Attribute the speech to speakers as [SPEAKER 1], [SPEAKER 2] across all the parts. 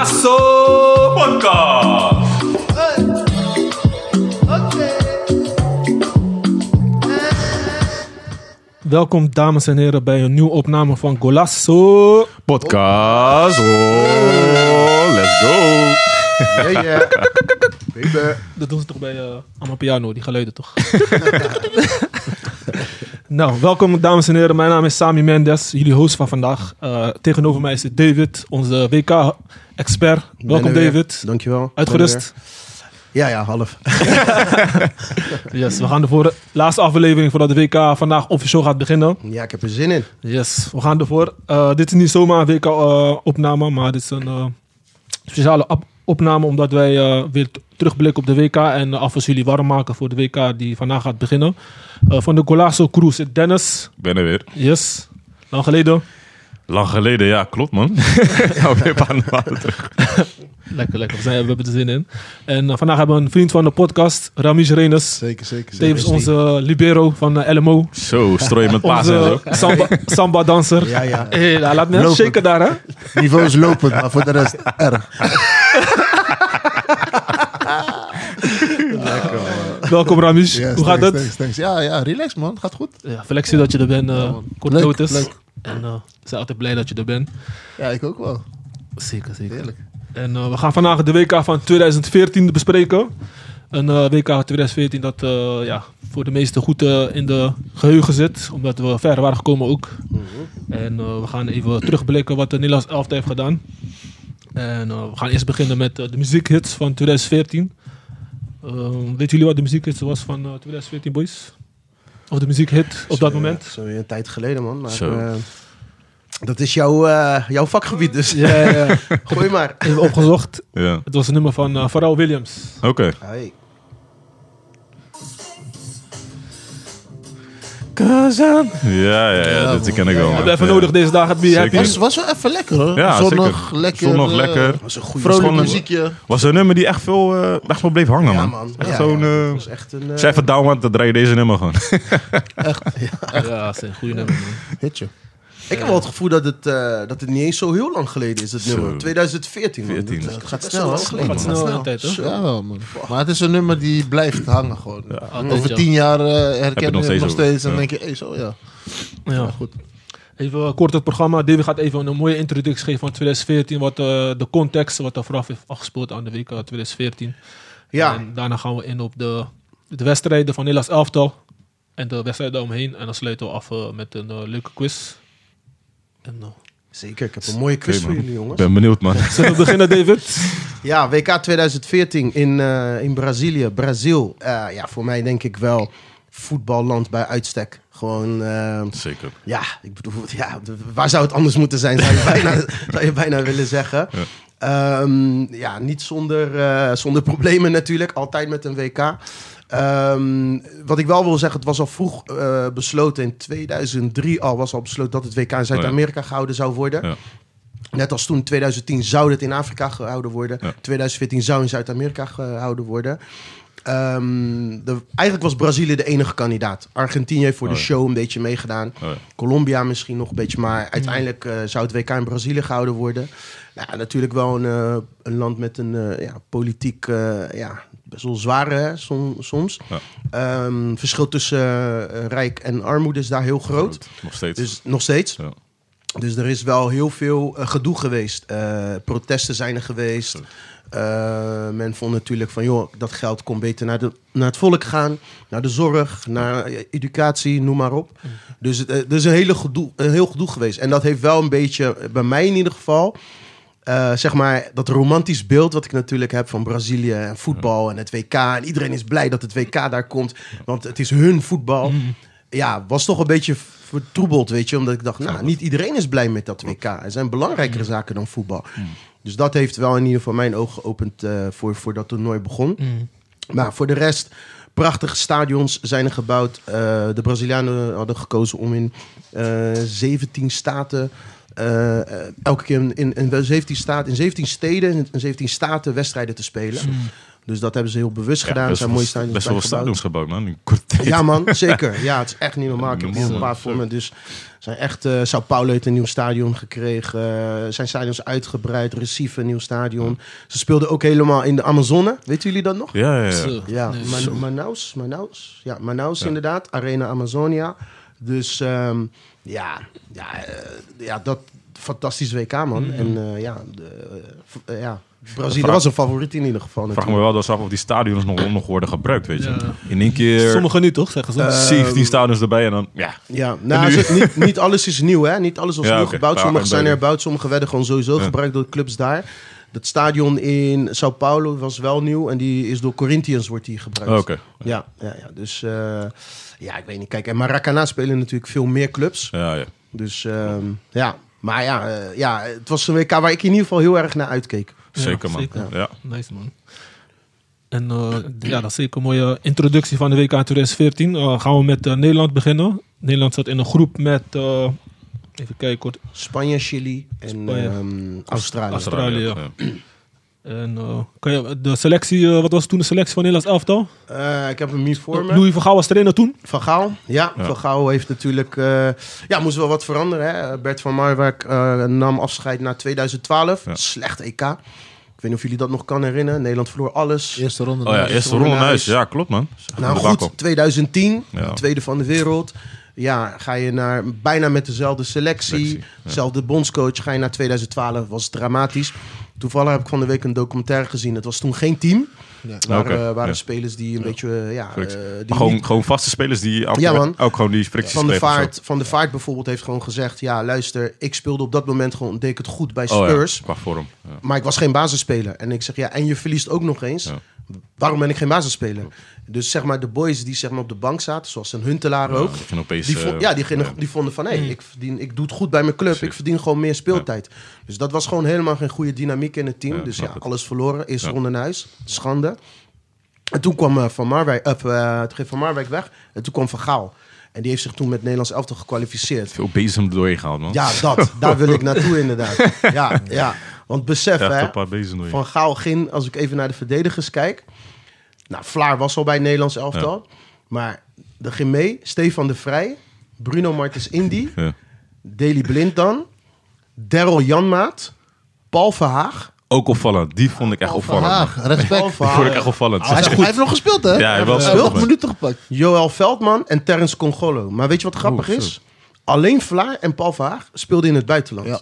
[SPEAKER 1] Lasso
[SPEAKER 2] Eh,
[SPEAKER 1] Podcast.
[SPEAKER 2] eh. Welkom dames en heren bij een nieuwe opname van Golasso.
[SPEAKER 1] Podcast. Oh, let's go.
[SPEAKER 3] Yeah, yeah. Baby.
[SPEAKER 2] Dat doen ze toch bij eh Amapiano, die geluiden toch? nou, welkom dames en heren. Mijn naam is Sami Mendes, jullie host van vandaag. Eh, tegenover mij zit David, onze WK-expert. Welkom
[SPEAKER 3] Ben er weer.
[SPEAKER 2] David.
[SPEAKER 3] Dankjewel. Ben
[SPEAKER 2] Uitgerust?
[SPEAKER 3] er weer. Ja, ja, half.
[SPEAKER 2] Yes, we gaan de voor laatste aflevering voordat de WK vandaag officieel gaat beginnen.
[SPEAKER 3] Ja, ik heb er zin in.
[SPEAKER 2] Yes, we gaan ervoor. Eh, dit is niet zomaar een WK-opname, maar dit is een eh, speciale op- opname omdat wij eh, weer t- terugblikken op de WK en uh, alvast jullie warm maken voor de WK die vandaag gaat beginnen. Eh, van de Golazo Crew zit Dennis.
[SPEAKER 1] Ik ben er weer.
[SPEAKER 2] Yes, lang geleden.
[SPEAKER 1] Lang geleden, ja, klopt man. Nou, weer een paar maanden terug.
[SPEAKER 2] Lekker, lekker. We, zijn, we hebben er zin in. En eh, vandaag hebben we een vriend van de podcast, Ramis Renes.
[SPEAKER 3] Zeker, zeker.
[SPEAKER 2] Tevens onze libero van eh, LMO.
[SPEAKER 1] Zo, strooi met paas en
[SPEAKER 2] Onze
[SPEAKER 1] zo.
[SPEAKER 2] samba- samba-danser.
[SPEAKER 3] Ja, ja.
[SPEAKER 2] Hey, nou, laat me even
[SPEAKER 3] Lopen.
[SPEAKER 2] shaken daar, hè?
[SPEAKER 3] Niveaus lopend, maar voor de rest erg.
[SPEAKER 2] Welkom, Ramis.
[SPEAKER 3] Yes,
[SPEAKER 2] Hoe gaat
[SPEAKER 3] thanks,
[SPEAKER 2] het?
[SPEAKER 3] thanks, thanks. Ja, ja, relax man. Gaat goed.
[SPEAKER 2] Ja, flexie dat je er bent, eh kort
[SPEAKER 3] Leuk,
[SPEAKER 2] notice.
[SPEAKER 3] leuk.
[SPEAKER 2] En eh, we zijn altijd blij dat je er bent.
[SPEAKER 3] Ja, ik ook wel.
[SPEAKER 2] Zeker, zeker.
[SPEAKER 3] Heerlijk.
[SPEAKER 2] En eh, we gaan vandaag de WK van 2014 bespreken. Een eh, WK 2014 dat eh, ja, voor de meesten goed eh, in de geheugen zit. Omdat we ver waren gekomen ook.
[SPEAKER 1] Mhm.
[SPEAKER 2] En eh, we gaan even terugblikken wat de Nederlands elfte heeft gedaan. En eh, we gaan eerst beginnen met eh, de muziekhits van 2014. Eh, weten jullie wat de muziekhits was van eh, 2014, boys? Of de muziekhit op dat
[SPEAKER 3] Zo,
[SPEAKER 2] moment?
[SPEAKER 3] ja, Eh, Zo weer een tijd geleden man. Maar,
[SPEAKER 1] Zo.
[SPEAKER 3] eh, dat is jouw, eh, jouw vakgebied dus.
[SPEAKER 2] Ja, ja, ja.
[SPEAKER 3] Gooi maar.
[SPEAKER 2] Even opgezocht.
[SPEAKER 1] Ja.
[SPEAKER 2] Het was een nummer van eh Pharrell Williams.
[SPEAKER 1] Oké.
[SPEAKER 3] Hey.
[SPEAKER 1] Ja, ja, ja, dit ken ik wel.
[SPEAKER 2] Hebben
[SPEAKER 1] man.
[SPEAKER 2] we even
[SPEAKER 1] Ja.
[SPEAKER 2] nodig deze dagen. Be
[SPEAKER 1] Zeker.
[SPEAKER 2] happy.
[SPEAKER 3] Was, was wel even lekker hoor.
[SPEAKER 1] Ja,
[SPEAKER 3] Zonnig,
[SPEAKER 1] zeker.
[SPEAKER 3] lekker.
[SPEAKER 1] Zonnig,
[SPEAKER 3] eh,
[SPEAKER 1] lekker.
[SPEAKER 3] was een goede
[SPEAKER 1] Vrolijk
[SPEAKER 3] vrolijk
[SPEAKER 1] nummer.
[SPEAKER 3] muziekje.
[SPEAKER 1] Was een nummer die echt veel eh, echt wel bleef hangen, man. Echt
[SPEAKER 3] Ja,
[SPEAKER 1] zo'n...
[SPEAKER 3] ja.
[SPEAKER 1] eh,
[SPEAKER 3] was echt een eh,
[SPEAKER 1] als jij even down bent, dan draai je deze nummer gewoon.
[SPEAKER 2] Ja, dat is een goede nummer. man.
[SPEAKER 3] hitje. Ik heb wel het gevoel dat het, eh, dat het niet eens zo heel lang geleden is, het
[SPEAKER 1] Zo.
[SPEAKER 3] nummer. 2014. man.
[SPEAKER 1] 14.
[SPEAKER 3] Dat, eh, gaat
[SPEAKER 2] wel
[SPEAKER 3] snel.
[SPEAKER 2] lang
[SPEAKER 3] hè?
[SPEAKER 2] geleden,
[SPEAKER 3] Gaat
[SPEAKER 2] man.
[SPEAKER 3] snel.
[SPEAKER 2] Gaat snel de tijd, hoor.
[SPEAKER 3] Zo.
[SPEAKER 4] Ja, wel, man. Maar het is een nummer die blijft hangen gewoon.
[SPEAKER 2] Altijd,
[SPEAKER 4] Over
[SPEAKER 2] ja.
[SPEAKER 4] tien jaar eh,
[SPEAKER 1] je het
[SPEAKER 4] herken
[SPEAKER 1] nog
[SPEAKER 4] je het nog
[SPEAKER 1] steeds
[SPEAKER 4] steeds en
[SPEAKER 1] over.
[SPEAKER 4] denk je, hey, zo ja.
[SPEAKER 2] Ja, goed. Even eh, kort het programma. David gaat even een mooie introductie geven van 2014. Wat eh, de context, wat er vooraf heeft afgespeeld aan de week eh, 2014.
[SPEAKER 3] Ja.
[SPEAKER 2] En daarna gaan we in op de, de wedstrijden van Nederlands elftal. En de wedstrijden daaromheen. En dan sluiten we af eh, met een eh, leuke quiz. En, eh,
[SPEAKER 3] Zeker, ik heb een mooie quiz
[SPEAKER 1] Oké,
[SPEAKER 3] voor
[SPEAKER 1] man.
[SPEAKER 3] jullie,
[SPEAKER 1] Ik
[SPEAKER 3] jongens.
[SPEAKER 1] ben benieuwd, man.
[SPEAKER 2] Zullen we beginnen, David?
[SPEAKER 3] Ja, WK 2014 in, eh, in Brazilië. Brazil, eh, ja, voor mij denk ik wel voetballand bij uitstek. Gewoon, eh,
[SPEAKER 1] Zeker.
[SPEAKER 3] ja, ik bedoel, ja, d- waar zou het anders moeten zijn, zou je bijna, zou je bijna willen zeggen.
[SPEAKER 1] Ja.
[SPEAKER 3] Ehm, ja, niet zonder, eh, zonder problemen natuurlijk, altijd met een WK. Ehm, wat ik wel wil zeggen, het was al vroeg eh, besloten, in 2003 al was al besloten dat het WK in Zuid-Amerika gehouden zou worden.
[SPEAKER 1] Oh Ja. oh
[SPEAKER 3] Net als toen in 2010 zou het in Afrika gehouden worden.
[SPEAKER 1] Ja.
[SPEAKER 3] 2014 zou in Zuid-Amerika gehouden worden. Ehm, de- eigenlijk was Brazilië de enige kandidaat. Argentinië heeft voor
[SPEAKER 1] Oh
[SPEAKER 3] de
[SPEAKER 1] ja.
[SPEAKER 3] show een beetje meegedaan.
[SPEAKER 1] Oh ja.
[SPEAKER 3] Colombia misschien nog een beetje. Maar uiteindelijk eh, zou het WK in Brazilië gehouden worden. Nou, ja, natuurlijk wel een, eh, een land met een eh, ja, politiek eh, ja, best wel zware hè, som- soms.
[SPEAKER 1] Ja.
[SPEAKER 3] Ehm, verschil tussen eh, rijk en armoede is daar heel groot.
[SPEAKER 1] Nog steeds.
[SPEAKER 3] Dus nog steeds.
[SPEAKER 1] Ja.
[SPEAKER 3] Dus er is wel heel veel eh, gedoe geweest. Eh, protesten zijn er geweest. Eh, men vond natuurlijk van, joh, dat geld kon beter naar, de, naar het volk gaan. Naar de zorg, naar eh, educatie, noem maar op. Dus het, eh, er is een, hele gedoe, een heel gedoe geweest. En dat heeft wel een beetje, eh, bij mij in ieder geval... eh, zeg maar dat romantisch beeld wat ik natuurlijk heb van Brazilië en voetbal en het WK. En iedereen is blij dat het WK daar komt, want het is hun voetbal. Ja, was toch een beetje vertroebeld, weet je. Omdat ik dacht, nou, niet iedereen is blij met dat WK. Er zijn belangrijkere zaken dan voetbal. Dus dat heeft wel in ieder geval mijn ogen geopend eh, voor, voor dat toernooi begon.
[SPEAKER 2] Mm.
[SPEAKER 3] Maar Nou, voor de rest, prachtige stadions zijn er gebouwd. Eh, de Brazilianen hadden gekozen om in eh 17 staten. eh, eh, elke keer in, in, in, 17 staten, in 17 steden en 17 staten wedstrijden te spelen. Dus dat hebben ze heel bewust
[SPEAKER 1] Hmm.
[SPEAKER 3] gedaan. Er
[SPEAKER 1] best
[SPEAKER 3] zijn
[SPEAKER 1] wel-
[SPEAKER 3] mooie stadions
[SPEAKER 1] Best wel wat
[SPEAKER 3] bij gebouwd.
[SPEAKER 1] stadions gebouwd, man. In korte tijd.
[SPEAKER 3] Ja, man, zeker. Ja, het is echt niet normaal. Ik heb hier
[SPEAKER 1] Normaal,
[SPEAKER 3] een paar voor me. Dus zijn echt. eh Sao Paulo heeft een nieuw stadion gekregen. eh, zijn stadions uitgebreid. Recife, een nieuw
[SPEAKER 1] Hmm.
[SPEAKER 3] stadion. Ze speelden ook helemaal in de Amazone. Weten jullie dat nog?
[SPEAKER 1] Ja, ja,
[SPEAKER 3] Dus,
[SPEAKER 1] ja.
[SPEAKER 2] Zo.
[SPEAKER 3] Ja,
[SPEAKER 2] Nee,
[SPEAKER 1] Dus-
[SPEAKER 3] Man-
[SPEAKER 2] zo.
[SPEAKER 3] Manaus, Manaus. Ja, Manaus inderdaad. Arena Amazonia. Dus ehm, ja, ja, eh, ja, dat fantastisch WK, man. En eh, ja, de, eh, v- eh, ja, Brazilië
[SPEAKER 1] Mm. Vraag-
[SPEAKER 3] was een favoriet in ieder geval.
[SPEAKER 1] Vraag me
[SPEAKER 3] natuurlijk.
[SPEAKER 1] wel eens af of die stadions nog, nog worden gebruikt, weet je.
[SPEAKER 2] Ja.
[SPEAKER 1] In één keer
[SPEAKER 2] Sommigen niet, toch? Zeggen ze.
[SPEAKER 3] Eh,
[SPEAKER 1] 17 stadions erbij en dan... Ja,
[SPEAKER 3] Ja, nou, ze- niet, niet alles is nieuw, hè. Niet alles was
[SPEAKER 1] Ja,
[SPEAKER 3] nieuw
[SPEAKER 1] oké.
[SPEAKER 3] gebouwd.
[SPEAKER 1] Ja,
[SPEAKER 3] Sommige zijn
[SPEAKER 1] beide.
[SPEAKER 3] herbouwd, sommige werden gewoon sowieso
[SPEAKER 1] Ja.
[SPEAKER 3] gebruikt door clubs daar. Dat stadion in Sao Paulo was wel nieuw en die is door Corinthians wordt die gebruikt.
[SPEAKER 1] oké.
[SPEAKER 3] Ja, ja, ja, dus eh, ja, ik weet niet. Kijk, en Maracana spelen natuurlijk veel meer clubs.
[SPEAKER 1] Ja, ja.
[SPEAKER 3] Dus ehm, ja, maar ja, eh, ja, het was een WK waar ik in ieder geval heel erg naar uitkeek.
[SPEAKER 1] Zeker,
[SPEAKER 2] Ja,
[SPEAKER 1] man.
[SPEAKER 2] zeker.
[SPEAKER 1] Ja.
[SPEAKER 2] Nice man. En eh, ja, dat is zeker een mooie introductie van de WK 2014. Eh, gaan we met eh, Nederland beginnen. Nederland zat in een groep met, eh, even kijken hoor,
[SPEAKER 3] Spanje, Chili en
[SPEAKER 2] Spanje.
[SPEAKER 3] ehm, Australië.
[SPEAKER 2] Australië. En, eh, kan je, de selectie, eh, wat was toen de selectie van Nederlands elftal?
[SPEAKER 3] Eh, ik heb hem hier voor me.
[SPEAKER 2] Louis van Gaal was trainer toen.
[SPEAKER 3] Van Gaal, ja.
[SPEAKER 1] Ja.
[SPEAKER 3] Van Gaal heeft natuurlijk... eh, ja, moest wel wat veranderen. Hè? Bert van Marwijk eh, nam afscheid na 2012.
[SPEAKER 1] Ja.
[SPEAKER 3] Slecht EK. Ik weet niet of jullie dat nog kan herinneren. Nederland verloor alles.
[SPEAKER 4] Eerste ronde.
[SPEAKER 1] Oh ja, eerste ronde naar huis. Ja, klopt, man.
[SPEAKER 3] Nou
[SPEAKER 1] De bak
[SPEAKER 3] goed,
[SPEAKER 1] op.
[SPEAKER 3] 2010,
[SPEAKER 1] Ja.
[SPEAKER 3] de tweede van de wereld. Ja, ga je naar bijna met dezelfde selectie,
[SPEAKER 1] Selectie, ja.
[SPEAKER 3] dezelfde bondscoach. Ga je naar 2012, was dramatisch. Toevallig heb ik van de week een documentaire gezien. Het was toen geen team.
[SPEAKER 4] Ja.
[SPEAKER 3] Het waren,
[SPEAKER 1] Oké,
[SPEAKER 3] eh, waren
[SPEAKER 1] ja.
[SPEAKER 3] spelers die een beetje, eh, ja,
[SPEAKER 1] Flex.
[SPEAKER 3] eh, die
[SPEAKER 1] Maar gewoon,
[SPEAKER 3] niet-
[SPEAKER 1] gewoon vaste spelers die ook,
[SPEAKER 3] Ja, man.
[SPEAKER 1] ook gewoon die fricties
[SPEAKER 3] van de,
[SPEAKER 1] kregen of zo.
[SPEAKER 3] vaart, van de Vaart bijvoorbeeld heeft gewoon gezegd... ja, luister, ik speelde op dat moment gewoon, deed ik het goed bij
[SPEAKER 1] Oh, ja,
[SPEAKER 3] Spurs...
[SPEAKER 1] qua vorm. Ja.
[SPEAKER 3] Maar ik was geen basisspeler. En ik zeg, ja, en je verliest ook nog eens.
[SPEAKER 1] Ja.
[SPEAKER 3] Waarom ben ik geen basisspeler? Dus zeg maar, de boys die zeg maar op de bank zaten, zoals een Huntelaar ook.
[SPEAKER 1] dat je opeens,
[SPEAKER 3] die, vo-
[SPEAKER 1] eh,
[SPEAKER 3] ja, die, gingen-
[SPEAKER 1] ja.
[SPEAKER 3] die vonden van, hé, ik, verdien, ik doe het goed bij mijn club.
[SPEAKER 1] Precies.
[SPEAKER 3] Ik verdien gewoon meer speeltijd. Dus dat was gewoon helemaal geen goede dynamiek in het team.
[SPEAKER 1] Ja,
[SPEAKER 3] dus ja,
[SPEAKER 1] snap het.
[SPEAKER 3] alles verloren. Eerste
[SPEAKER 1] Ja.
[SPEAKER 3] ronde naar huis. Schande. En toen kwam eh, Van Marwijk, eh, eh, toen ging Van Marwijk weg. En toen kwam Van Gaal. En die heeft zich toen met Nederlands elftal gekwalificeerd.
[SPEAKER 1] Veel bezem doorheen gehaald, man.
[SPEAKER 3] Ja, dat. Daar wil ik naartoe inderdaad. Ja, ja. Want besef,
[SPEAKER 1] Echt
[SPEAKER 3] hè.
[SPEAKER 1] een paar bezem doorheen.
[SPEAKER 3] Van Gaal ging, als ik even naar de verdedigers kijk. Nou, Vlaar was al bij het Nederlands elftal. Maar er ging mee Stefan de Vrij, Bruno Martens Indy,
[SPEAKER 1] Ja.
[SPEAKER 3] Deli Blind dan, Daryl Janmaat, Paul Verhaag.
[SPEAKER 1] Ook opvallend. Die vond ik echt opvallend. man.
[SPEAKER 4] Haag, respect.
[SPEAKER 3] Paul
[SPEAKER 4] Hij,
[SPEAKER 1] Die vond ik
[SPEAKER 3] Verhaag,
[SPEAKER 1] echt opvallend.
[SPEAKER 4] is goed. hij heeft nog gespeeld, hè?
[SPEAKER 1] Ja, hij heeft wel
[SPEAKER 4] heeft nog
[SPEAKER 1] gespeeld.
[SPEAKER 4] minuten gepakt.
[SPEAKER 3] Joël Veldman en Terence Congolo. Maar weet je wat grappig
[SPEAKER 1] Oeh, zo.
[SPEAKER 3] is? Alleen Vlaar en Paul Verhaag speelden in het buitenland.
[SPEAKER 4] Ja.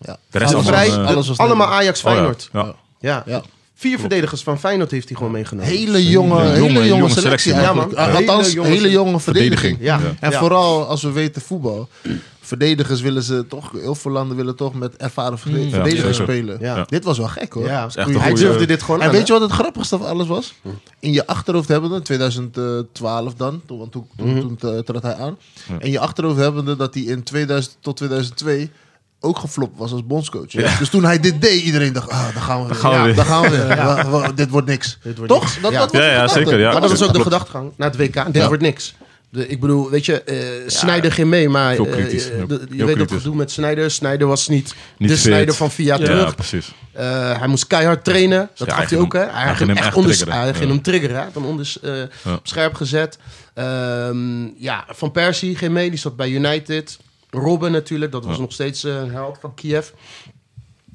[SPEAKER 4] Ja.
[SPEAKER 1] De rest
[SPEAKER 3] De
[SPEAKER 1] allemaal,
[SPEAKER 3] Vrij,
[SPEAKER 1] eh,
[SPEAKER 3] de-
[SPEAKER 1] oh,
[SPEAKER 4] alles was
[SPEAKER 3] allemaal
[SPEAKER 4] Nederland.
[SPEAKER 3] Ajax Feynoord.
[SPEAKER 1] ja. Ja.
[SPEAKER 3] ja.
[SPEAKER 4] Ja.
[SPEAKER 3] Vier verdedigers van Feyenoord heeft hij gewoon meegenomen.
[SPEAKER 4] Hele jonge,
[SPEAKER 1] Jonge,
[SPEAKER 4] hele jonge,
[SPEAKER 1] jonge
[SPEAKER 4] selectie,
[SPEAKER 1] selectie,
[SPEAKER 4] eigenlijk.
[SPEAKER 3] man. Ja.
[SPEAKER 4] Althans,
[SPEAKER 3] Hele jonge
[SPEAKER 4] hele
[SPEAKER 3] selectie.
[SPEAKER 4] jonge verdediging.
[SPEAKER 1] Verdediging.
[SPEAKER 3] Ja.
[SPEAKER 1] Ja.
[SPEAKER 4] En
[SPEAKER 3] Ja.
[SPEAKER 4] vooral als we weten voetbal. Verdedigers willen ze toch, heel veel landen willen toch met ervaren verde- verdedigers
[SPEAKER 1] zeker.
[SPEAKER 4] spelen.
[SPEAKER 3] Ja.
[SPEAKER 4] Dit was wel gek hoor.
[SPEAKER 3] Ja.
[SPEAKER 1] is echt een
[SPEAKER 3] Hij
[SPEAKER 1] goeie-
[SPEAKER 3] durfde dit gewoon
[SPEAKER 4] En
[SPEAKER 3] aan,
[SPEAKER 4] weet
[SPEAKER 3] hè? Hm.
[SPEAKER 4] je wat het grappigste van alles was? In je achterhoofd hebbende, 2012 dan, toen, want toen, toen,
[SPEAKER 3] Mhm.
[SPEAKER 4] toen, eh, trad hij aan. In je achterhoofd hebbende dat hij in 2000 tot 2002 ook geflopt was als bondscoach. Dus toen hij dit deed, iedereen dacht, ah, daar gaan we weer.
[SPEAKER 1] gaan we
[SPEAKER 4] Ja,
[SPEAKER 1] weer.
[SPEAKER 4] daar gaan we weer. Wa- wa- dit wordt niks.
[SPEAKER 3] Dit wordt
[SPEAKER 4] Toch?
[SPEAKER 3] niks.
[SPEAKER 4] Dat,
[SPEAKER 3] Ja.
[SPEAKER 4] dat was
[SPEAKER 1] Ja,
[SPEAKER 4] de
[SPEAKER 1] ja,
[SPEAKER 4] gedachte.
[SPEAKER 1] zeker, ja.
[SPEAKER 3] Maar dat was ook de
[SPEAKER 1] Klopt.
[SPEAKER 3] gedachtegang naar het WK. Dit
[SPEAKER 4] Ja.
[SPEAKER 3] wordt niks. De, ik bedoel, weet je, eh Snijder ging mee, maar
[SPEAKER 1] Veel
[SPEAKER 3] eh,
[SPEAKER 1] kritisch.
[SPEAKER 3] eh,
[SPEAKER 1] Heel-
[SPEAKER 3] de-
[SPEAKER 1] heel
[SPEAKER 3] je weet dat
[SPEAKER 1] kritisch.
[SPEAKER 3] gedoe met Snijder. Snijder was niet,
[SPEAKER 1] Niet
[SPEAKER 3] de
[SPEAKER 1] fit.
[SPEAKER 3] Snijder van via
[SPEAKER 1] Ja,
[SPEAKER 3] terug.
[SPEAKER 1] precies.
[SPEAKER 3] Eh, hij moest keihard trainen. Dat
[SPEAKER 1] Ja,
[SPEAKER 3] gaf
[SPEAKER 1] hij
[SPEAKER 3] hij
[SPEAKER 1] ging
[SPEAKER 3] ook, hè?
[SPEAKER 1] hem-
[SPEAKER 3] Hij,
[SPEAKER 1] hij
[SPEAKER 3] ging
[SPEAKER 1] ging hem
[SPEAKER 3] hem echt
[SPEAKER 1] echt
[SPEAKER 3] onder,
[SPEAKER 1] triggeren.
[SPEAKER 3] hij ging
[SPEAKER 1] Ja.
[SPEAKER 3] hem triggeren. Hij had hem onder, eh,
[SPEAKER 1] Ja.
[SPEAKER 3] op scherp gezet. Ehm, ja, Van Persie ging mee. Die zat bij United. Robben natuurlijk. Dat was nog steeds eh, een held van Kiev.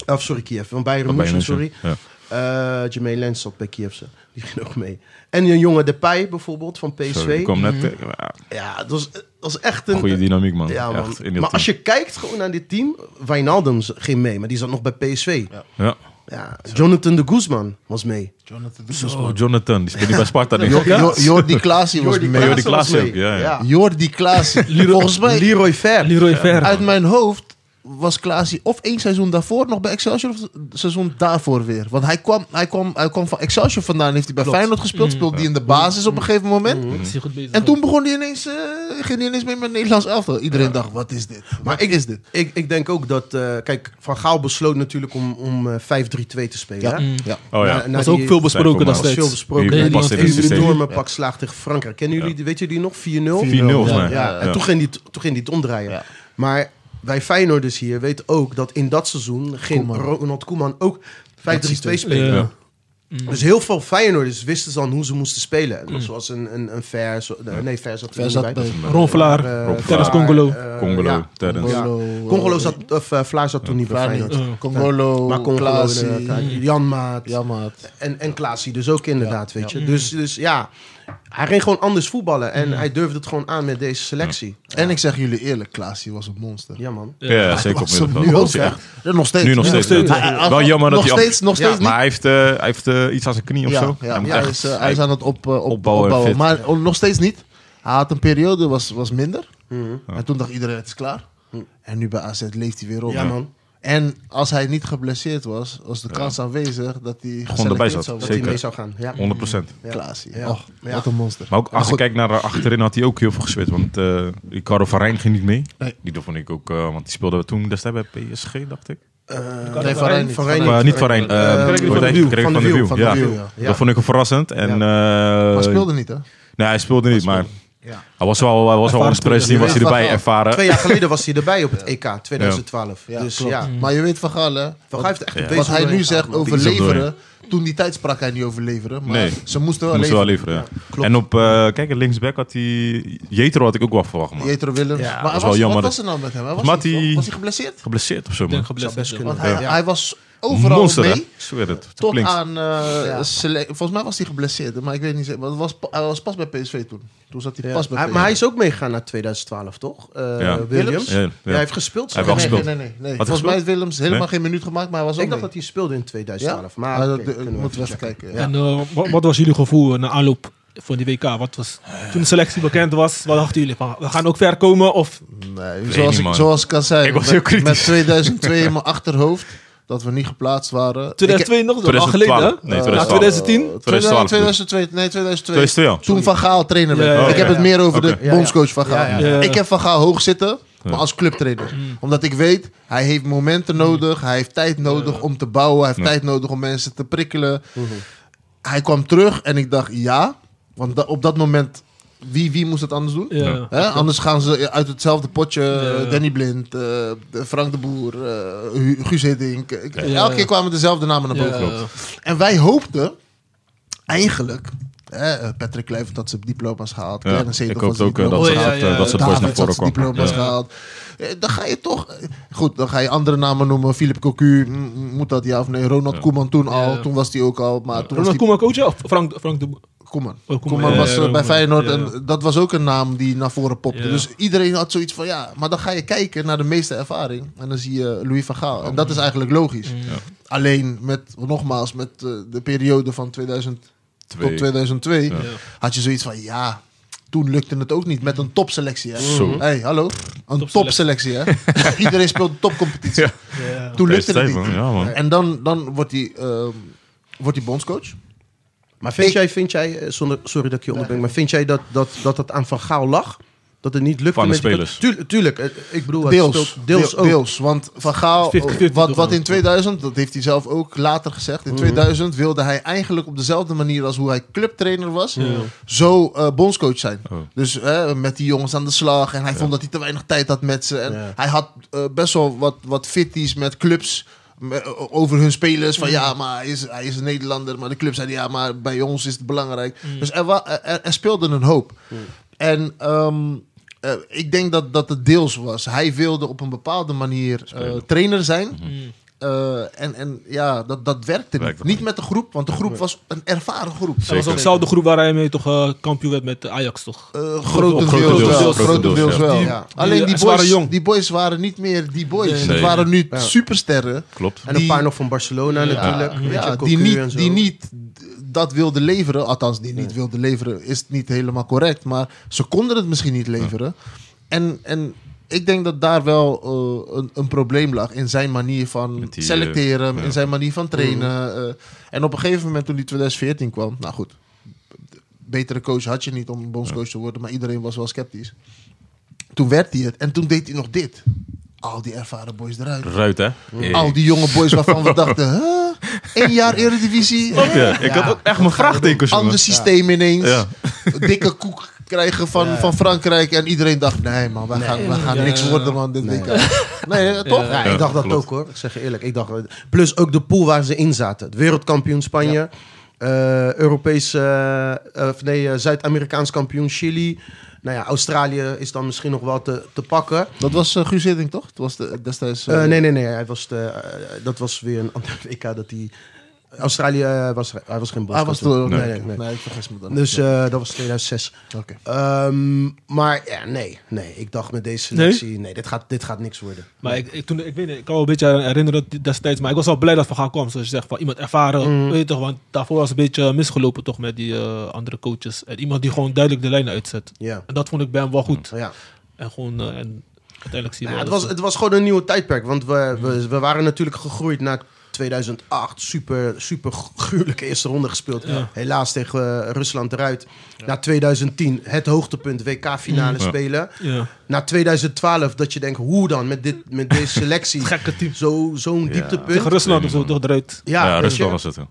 [SPEAKER 3] Of sorry, Kiev. Van Bayern
[SPEAKER 1] Van
[SPEAKER 3] München,
[SPEAKER 1] Bayern
[SPEAKER 3] sorry.
[SPEAKER 1] München,
[SPEAKER 3] Eh Jermaine Lens zat bij Kiev. ze. Die ging ook mee. En een jonge Depay bijvoorbeeld van PSV.
[SPEAKER 1] Zo, die kwam
[SPEAKER 3] Mhm.
[SPEAKER 1] net... eh, ja,
[SPEAKER 3] Ja, dat was, het was echt een...
[SPEAKER 1] Goede dynamiek, man.
[SPEAKER 3] ja, man.
[SPEAKER 1] Echt, in
[SPEAKER 3] maar
[SPEAKER 1] dat
[SPEAKER 3] als
[SPEAKER 1] team.
[SPEAKER 3] je kijkt gewoon naar dit team... Wijnaldum ging mee, maar die zat nog bij PSV. Ja.
[SPEAKER 1] Ja.
[SPEAKER 3] Jonathan de Guzman was mee.
[SPEAKER 4] Jonathan
[SPEAKER 1] Zo, Jonathan. Die speelt nu bij Sparta, denk ik.
[SPEAKER 4] Jo- Jo- Jordi Klaasie was
[SPEAKER 3] Jordi
[SPEAKER 4] mee.
[SPEAKER 1] Klaasie.
[SPEAKER 3] Klaas
[SPEAKER 1] Klaassen
[SPEAKER 3] was mee.
[SPEAKER 1] ook, ja, ja.
[SPEAKER 4] Jordi Klaassen. Volgens mij,
[SPEAKER 3] Leroy Fer.
[SPEAKER 2] Leroy Ver.
[SPEAKER 4] uit mijn hoofd was Klaasie of één seizoen daarvoor nog bij Excelsior of het seizoen daarvoor weer. Want hij kwam, hij kwam, hij kwam van Excelsior vandaan, heeft hij bij Feyenoord gespeeld, speelde hij in de basis op een gegeven moment.
[SPEAKER 2] Is hij goed bezig?
[SPEAKER 4] En toen begon hij ineens, eh, ging hij ineens mee met het Nederlands elftal. Iedereen dacht, wat is dit?
[SPEAKER 3] Maar
[SPEAKER 4] Wat
[SPEAKER 3] ik,
[SPEAKER 4] is dit?
[SPEAKER 3] Ik, ik denk ook dat... eh, kijk, Van Gaal besloot natuurlijk om, om eh, 5-3-2 te spelen.
[SPEAKER 4] Ja,
[SPEAKER 3] hè?
[SPEAKER 4] ja.
[SPEAKER 1] Oh ja.
[SPEAKER 3] Na- na
[SPEAKER 2] was
[SPEAKER 3] die-
[SPEAKER 2] ook veel besproken
[SPEAKER 1] Zijn
[SPEAKER 2] dat
[SPEAKER 3] was veel
[SPEAKER 2] steeds.
[SPEAKER 3] besproken.
[SPEAKER 1] Die
[SPEAKER 3] Die,
[SPEAKER 2] past in het
[SPEAKER 3] die
[SPEAKER 1] systeem.
[SPEAKER 3] enorme pak slaag tegen Frankrijk. Kennen jullie, die- weet jullie die nog? 4-0?
[SPEAKER 1] 4-0, volgens
[SPEAKER 4] Ja,
[SPEAKER 1] mij.
[SPEAKER 3] Ja, en
[SPEAKER 1] Ja.
[SPEAKER 3] toen ging die, toen ging die het omdraaien.
[SPEAKER 4] Ja.
[SPEAKER 3] Maar wij Feyenoorders hier weten ook dat in dat seizoen ging
[SPEAKER 4] Koeman.
[SPEAKER 3] Ronald Koeman ook 5-3-2
[SPEAKER 4] systeem.
[SPEAKER 3] spelen.
[SPEAKER 2] Ja.
[SPEAKER 1] Mhm.
[SPEAKER 3] Dus heel veel Feyenoorders wisten dan hoe ze moesten spelen. Zoals een, een, een Vers... eh, Nee, Vers zat er
[SPEAKER 4] Ver
[SPEAKER 3] niet
[SPEAKER 4] zat
[SPEAKER 3] bij.
[SPEAKER 4] bij.
[SPEAKER 2] Ron Vlaar,
[SPEAKER 3] Eh,
[SPEAKER 1] Rob
[SPEAKER 2] Terrence
[SPEAKER 1] Vlaar,
[SPEAKER 2] Congolo.
[SPEAKER 3] eh,
[SPEAKER 1] Congolo,
[SPEAKER 3] ja.
[SPEAKER 1] Terrence.
[SPEAKER 3] Ja. Congolo zat, of eh, Vlaar zat toen niet bij
[SPEAKER 4] Vlaar
[SPEAKER 3] Feyenoord.
[SPEAKER 4] niet. Congolo,
[SPEAKER 3] Maar Congolo,
[SPEAKER 4] Klaasie,
[SPEAKER 3] inderdaad, Jan Maat.
[SPEAKER 4] Ja, Mhm. maat.
[SPEAKER 3] En, en Klaasie dus ook inderdaad, weet je. Dus, dus ja, hij ging gewoon anders voetballen. En
[SPEAKER 4] Mhm.
[SPEAKER 3] hij durfde het gewoon aan met deze selectie.
[SPEAKER 4] En ik zeg jullie eerlijk, Klaasie was een monster.
[SPEAKER 3] Ja, man.
[SPEAKER 1] Ja, ja, zeker op
[SPEAKER 4] Was hem
[SPEAKER 1] middenveld.
[SPEAKER 4] nu ook,
[SPEAKER 1] Was hij echt-
[SPEAKER 4] zeg. Ja, Nog steeds.
[SPEAKER 1] Nu nog
[SPEAKER 4] Ja.
[SPEAKER 1] steeds.
[SPEAKER 2] steeds.
[SPEAKER 1] wel.
[SPEAKER 4] Hij- hij-
[SPEAKER 1] Wel jammer dat
[SPEAKER 4] nog
[SPEAKER 1] hij... af-
[SPEAKER 4] steeds, nog
[SPEAKER 3] Ja,
[SPEAKER 4] steeds niet.
[SPEAKER 1] Maar hij heeft, eh, hij heeft eh, iets aan zijn knie of
[SPEAKER 4] ja,
[SPEAKER 1] zo.
[SPEAKER 4] Ja,
[SPEAKER 1] hij moet
[SPEAKER 4] ja, hij,
[SPEAKER 1] echt-
[SPEAKER 4] is, eh, hij is aan het op, eh, op-
[SPEAKER 1] opbouwen
[SPEAKER 4] opbouwen.
[SPEAKER 1] en fit.
[SPEAKER 4] Maar oh, nog steeds niet. Hij had een periode, was, was minder.
[SPEAKER 3] Mhm.
[SPEAKER 4] En toen dacht iedereen, het is klaar. En nu bij AZ leeft hij weer op.
[SPEAKER 3] Ja, man.
[SPEAKER 4] En als hij niet geblesseerd was, was de kans aanwezig dat hij
[SPEAKER 1] erbij
[SPEAKER 4] geselecteerd
[SPEAKER 1] zat.
[SPEAKER 4] zou worden.
[SPEAKER 3] Dat
[SPEAKER 1] Zeker.
[SPEAKER 3] hij mee zou gaan. Ja.
[SPEAKER 1] 100 procent.
[SPEAKER 3] Ja.
[SPEAKER 4] Klaasie.
[SPEAKER 3] Ja.
[SPEAKER 4] Och,
[SPEAKER 3] Ja.
[SPEAKER 4] wat een monster.
[SPEAKER 1] Maar ook als je
[SPEAKER 4] goed.
[SPEAKER 1] kijkt naar eh, achterin had hij ook heel veel geswitcht. Want eh Ricardo van Rijn ging niet mee.
[SPEAKER 4] Nee.
[SPEAKER 1] Die vond ik ook, eh, want die speelde toen destijds bij PSG, dacht ik.
[SPEAKER 3] Eh,
[SPEAKER 4] Nee, Van Rijn niet.
[SPEAKER 3] Van Rijn
[SPEAKER 1] Eh, niet van Rijn, eh,
[SPEAKER 3] Eh,
[SPEAKER 1] hoe heet
[SPEAKER 2] Gregory
[SPEAKER 1] hij?
[SPEAKER 2] van der Wiel.
[SPEAKER 1] Gregory
[SPEAKER 3] Van
[SPEAKER 1] van der
[SPEAKER 3] der Wiel,
[SPEAKER 1] Wiel,
[SPEAKER 3] van
[SPEAKER 1] ja.
[SPEAKER 3] der Wiel, ja. Ja.
[SPEAKER 1] Dat vond ik verrassend. En, eh,
[SPEAKER 4] Maar speelde niet, hè?
[SPEAKER 1] Nee, hij speelde niet, maar
[SPEAKER 4] Ja.
[SPEAKER 1] hij was wel, hij was wel
[SPEAKER 2] Ervaren
[SPEAKER 1] onder pressie,
[SPEAKER 2] speler,
[SPEAKER 1] was hij
[SPEAKER 4] ja.
[SPEAKER 1] erbij
[SPEAKER 4] Ervaren.
[SPEAKER 1] ervaren.
[SPEAKER 3] Twee jaar geleden was hij erbij op het EK 2012.
[SPEAKER 4] Ja,
[SPEAKER 3] dus
[SPEAKER 4] klopt.
[SPEAKER 3] ja,
[SPEAKER 4] Maar je weet van Gaal, hè?
[SPEAKER 3] Van
[SPEAKER 4] Wat-
[SPEAKER 3] Gaal heeft echt een
[SPEAKER 4] wat
[SPEAKER 3] bezig
[SPEAKER 4] hij nu
[SPEAKER 3] doorheen
[SPEAKER 4] zegt
[SPEAKER 3] gehaald, man.
[SPEAKER 4] over
[SPEAKER 1] Die is er
[SPEAKER 4] leveren. Toen die tijd sprak hij niet over leveren. Maar
[SPEAKER 1] Nee.
[SPEAKER 4] ze moesten wel
[SPEAKER 1] Moest wel
[SPEAKER 4] leveren.
[SPEAKER 1] leveren, ja. En op, eh, kijk, linksback had hij... Jetro had ik ook wel verwacht, man.
[SPEAKER 4] Jetro Willems.
[SPEAKER 2] Ja,
[SPEAKER 4] maar
[SPEAKER 1] was
[SPEAKER 4] was
[SPEAKER 1] wel jammer
[SPEAKER 4] wat
[SPEAKER 1] dat-
[SPEAKER 4] was er nou met hem? Hij Was,
[SPEAKER 1] Volgens mij
[SPEAKER 4] niet,
[SPEAKER 1] had
[SPEAKER 4] toch?
[SPEAKER 1] hij-
[SPEAKER 4] was hij geblesseerd?
[SPEAKER 1] Geblesseerd of zo,
[SPEAKER 2] Ik denk
[SPEAKER 1] man.
[SPEAKER 2] geblesseerd.
[SPEAKER 3] best kunnen.
[SPEAKER 4] Want hij,
[SPEAKER 3] Ja.
[SPEAKER 4] hij was overal
[SPEAKER 1] Monster, hè?
[SPEAKER 4] mee.
[SPEAKER 1] Ik zweer het.
[SPEAKER 4] Tot
[SPEAKER 1] Klinkt.
[SPEAKER 4] aan... eh, sele- volgens mij was hij geblesseerd, maar ik weet niet zeker. Want het was, pa- hij was pas bij PSV toen. Toen zat hij
[SPEAKER 3] Ja.
[SPEAKER 4] pas bij
[SPEAKER 3] Hij-
[SPEAKER 4] PSV.
[SPEAKER 3] maar hij is ook meegegaan naar 2012, toch? Eh,
[SPEAKER 1] Ja.
[SPEAKER 3] Williams.
[SPEAKER 1] Ja, ja.
[SPEAKER 3] Ja, hij heeft gespeeld.
[SPEAKER 1] Hij
[SPEAKER 3] zeg
[SPEAKER 1] heeft
[SPEAKER 3] maar.
[SPEAKER 1] gespeeld.
[SPEAKER 4] nee, nee, nee, nee,
[SPEAKER 1] Had
[SPEAKER 4] nee.
[SPEAKER 1] hij
[SPEAKER 4] Volgens mij
[SPEAKER 1] gespeeld?
[SPEAKER 4] heeft Willems helemaal
[SPEAKER 1] Nee?
[SPEAKER 4] geen minuut gemaakt, maar hij was ook
[SPEAKER 3] Ik dacht
[SPEAKER 4] mee.
[SPEAKER 3] dat hij speelde in 2012.
[SPEAKER 4] Ja?
[SPEAKER 3] Maar
[SPEAKER 4] Ah,
[SPEAKER 3] oké,
[SPEAKER 4] dat- dat
[SPEAKER 3] kunnen we
[SPEAKER 4] moeten we even
[SPEAKER 3] checken.
[SPEAKER 4] kijken. Ja.
[SPEAKER 2] En eh, wat, wat was jullie gevoel eh, na aanloop van die WK? Wat was, toen de selectie bekend was, wat dachten jullie? Van, we gaan ook ver komen? Of,
[SPEAKER 4] Nee,
[SPEAKER 1] niet,
[SPEAKER 4] zoals, ik,
[SPEAKER 1] eh, man.
[SPEAKER 4] zoals ik kan zijn,
[SPEAKER 1] Ik was heel
[SPEAKER 4] met,
[SPEAKER 1] kritisch.
[SPEAKER 4] met 2002 in mijn achterhoofd, dat we niet geplaatst waren.
[SPEAKER 2] 2002 nog, dat was al geleden
[SPEAKER 1] 2012.
[SPEAKER 2] hè?
[SPEAKER 1] Nee,
[SPEAKER 2] Na
[SPEAKER 1] 2012.
[SPEAKER 2] 2010?
[SPEAKER 1] 2012.
[SPEAKER 4] 2002, nee, 2002.
[SPEAKER 1] 2002 al.
[SPEAKER 4] Toen Van Gaal trainer werd.
[SPEAKER 2] Ja, ja,
[SPEAKER 4] ik heb
[SPEAKER 3] ja.
[SPEAKER 4] het meer over
[SPEAKER 1] Oké.
[SPEAKER 4] de bondscoach Van Gaal.
[SPEAKER 3] Ja,
[SPEAKER 2] ja. Ja.
[SPEAKER 4] Ik heb Van Gaal hoog zitten, maar als clubtrainer. Omdat ik weet, hij heeft momenten nodig. Hij heeft tijd nodig om te bouwen. Hij heeft tijd nodig om mensen te prikkelen. Hij kwam terug en ik dacht, ja. Want da- op dat moment, wie, wie moest het anders doen?
[SPEAKER 2] Ja.
[SPEAKER 1] Ja.
[SPEAKER 4] Hè? Anders gaan ze uit hetzelfde potje.
[SPEAKER 2] Ja.
[SPEAKER 4] Danny Blind, eh, Frank de Boer, eh, Hu- Guus Hiddink. Ik-
[SPEAKER 2] Ja.
[SPEAKER 4] Elke keer kwamen dezelfde namen naar boven.
[SPEAKER 2] Ja.
[SPEAKER 4] En wij hoopten eigenlijk... hè, Patrick Kluivert had zijn diploma's gehaald.
[SPEAKER 1] Ja,
[SPEAKER 4] Clarence
[SPEAKER 1] ik
[SPEAKER 4] Seedorf
[SPEAKER 1] hoop
[SPEAKER 4] had zijn
[SPEAKER 1] ook eh, dat
[SPEAKER 4] diploma's
[SPEAKER 2] Oh,
[SPEAKER 1] ze
[SPEAKER 2] ja,
[SPEAKER 1] dat, eh,
[SPEAKER 2] ja,
[SPEAKER 1] dat ze het boys
[SPEAKER 4] David
[SPEAKER 1] naar
[SPEAKER 4] had zijn
[SPEAKER 1] voren kwam.
[SPEAKER 4] diploma's gehaald. Eh, Dan ga je toch... eh, Goed, dan ga je andere namen noemen. Philip Cocu, mm, mm, moet dat ja of nee? Ronald Koeman toen al.
[SPEAKER 2] Ja.
[SPEAKER 4] Toen was hij ook al. Maar toen was
[SPEAKER 2] Ronald
[SPEAKER 4] die-
[SPEAKER 2] Koeman coach of Frank, Frank de Boer?
[SPEAKER 4] Koeman.
[SPEAKER 2] Oh, Koeman.
[SPEAKER 4] Koeman
[SPEAKER 2] Ja,
[SPEAKER 4] was
[SPEAKER 2] ja,
[SPEAKER 4] eh, bij
[SPEAKER 2] Koeman.
[SPEAKER 4] Feyenoord
[SPEAKER 2] Ja.
[SPEAKER 4] en dat was ook een naam die naar voren popte.
[SPEAKER 2] Ja.
[SPEAKER 4] Dus iedereen had zoiets van ja, maar dan ga je kijken naar de meeste ervaring en dan zie je Louis van Gaal. En dat is eigenlijk logisch.
[SPEAKER 1] Mm.
[SPEAKER 4] Alleen met, nogmaals, met eh, de periode van 2000
[SPEAKER 1] Twee.
[SPEAKER 4] tot 2002
[SPEAKER 2] Ja.
[SPEAKER 4] had je zoiets van ja, toen lukte het ook niet met een topselectie. hè.
[SPEAKER 1] Zo.
[SPEAKER 4] Hey, hallo. Een topselectie, hè? Iedereen speelt een topcompetitie. Toen lukte het
[SPEAKER 1] Steeds,
[SPEAKER 4] niet.
[SPEAKER 1] man. Ja, man.
[SPEAKER 4] En dan, dan wordt hij ehm, wordt hij bondscoach.
[SPEAKER 3] Maar vind jij, vind jij eh, zonder, sorry dat ik je onderbreng, maar vind jij dat dat, dat het aan Van Gaal lag? Dat het niet lukte
[SPEAKER 1] Van de
[SPEAKER 3] met die-
[SPEAKER 1] spelers.
[SPEAKER 3] Tuurlijk, tuurlijk, eh, ik bedoel, het
[SPEAKER 4] Deels.
[SPEAKER 3] speelt deels
[SPEAKER 4] Deel-
[SPEAKER 3] ook.
[SPEAKER 4] Deels, want Van Gaal, oh,
[SPEAKER 2] 50-50
[SPEAKER 4] wat,
[SPEAKER 2] toch
[SPEAKER 4] wat
[SPEAKER 2] wel?
[SPEAKER 4] in 2000, dat heeft hij zelf ook later gezegd, in
[SPEAKER 3] Mhm.
[SPEAKER 4] 2000 wilde hij eigenlijk op dezelfde manier als hoe hij clubtrainer was, zo eh, bondscoach zijn.
[SPEAKER 1] Oh.
[SPEAKER 4] Dus eh, met die jongens aan de slag en hij vond dat hij te weinig tijd had met ze. En
[SPEAKER 3] Ja.
[SPEAKER 4] Hij had eh, best wel wat, wat fitties met clubs. me- o- Over hun spelers,
[SPEAKER 3] Mhm.
[SPEAKER 4] van ja, maar hij is, hij is een Nederlander, maar de club zei ja, maar bij ons is het belangrijk.
[SPEAKER 3] Mhm.
[SPEAKER 4] Dus er, wa- er, er speelde een hoop. En ehm, eh, ik denk dat, dat het deels was. Hij wilde op een bepaalde manier eh, trainer zijn.
[SPEAKER 1] Mhm.
[SPEAKER 2] Mm.
[SPEAKER 4] Eh, en, en ja, dat, dat werkte niet.
[SPEAKER 1] Werkte
[SPEAKER 4] Niet met de groep, want de groep was een ervaren groep.
[SPEAKER 2] Dat was ook
[SPEAKER 1] Zeker.
[SPEAKER 2] dezelfde groep waar hij mee toch eh, kampioen werd met eh, Ajax, toch?
[SPEAKER 4] Eh, grotendeels,
[SPEAKER 1] Grotendeels,
[SPEAKER 4] wel.
[SPEAKER 1] grotendeels,
[SPEAKER 4] Grotendeels
[SPEAKER 1] ja.
[SPEAKER 4] wel.
[SPEAKER 2] Die-
[SPEAKER 4] Ja.
[SPEAKER 2] die-
[SPEAKER 4] Alleen die
[SPEAKER 2] ze waren
[SPEAKER 4] boys,
[SPEAKER 2] jong.
[SPEAKER 4] die boys waren niet meer die boys.
[SPEAKER 2] Nee.
[SPEAKER 4] Het
[SPEAKER 1] Nee.
[SPEAKER 4] waren nu
[SPEAKER 3] Ja.
[SPEAKER 4] supersterren.
[SPEAKER 1] Klopt.
[SPEAKER 3] En
[SPEAKER 4] Die-
[SPEAKER 3] een paar nog van Barcelona natuurlijk.
[SPEAKER 4] Ja,
[SPEAKER 3] Weet je,
[SPEAKER 4] ja,
[SPEAKER 3] Cocu
[SPEAKER 4] die,
[SPEAKER 3] en zo.
[SPEAKER 4] niet, die niet d- dat wilden leveren. Althans, die niet wilden leveren is niet helemaal correct. Maar ze konden het misschien niet leveren. En, en ik denk dat daar wel eh, een, een probleem lag in zijn manier van
[SPEAKER 1] Met die, eh,
[SPEAKER 4] selecteren.
[SPEAKER 1] ja.
[SPEAKER 4] In zijn manier
[SPEAKER 3] Mm.
[SPEAKER 4] van trainen. eh. en op een gegeven moment toen die 2014 kwam. Nou goed, b- betere coach had je niet om bondscoach te worden. Maar iedereen was wel sceptisch. Toen werd hij het. En toen deed hij nog dit. Al die ervaren boys eruit.
[SPEAKER 1] Ruit, hè?
[SPEAKER 4] Al die jonge boys waarvan we dachten, huh? één jaar Eredivisie,
[SPEAKER 1] Snap je? Ik had ook echt mijn vraagtekens, jongen.
[SPEAKER 4] ander systeem ineens,
[SPEAKER 1] Ja.
[SPEAKER 4] dikke koek krijgen van, van Frankrijk. En iedereen dacht, nee man, wij gaan, wij gaan
[SPEAKER 2] Ja.
[SPEAKER 4] niks worden man, dit WK. Nee, eh, toch?
[SPEAKER 3] Ja, ik dacht dat
[SPEAKER 1] klopt.
[SPEAKER 3] ook hoor. Ik zeg je eerlijk. Ik dacht, plus ook de pool waar ze in zaten. Het wereldkampioen Spanje. eh, Europese, eh, of nee, eh, Zuid-Amerikaans kampioen Chili. Nou ja, Australië is dan misschien nog wel te, te pakken.
[SPEAKER 4] Dat was eh, Guus Hiddink, toch? Dat was de, destijds... eh,
[SPEAKER 3] Eh, nee, nee, nee. Hij was de, eh, dat was weer een ander WK dat hij... Australië eh, was, hij was geen
[SPEAKER 4] Ah, was
[SPEAKER 3] bondskampioen.
[SPEAKER 4] de-
[SPEAKER 3] Nee,
[SPEAKER 4] nee,
[SPEAKER 3] nee, nee.
[SPEAKER 4] ik vergis me dan.
[SPEAKER 3] Dus
[SPEAKER 4] Ja.
[SPEAKER 3] eh, dat was 2006.
[SPEAKER 4] Oké.
[SPEAKER 3] Ehm, maar ja, nee, nee. Ik dacht met deze selectie, nee, dit, gaat, dit gaat niks worden.
[SPEAKER 2] Maar ik, ik, toen, ik weet niet, ik kan me een beetje herinneren destijds. Maar ik was wel blij dat Van Gaal kwam. Zoals je zegt, van iemand ervaren. Weet je toch, want daarvoor was het een beetje eh, misgelopen toch met die eh, andere coaches. En iemand die gewoon duidelijk de lijnen uitzet.
[SPEAKER 3] Ja,
[SPEAKER 2] En dat vond ik bij hem wel goed.
[SPEAKER 1] Mm.
[SPEAKER 3] ja.
[SPEAKER 2] En gewoon, eh, en uiteindelijk zie je
[SPEAKER 3] Nou, het,
[SPEAKER 2] wel
[SPEAKER 3] was,
[SPEAKER 2] dat-
[SPEAKER 3] het was gewoon een nieuw tijdperk. Want we, we, we waren natuurlijk gegroeid na 2008. Super, super gruwelijke eerste ronde gespeeld.
[SPEAKER 2] Ja.
[SPEAKER 3] Helaas tegen eh, Rusland eruit. Na 2010 het hoogtepunt WK-finale
[SPEAKER 1] Mm. Ja.
[SPEAKER 3] spelen.
[SPEAKER 2] ja.
[SPEAKER 3] Na 2012 dat je denkt, hoe dan met, dit, met deze selectie?
[SPEAKER 2] gekke team.
[SPEAKER 3] Zo- Zo'n
[SPEAKER 1] Ja.
[SPEAKER 3] dieptepunt.
[SPEAKER 2] Tegen
[SPEAKER 3] Ja,
[SPEAKER 2] Rusland of zo, toch eruit.
[SPEAKER 1] Ja,
[SPEAKER 3] weet
[SPEAKER 1] rustig
[SPEAKER 3] je.
[SPEAKER 1] was het. hè.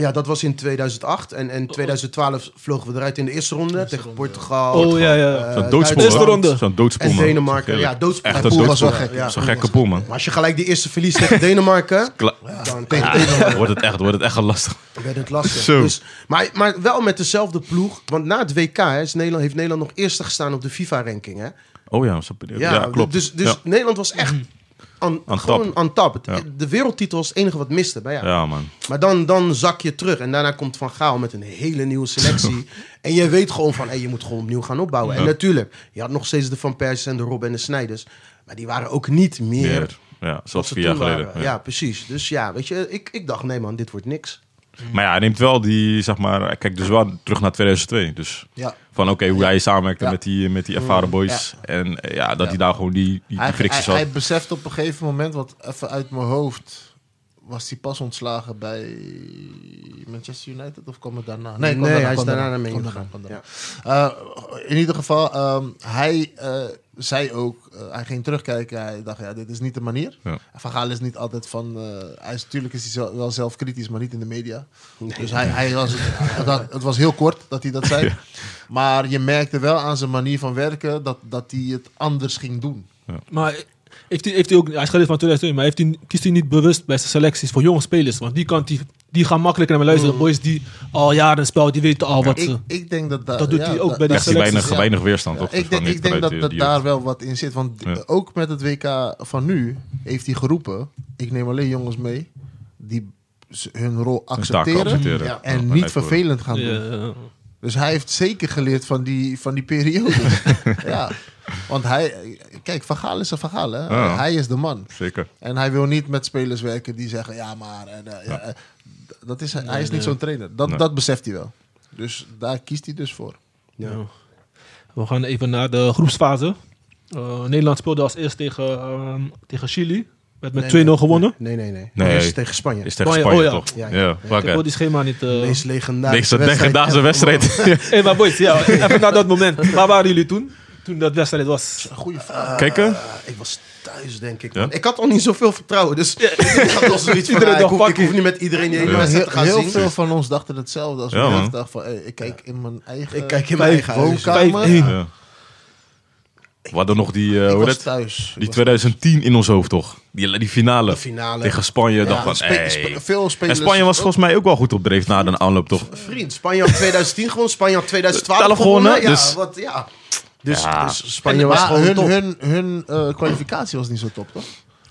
[SPEAKER 3] ja, dat was in 2008. En, en 2012 vlogen we eruit in de eerste ronde. tegen Portugal.
[SPEAKER 2] Oh ja, ja.
[SPEAKER 3] eh,
[SPEAKER 1] Zo'n doodspoel.
[SPEAKER 2] Eerste
[SPEAKER 1] man.
[SPEAKER 3] Duitsland
[SPEAKER 2] ronde.
[SPEAKER 1] Zo'n doodspoel.
[SPEAKER 3] En
[SPEAKER 1] man.
[SPEAKER 3] Denemarken. Ja, doodspoel.
[SPEAKER 1] Echt
[SPEAKER 3] Ja,
[SPEAKER 1] een
[SPEAKER 4] pool was
[SPEAKER 1] doodspoel.
[SPEAKER 4] wel gek.
[SPEAKER 3] Ja.
[SPEAKER 1] Zo'n gekke pool, man.
[SPEAKER 3] Maar als je gelijk die eerste verliest tegen Denemarken,
[SPEAKER 1] Kla-
[SPEAKER 3] dan
[SPEAKER 1] Ja, wordt het echt, wordt het echt lastig.
[SPEAKER 3] werd het lastig.
[SPEAKER 1] Zo.
[SPEAKER 3] Dus, maar, maar wel met dezelfde ploeg. Want na het WK hè, is Nederland, heeft Nederland nog eerste gestaan op de FIFA-ranking. Hè?
[SPEAKER 1] Oh ja, zo- ja, klopt.
[SPEAKER 3] Dus, dus
[SPEAKER 1] ja.
[SPEAKER 3] Nederland was echt aan,
[SPEAKER 1] On
[SPEAKER 3] gewoon
[SPEAKER 1] top.
[SPEAKER 3] aan tap. Het-
[SPEAKER 1] Ja.
[SPEAKER 3] De wereldtitel was het enige wat miste. Maar, ja.
[SPEAKER 1] Ja, man.
[SPEAKER 3] maar dan, dan zak je terug. En daarna komt Van Gaal met een hele nieuwe selectie. en je weet gewoon van, hé, je moet gewoon opnieuw gaan opbouwen. En
[SPEAKER 1] Ja.
[SPEAKER 3] natuurlijk, je had nog steeds de Van Persie en de Robben en de Snijders. Maar die waren ook niet meer...
[SPEAKER 1] Meer. Ja,
[SPEAKER 3] wat
[SPEAKER 1] zoals
[SPEAKER 3] ze
[SPEAKER 1] vier jaar
[SPEAKER 3] toen
[SPEAKER 1] geleden.
[SPEAKER 3] waren.
[SPEAKER 1] ja.
[SPEAKER 3] Ja. precies. Dus ja, weet je, ik, ik dacht, nee man, dit wordt niks.
[SPEAKER 1] Maar ja, hij neemt wel die, zeg maar, kijk dus wel terug naar 2002. Dus
[SPEAKER 4] Ja.
[SPEAKER 1] van oké, hoe hij samenwerkte
[SPEAKER 4] Ja.
[SPEAKER 1] met, die, met die ervaren boys. En eh, ja, dat hij daar gewoon die, die, die
[SPEAKER 4] Hij, hij,
[SPEAKER 1] fricties had.
[SPEAKER 4] hij beseft op een gegeven moment, want even uit mijn hoofd, was hij pas ontslagen bij Manchester United of kwam het daarna?
[SPEAKER 3] Nee,
[SPEAKER 4] kwam daarna,
[SPEAKER 3] hij is
[SPEAKER 4] kwam
[SPEAKER 3] daarna
[SPEAKER 4] daarna,
[SPEAKER 3] naar Man
[SPEAKER 4] kwam
[SPEAKER 3] U
[SPEAKER 4] daarna,
[SPEAKER 3] gegaan.
[SPEAKER 4] kwam daarna. Eh, in ieder geval, ehm, hij eh, zei ook, eh, hij ging terugkijken, hij dacht, ja, dit is niet de manier.
[SPEAKER 1] Ja.
[SPEAKER 4] Van Gaal is niet altijd van, eh, hij is, natuurlijk is hij zo- wel zelfkritisch, maar niet in de media. Dus hij, hij was, het, had- het was heel kort dat hij dat zei. Maar je merkte wel aan zijn manier van werken dat, dat hij het anders ging doen.
[SPEAKER 2] Maar heeft hij, heeft hij ook, hij is geleden van 2002, maar heeft hij, kiest hij niet bewust bij zijn selecties voor jonge spelers? Want die kant, die, die gaan makkelijker naar me luisteren. Boys die al jaren spelen, die weten al wat ze...
[SPEAKER 4] Ik, ik denk dat daar-
[SPEAKER 2] Dat doet
[SPEAKER 4] ja,
[SPEAKER 2] hij ook
[SPEAKER 4] da-
[SPEAKER 2] bij de
[SPEAKER 1] Echt die
[SPEAKER 2] selecties,
[SPEAKER 1] weinig,
[SPEAKER 4] ja.
[SPEAKER 1] weinig weerstand,
[SPEAKER 4] Ja,
[SPEAKER 1] toch?
[SPEAKER 4] ik denk, ik denk dat, dat daar wel wat in zit. Want
[SPEAKER 1] Ja.
[SPEAKER 4] ook met het WK van nu heeft hij geroepen: ik neem alleen jongens mee die z- hun rol accepteren.
[SPEAKER 1] accepteren.
[SPEAKER 4] Ja,
[SPEAKER 1] Ja.
[SPEAKER 4] En
[SPEAKER 1] Ja,
[SPEAKER 4] niet
[SPEAKER 1] ja,
[SPEAKER 4] vervelend gaan
[SPEAKER 2] Ja,
[SPEAKER 4] doen.
[SPEAKER 2] ja.
[SPEAKER 4] Dus hij heeft zeker geleerd van die, van die periode. ja. Want hij, kijk, Van Gaal is een Van Gaal, hè?
[SPEAKER 1] Ja.
[SPEAKER 4] Hij is de man.
[SPEAKER 1] Zeker.
[SPEAKER 4] En hij wil niet met spelers werken die zeggen: ja, maar. En, eh, ja, eh, d- dat is, hij is niet zo'n trainer. Dat,
[SPEAKER 1] Nee.
[SPEAKER 4] dat beseft hij wel. Dus daar kiest hij dus voor.
[SPEAKER 2] Ja. We gaan even naar de groepsfase. Eh, Nederland speelde als eerst tegen, eh, tegen Chili. Werd met 2-0 gewonnen.
[SPEAKER 3] Nee, nee, nee.
[SPEAKER 1] Nee.
[SPEAKER 3] Eerst tegen Spanje.
[SPEAKER 1] Is tegen
[SPEAKER 2] Oh ja,
[SPEAKER 1] Spanje,
[SPEAKER 2] oh ja.
[SPEAKER 1] toch?
[SPEAKER 3] Ja,
[SPEAKER 1] Ja,
[SPEAKER 3] ja.
[SPEAKER 1] fuck
[SPEAKER 2] Ik wil
[SPEAKER 1] it.
[SPEAKER 2] die schema niet...
[SPEAKER 3] De
[SPEAKER 2] eh
[SPEAKER 3] meest legendarische
[SPEAKER 1] Deze
[SPEAKER 3] wedstrijd.
[SPEAKER 1] legendarische wedstrijd.
[SPEAKER 2] Hé, maar boys, ja, even naar dat moment. Waar waren jullie toen? Toen dat wedstrijd was.
[SPEAKER 4] Goeie vraag.
[SPEAKER 1] Kijken?
[SPEAKER 3] Eh, ik was thuis, denk ik.
[SPEAKER 1] Ja?
[SPEAKER 3] man. Ik had al niet zoveel vertrouwen. Dus ik had al zoiets van,
[SPEAKER 2] Iedereen
[SPEAKER 3] ah, ik,
[SPEAKER 2] dacht,
[SPEAKER 3] hoef,
[SPEAKER 2] fuck
[SPEAKER 3] ik hoef niet met iedereen die hele
[SPEAKER 1] Ja.
[SPEAKER 3] wedstrijd
[SPEAKER 4] Heel,
[SPEAKER 3] te gaan
[SPEAKER 4] heel
[SPEAKER 3] zien.
[SPEAKER 4] veel van ons dachten hetzelfde als
[SPEAKER 1] Ja,
[SPEAKER 4] we
[SPEAKER 1] man.
[SPEAKER 4] dachten van, hey, ik kijk in mijn eigen,
[SPEAKER 3] Ik kijk in mijn eigen huis.
[SPEAKER 4] woonkamer.
[SPEAKER 2] Vijf-
[SPEAKER 1] Ja. We hadden nog die, eh,
[SPEAKER 4] Ik
[SPEAKER 1] hoe
[SPEAKER 4] was
[SPEAKER 1] dat?
[SPEAKER 4] thuis.
[SPEAKER 1] die 2010 in ons hoofd, toch? Die, die finale.
[SPEAKER 3] De finale.
[SPEAKER 1] Tegen Spanje. dacht van,
[SPEAKER 4] spe-
[SPEAKER 1] hey.
[SPEAKER 4] spe- veel
[SPEAKER 1] En
[SPEAKER 4] spelers.
[SPEAKER 1] Spanje was volgens mij ook wel goed op dreef na de aanloop, toch?
[SPEAKER 3] Vriend, Spanje had 2010 gewonnen. Spanje had 2012
[SPEAKER 1] 12
[SPEAKER 3] gewonnen.
[SPEAKER 1] gewonnen,
[SPEAKER 3] Ja,
[SPEAKER 1] dus-
[SPEAKER 3] wat, ja. Dus,
[SPEAKER 1] Ja.
[SPEAKER 3] dus
[SPEAKER 4] En
[SPEAKER 3] Spanje was
[SPEAKER 4] maar
[SPEAKER 3] gewoon
[SPEAKER 4] hun,
[SPEAKER 3] top.
[SPEAKER 4] hun, hun eh, kwalificatie was niet zo top, toch?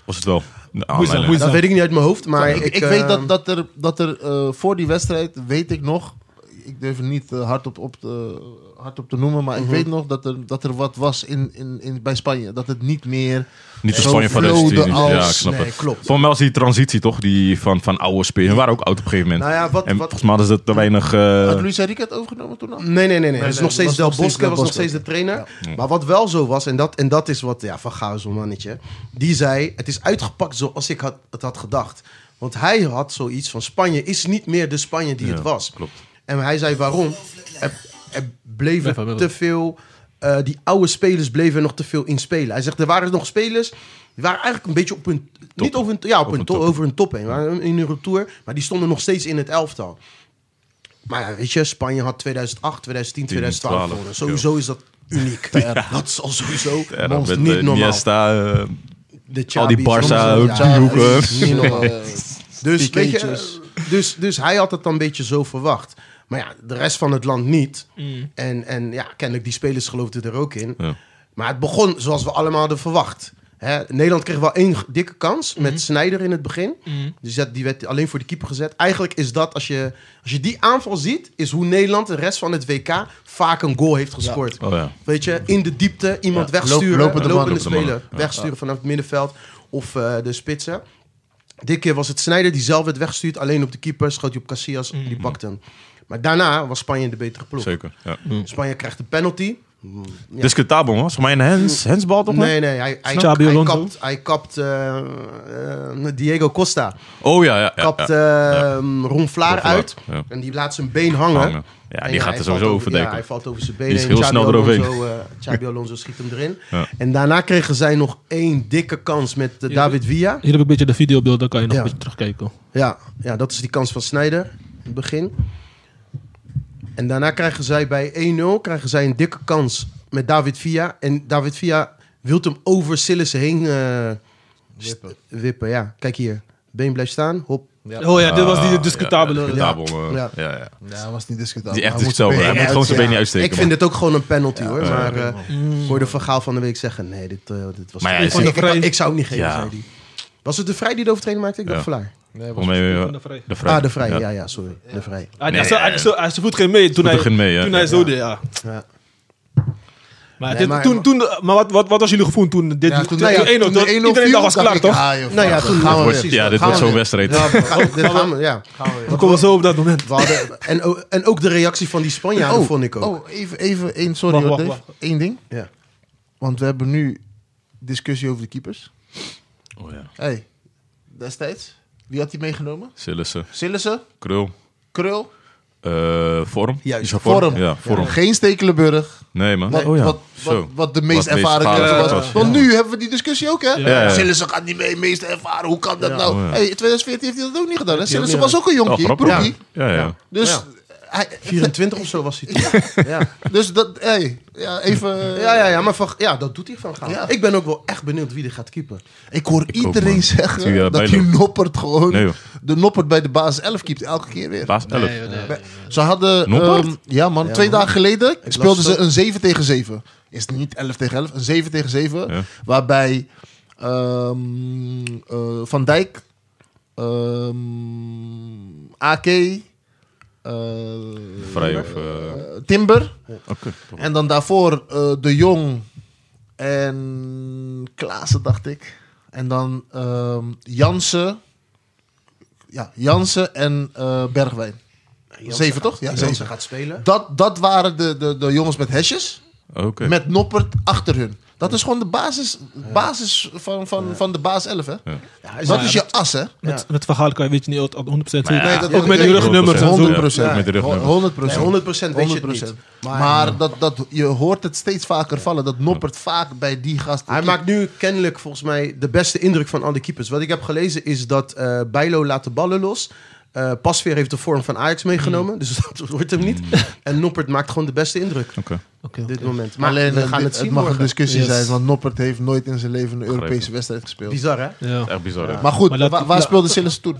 [SPEAKER 1] Was het wel? Ah, De aanleiding.
[SPEAKER 2] moeizaam.
[SPEAKER 3] Dat weet ik niet uit mijn hoofd, maar
[SPEAKER 4] ik, ik
[SPEAKER 3] eh,
[SPEAKER 4] weet dat, dat er, dat er eh, voor die wedstrijd, weet ik nog, ik durf het niet eh, hardop op te, hardop te noemen, maar ik weet nog dat er, dat er wat was in, in, in, bij Spanje. Dat het niet meer
[SPEAKER 1] Niet de
[SPEAKER 4] zo
[SPEAKER 1] Spanje van
[SPEAKER 4] vloden
[SPEAKER 1] deze
[SPEAKER 4] als-
[SPEAKER 1] Ja, ik snap
[SPEAKER 3] nee,
[SPEAKER 1] het.
[SPEAKER 3] klopt.
[SPEAKER 1] Voor mij was die transitie toch, die van, van oude spelers. We waren ook oud op een gegeven moment.
[SPEAKER 3] Nou ja, wat-
[SPEAKER 1] en
[SPEAKER 3] wat-
[SPEAKER 1] volgens mij hadden ze dat te weinig... eh,
[SPEAKER 4] Had Luis Enrique het overgenomen toen al?
[SPEAKER 3] Nee, nee, nee. nee. Het is
[SPEAKER 4] nee,
[SPEAKER 3] nog steeds
[SPEAKER 4] was
[SPEAKER 3] Del
[SPEAKER 4] nog steeds
[SPEAKER 3] Bosque,
[SPEAKER 4] Del
[SPEAKER 3] was nog
[SPEAKER 4] Bosque.
[SPEAKER 3] steeds de trainer. Maar wat wel zo was, en dat, en dat is wat ja, Van Gaal is een mannetje. Die zei, het is uitgepakt zoals ik had, het had gedacht. Want hij had zoiets van, Spanje is niet meer de Spanje die
[SPEAKER 1] Ja,
[SPEAKER 3] het was.
[SPEAKER 1] klopt.
[SPEAKER 3] En hij zei, waarom? Er, er bleven
[SPEAKER 2] Blijf maar,
[SPEAKER 3] te
[SPEAKER 2] Willem.
[SPEAKER 3] veel... eh, die oude spelers bleven nog te veel in spelen. Hij zegt, er waren nog spelers... die waren eigenlijk een beetje op hun... Niet over hun, ja, op
[SPEAKER 1] Op
[SPEAKER 3] hun
[SPEAKER 1] hun
[SPEAKER 3] to-
[SPEAKER 1] top.
[SPEAKER 3] over hun top heen. waren In hun retour. Maar die stonden nog steeds in het elftal. Maar ja, weet je, Spanje had 2008, 2010, 2012 gewonnen.
[SPEAKER 1] 12,
[SPEAKER 3] Sowieso is dat uniek. Dat is al sowieso
[SPEAKER 1] ja, dan
[SPEAKER 3] monster,
[SPEAKER 1] met,
[SPEAKER 3] niet
[SPEAKER 1] eh,
[SPEAKER 3] normaal.
[SPEAKER 1] Iniesta, eh,
[SPEAKER 3] De
[SPEAKER 1] al die
[SPEAKER 3] Xabi,
[SPEAKER 1] Barca,
[SPEAKER 3] Alonso,
[SPEAKER 1] Driehoeken.
[SPEAKER 3] is niet normaal.
[SPEAKER 4] Eh,
[SPEAKER 3] Dus weet je,
[SPEAKER 4] Piquetjes.
[SPEAKER 3] eh, dus, dus hij had het dan een beetje zo verwacht. Maar ja, de rest van het land niet. En, en ja, kennelijk die spelers geloofden er ook in.
[SPEAKER 1] Ja.
[SPEAKER 3] Maar het begon zoals we allemaal hadden verwacht. Hè, Nederland kreeg wel één g- dikke kans met Snijder in het begin. Die, zet, die werd alleen voor de keeper gezet. Eigenlijk is dat, als je, als je die aanval ziet, is hoe Nederland de rest van het WK vaak een goal heeft gescoord.
[SPEAKER 1] Oh ja.
[SPEAKER 3] Weet je, in de diepte iemand
[SPEAKER 4] Ja,
[SPEAKER 3] wegsturen,
[SPEAKER 4] loop- lopende
[SPEAKER 3] lopende,
[SPEAKER 4] man.
[SPEAKER 3] speler.
[SPEAKER 1] Lopende man,
[SPEAKER 3] Wegsturen vanaf het middenveld of eh, de spitsen. Dit keer was het Snijder die zelf werd weggestuurd. Alleen op de keeper schoot hij op Casillas, die
[SPEAKER 2] Mhm.
[SPEAKER 3] pakte hem. Maar daarna was Spanje de betere ploeg.
[SPEAKER 1] Zeker. Ja.
[SPEAKER 3] Spanje krijgt de penalty. Ja.
[SPEAKER 1] Discutabel, man. Is voor mij een hands, handsbal toch? man?
[SPEAKER 3] Nee, nee, hij, hij,
[SPEAKER 2] Xabi
[SPEAKER 3] hij
[SPEAKER 2] Alonso?
[SPEAKER 3] kapt, hij kapt eh, eh, Diego Costa.
[SPEAKER 1] Oh ja, ja. ja,
[SPEAKER 3] Kapt
[SPEAKER 1] ja.
[SPEAKER 3] eh, Ron Vlaar
[SPEAKER 1] Ron Vlaar,
[SPEAKER 3] uit.
[SPEAKER 1] ja.
[SPEAKER 3] En die laat zijn been hangen.
[SPEAKER 1] Hangen. Ja,
[SPEAKER 3] En
[SPEAKER 1] die gaat
[SPEAKER 3] hij
[SPEAKER 1] er
[SPEAKER 3] valt
[SPEAKER 1] sowieso
[SPEAKER 3] over,
[SPEAKER 1] over
[SPEAKER 3] Ja, hij
[SPEAKER 1] denken.
[SPEAKER 3] valt over zijn benen.
[SPEAKER 1] Die is
[SPEAKER 3] en
[SPEAKER 1] heel
[SPEAKER 3] Xabi
[SPEAKER 1] snel eroverheen.
[SPEAKER 3] Alonso, eh, Xabi Alonso schiet hem erin.
[SPEAKER 1] Ja.
[SPEAKER 3] En daarna kregen zij nog één dikke kans met eh,
[SPEAKER 2] Ja.
[SPEAKER 3] David Villa.
[SPEAKER 2] Hier heb ik een beetje de videobeeld, dan kan je nog
[SPEAKER 3] Ja.
[SPEAKER 2] een beetje terugkijken.
[SPEAKER 3] Ja, ja, dat is die kans van Snijder. In het begin. En daarna krijgen zij bij 1-0 krijgen zij een dikke kans met David Villa. En David Villa wilt hem over Sillissen heen eh, st- wippen. Ja, kijk hier. Been blijft staan. Hop.
[SPEAKER 2] Oh ja, dit was die
[SPEAKER 1] Ah, Ja,
[SPEAKER 2] discutabele.
[SPEAKER 1] discutabel, eh,
[SPEAKER 3] eh, Ja.
[SPEAKER 1] ja, ja.
[SPEAKER 4] Ja, was niet discutabel.
[SPEAKER 1] Die echt
[SPEAKER 4] Hij moet
[SPEAKER 1] discutabel.
[SPEAKER 4] zijn
[SPEAKER 1] Hij
[SPEAKER 4] been
[SPEAKER 1] moet gewoon zijn
[SPEAKER 4] uit-
[SPEAKER 1] been niet uitsteken.
[SPEAKER 3] Ik vind
[SPEAKER 1] man.
[SPEAKER 3] het ook gewoon een penalty hoor.
[SPEAKER 1] ja,
[SPEAKER 3] maar eh, ik hoorde van Gaal van de week zeggen: nee, dit, eh, dit was.
[SPEAKER 1] Maar ja,
[SPEAKER 3] ik,
[SPEAKER 1] hij
[SPEAKER 3] vond
[SPEAKER 2] zegt-
[SPEAKER 3] het- ik, ik zou hem niet geven,
[SPEAKER 1] Ja.
[SPEAKER 3] zei hij. Was het de Vrij die de overtreding maakte? Ik dacht
[SPEAKER 1] Ja.
[SPEAKER 3] Vlaar.
[SPEAKER 4] Nee, was-
[SPEAKER 1] Volgens mij, eh,
[SPEAKER 2] Van de Vrij.
[SPEAKER 1] de Vrij.
[SPEAKER 3] Ah, de Vrij. Ja, ja, sorry. De Vrij.
[SPEAKER 2] Ah, Hij,
[SPEAKER 1] Nee, eh,
[SPEAKER 2] hij, hij, hij, hij voet geen mee toen
[SPEAKER 1] Voet
[SPEAKER 2] hij,
[SPEAKER 1] er geen mee, hè?
[SPEAKER 2] toen hij
[SPEAKER 1] Ja.
[SPEAKER 2] zo deed, ja.
[SPEAKER 3] Ja.
[SPEAKER 2] Maar,
[SPEAKER 3] Nee,
[SPEAKER 2] dit,
[SPEAKER 3] maar-
[SPEAKER 2] toen, toen, maar wat, wat, wat was jullie gevoel toen dit
[SPEAKER 4] Ja, toen
[SPEAKER 3] nou ja,
[SPEAKER 2] toen 1-0,
[SPEAKER 4] toen de
[SPEAKER 2] toen
[SPEAKER 4] 1-0
[SPEAKER 2] Iedereen
[SPEAKER 4] viel,
[SPEAKER 2] dacht was
[SPEAKER 4] dacht
[SPEAKER 2] klaar,
[SPEAKER 4] ik,
[SPEAKER 2] toch?
[SPEAKER 4] ah, joh,
[SPEAKER 3] Nou ja,
[SPEAKER 4] dan
[SPEAKER 3] toen
[SPEAKER 4] gaan we
[SPEAKER 3] wordt-
[SPEAKER 4] weer.
[SPEAKER 3] precies,
[SPEAKER 1] Ja,
[SPEAKER 3] dan
[SPEAKER 1] dit
[SPEAKER 3] gaan
[SPEAKER 1] wordt
[SPEAKER 3] we
[SPEAKER 1] zo'n
[SPEAKER 3] weer.
[SPEAKER 1] wedstrijd.
[SPEAKER 3] Ja, dit gaan we, ja.
[SPEAKER 4] Gaan we weer.
[SPEAKER 2] We komen zo op dat moment.
[SPEAKER 3] We hadden, en, o- en ook de reactie van die Spanjaarden
[SPEAKER 4] Oh,
[SPEAKER 3] vond ik ook.
[SPEAKER 4] Oh, even, even één, sorry
[SPEAKER 2] Wacht,
[SPEAKER 4] hoor,
[SPEAKER 2] wacht,
[SPEAKER 4] Dave. Eén ding.
[SPEAKER 3] Ja.
[SPEAKER 4] Want we hebben nu discussie over de keepers.
[SPEAKER 1] Oh ja.
[SPEAKER 4] hey, destijds, wie had die meegenomen?
[SPEAKER 1] Sillissen,
[SPEAKER 4] Sillissen,
[SPEAKER 1] Krul,
[SPEAKER 4] Krul,
[SPEAKER 1] eh, Vorm.
[SPEAKER 3] Juist.
[SPEAKER 1] Is er
[SPEAKER 4] Vorm.
[SPEAKER 1] Ja, Vorm.
[SPEAKER 4] geen Stekelenburg.
[SPEAKER 1] Nee, man.
[SPEAKER 4] Wat,
[SPEAKER 1] oh ja.
[SPEAKER 4] wat, wat,
[SPEAKER 1] Zo.
[SPEAKER 4] wat de meest
[SPEAKER 1] Wat meest
[SPEAKER 4] ervaren
[SPEAKER 1] ervaren
[SPEAKER 4] keeper was.
[SPEAKER 1] was, ja.
[SPEAKER 4] Want nu hebben we die discussie ook, hè?
[SPEAKER 1] ja, ja.
[SPEAKER 4] Sillissen gaat niet mee, meest ervaren, hoe kan dat nou?
[SPEAKER 1] Oh, ja.
[SPEAKER 4] hey, in 2014 heeft hij dat ook niet gedaan,
[SPEAKER 3] hij
[SPEAKER 4] hè?
[SPEAKER 3] ook
[SPEAKER 4] Sillissen
[SPEAKER 3] niet
[SPEAKER 4] was ook een jonkie,
[SPEAKER 1] Oh, grappig.
[SPEAKER 4] broekie.
[SPEAKER 1] Ja, ja. ja.
[SPEAKER 4] Dus...
[SPEAKER 3] Ja.
[SPEAKER 4] Hij,
[SPEAKER 3] 24 of zo was hij toen. Ja,
[SPEAKER 4] dus dat, hey, ja, even...
[SPEAKER 3] ja, ja, ja maar van, ja, dat doet hij van Gaal.
[SPEAKER 4] Ja.
[SPEAKER 3] Ik ben ook wel echt benieuwd wie er gaat keeper.
[SPEAKER 4] Ik hoor iedereen
[SPEAKER 1] man.
[SPEAKER 4] zeggen
[SPEAKER 1] Zie je
[SPEAKER 4] dat
[SPEAKER 1] bijlo-
[SPEAKER 4] die Noppert gewoon...
[SPEAKER 1] Nee, joh.
[SPEAKER 4] de Noppert bij de basis 11 keept elke keer weer.
[SPEAKER 1] Baas 11.
[SPEAKER 4] Bij- Ze hadden...
[SPEAKER 1] Noppert?
[SPEAKER 4] ehm, ja man,
[SPEAKER 3] Ja,
[SPEAKER 4] twee
[SPEAKER 3] man.
[SPEAKER 4] dagen geleden
[SPEAKER 3] las
[SPEAKER 4] speelden ze
[SPEAKER 3] het.
[SPEAKER 4] een 7 tegen 7. Is het niet 11 tegen 11, een 7 tegen 7.
[SPEAKER 1] Ja.
[SPEAKER 4] Waarbij ehm, eh, Van Dijk, ehm AK, eh,
[SPEAKER 1] Vrij of... eh,
[SPEAKER 4] eh, Timber...
[SPEAKER 1] Oké.
[SPEAKER 4] En dan daarvoor eh, De Jong en Klaassen, dacht ik. En dan ehm, Jansen. Ja, Jansen en eh, Bergwijn. Zeven,
[SPEAKER 3] gaat-
[SPEAKER 4] toch? Ja,
[SPEAKER 3] Jansen
[SPEAKER 4] zeven.
[SPEAKER 3] gaat spelen.
[SPEAKER 4] Dat, dat waren de, de, de jongens met hesjes.
[SPEAKER 1] Oh, Oké.
[SPEAKER 4] Met Noppert achter hun. Dat is gewoon de basis, basis van, van, van de baas 11, hè?
[SPEAKER 3] Ja, hij
[SPEAKER 4] Dat
[SPEAKER 3] zei-
[SPEAKER 4] is je as, hè?
[SPEAKER 2] Met, met verhaal kan je weet je niet altijd 100% zeker.
[SPEAKER 1] Maar ja,
[SPEAKER 4] dat-
[SPEAKER 2] ook met die
[SPEAKER 4] ja,
[SPEAKER 2] rugnummers en zo.
[SPEAKER 4] 100 procent.
[SPEAKER 1] Ja, met de rugnummers.
[SPEAKER 4] 100 procent.
[SPEAKER 3] Nee, 100% Dus weet je het niet.
[SPEAKER 4] Maar, maar dat, dat, je hoort het steeds vaker vallen. Dat Noppert vaak bij die gasten...
[SPEAKER 3] Hij maakt nu kennelijk volgens mij de beste indruk van al die keepers. Wat ik heb gelezen is dat eh Bijlo laat de ballen los. Eh Pasveer heeft de vorm van Ajax
[SPEAKER 2] Hmm.
[SPEAKER 3] meegenomen, dus dat wordt hem niet. En Noppert maakt gewoon de beste indruk
[SPEAKER 1] Oké.
[SPEAKER 3] op dit moment. Maar
[SPEAKER 4] Maar Alleen,
[SPEAKER 2] eh,
[SPEAKER 3] we gaan
[SPEAKER 4] dit-
[SPEAKER 3] het zien
[SPEAKER 4] mag een
[SPEAKER 3] morgen.
[SPEAKER 4] discussie
[SPEAKER 2] Yes.
[SPEAKER 4] zijn, want Noppert heeft nooit in zijn leven een Europese
[SPEAKER 1] Begrijpelijk.
[SPEAKER 4] wedstrijd gespeeld.
[SPEAKER 3] Bizar, hè?
[SPEAKER 2] Ja.
[SPEAKER 1] Echt bizar, hè?
[SPEAKER 4] Maar goed,
[SPEAKER 2] Maar dat-
[SPEAKER 4] wa- waar
[SPEAKER 2] ja.
[SPEAKER 4] speelde Sillis toen?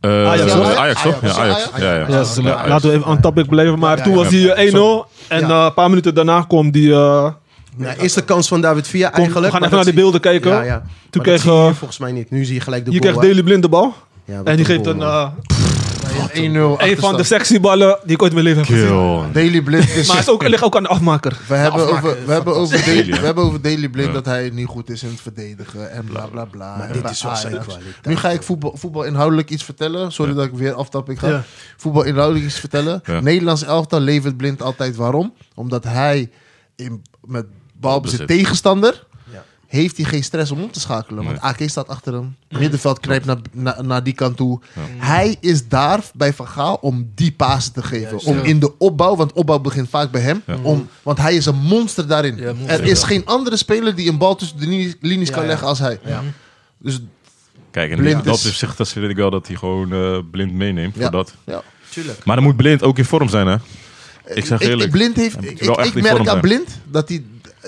[SPEAKER 1] Eh,
[SPEAKER 2] Ajax,
[SPEAKER 1] dat was
[SPEAKER 4] hoor.
[SPEAKER 1] Ajax, toch? Ja,
[SPEAKER 4] Ajax.
[SPEAKER 1] Ajax. Ja, ja.
[SPEAKER 2] Ja, dus
[SPEAKER 1] Ja,
[SPEAKER 2] la-
[SPEAKER 1] Ajax.
[SPEAKER 2] laten we even aan topic blijven. Maar toen was die eh, 1-0. En
[SPEAKER 3] Ja.
[SPEAKER 2] eh, een paar minuten daarna kwam die... eh,
[SPEAKER 3] Ja, eerste kans van David Villa
[SPEAKER 2] kom, we
[SPEAKER 3] eigenlijk.
[SPEAKER 2] gaan
[SPEAKER 3] maar
[SPEAKER 2] even naar
[SPEAKER 3] dat
[SPEAKER 2] die beelden
[SPEAKER 3] zie-
[SPEAKER 2] kijken.
[SPEAKER 3] Ja, ja.
[SPEAKER 2] Toen
[SPEAKER 3] Maar dat
[SPEAKER 2] kreeg,
[SPEAKER 3] zie je hier
[SPEAKER 2] eh,
[SPEAKER 3] volgens mij niet. Nu zie je gelijk de
[SPEAKER 2] Je
[SPEAKER 3] goal.
[SPEAKER 2] kreeg
[SPEAKER 3] hè?
[SPEAKER 2] Daily Blind de bal.
[SPEAKER 3] Ja, wat
[SPEAKER 2] En die
[SPEAKER 3] een
[SPEAKER 2] geeft
[SPEAKER 3] goal,
[SPEAKER 2] een,
[SPEAKER 3] man.
[SPEAKER 2] eh,
[SPEAKER 4] 1-0
[SPEAKER 2] een van de sexy ballen die ik ooit in mijn leven heb gezien.
[SPEAKER 1] Kill.
[SPEAKER 4] Daily Blind is...
[SPEAKER 2] Maar het is ook, ligt ook aan de afmaker.
[SPEAKER 4] we, hebben over, we, hebben over Daily,
[SPEAKER 1] Daily, hè?
[SPEAKER 4] we hebben over Daily Blind
[SPEAKER 1] Ja.
[SPEAKER 4] dat hij niet goed is in het verdedigen en bla bla bla. en
[SPEAKER 3] dit
[SPEAKER 4] bij
[SPEAKER 3] is wel zijn
[SPEAKER 4] Ajax.
[SPEAKER 3] kwaliteit.
[SPEAKER 4] Nu ga ik voetbal, voetbal inhoudelijk iets vertellen. Sorry dat ik weer aftapping ga.
[SPEAKER 2] Ja.
[SPEAKER 4] Voetbal inhoudelijk iets vertellen.
[SPEAKER 1] Ja.
[SPEAKER 4] Nederlands elftal levert Blind altijd. Waarom? Omdat hij in, met balbezit
[SPEAKER 1] Balbezit.
[SPEAKER 4] tegenstander...
[SPEAKER 3] Ja.
[SPEAKER 4] heeft hij geen stress om om te schakelen. Want AK staat achter hem. Middenveld knijpt naar, na- naar die kant toe. Hij is daar bij Van Gaal om die pasen te geven. om in de opbouw, want opbouw begint vaak bij hem. Om, want hij is een monster daarin.
[SPEAKER 2] Ja, monster,
[SPEAKER 4] er is geen andere speler die een bal tussen de linies, linies kan
[SPEAKER 3] ja.
[SPEAKER 4] leggen als hij. Dus
[SPEAKER 1] Kijk, en
[SPEAKER 4] Blind
[SPEAKER 1] in dat
[SPEAKER 4] is-
[SPEAKER 1] opzicht dat vind ik wel dat hij gewoon eh, blind meeneemt
[SPEAKER 4] Ja.
[SPEAKER 1] voor dat.
[SPEAKER 4] ja.
[SPEAKER 3] Tuurlijk.
[SPEAKER 1] Maar dan moet blind ook in vorm zijn, hè? Ik zeg
[SPEAKER 4] Ik, ik,
[SPEAKER 1] eerlijk.
[SPEAKER 4] blind heeft,
[SPEAKER 1] Hij
[SPEAKER 4] ik,
[SPEAKER 1] moet wel
[SPEAKER 4] ik
[SPEAKER 1] echt in
[SPEAKER 4] merk
[SPEAKER 1] vorm
[SPEAKER 4] aan
[SPEAKER 1] zijn.
[SPEAKER 4] Blind dat hij...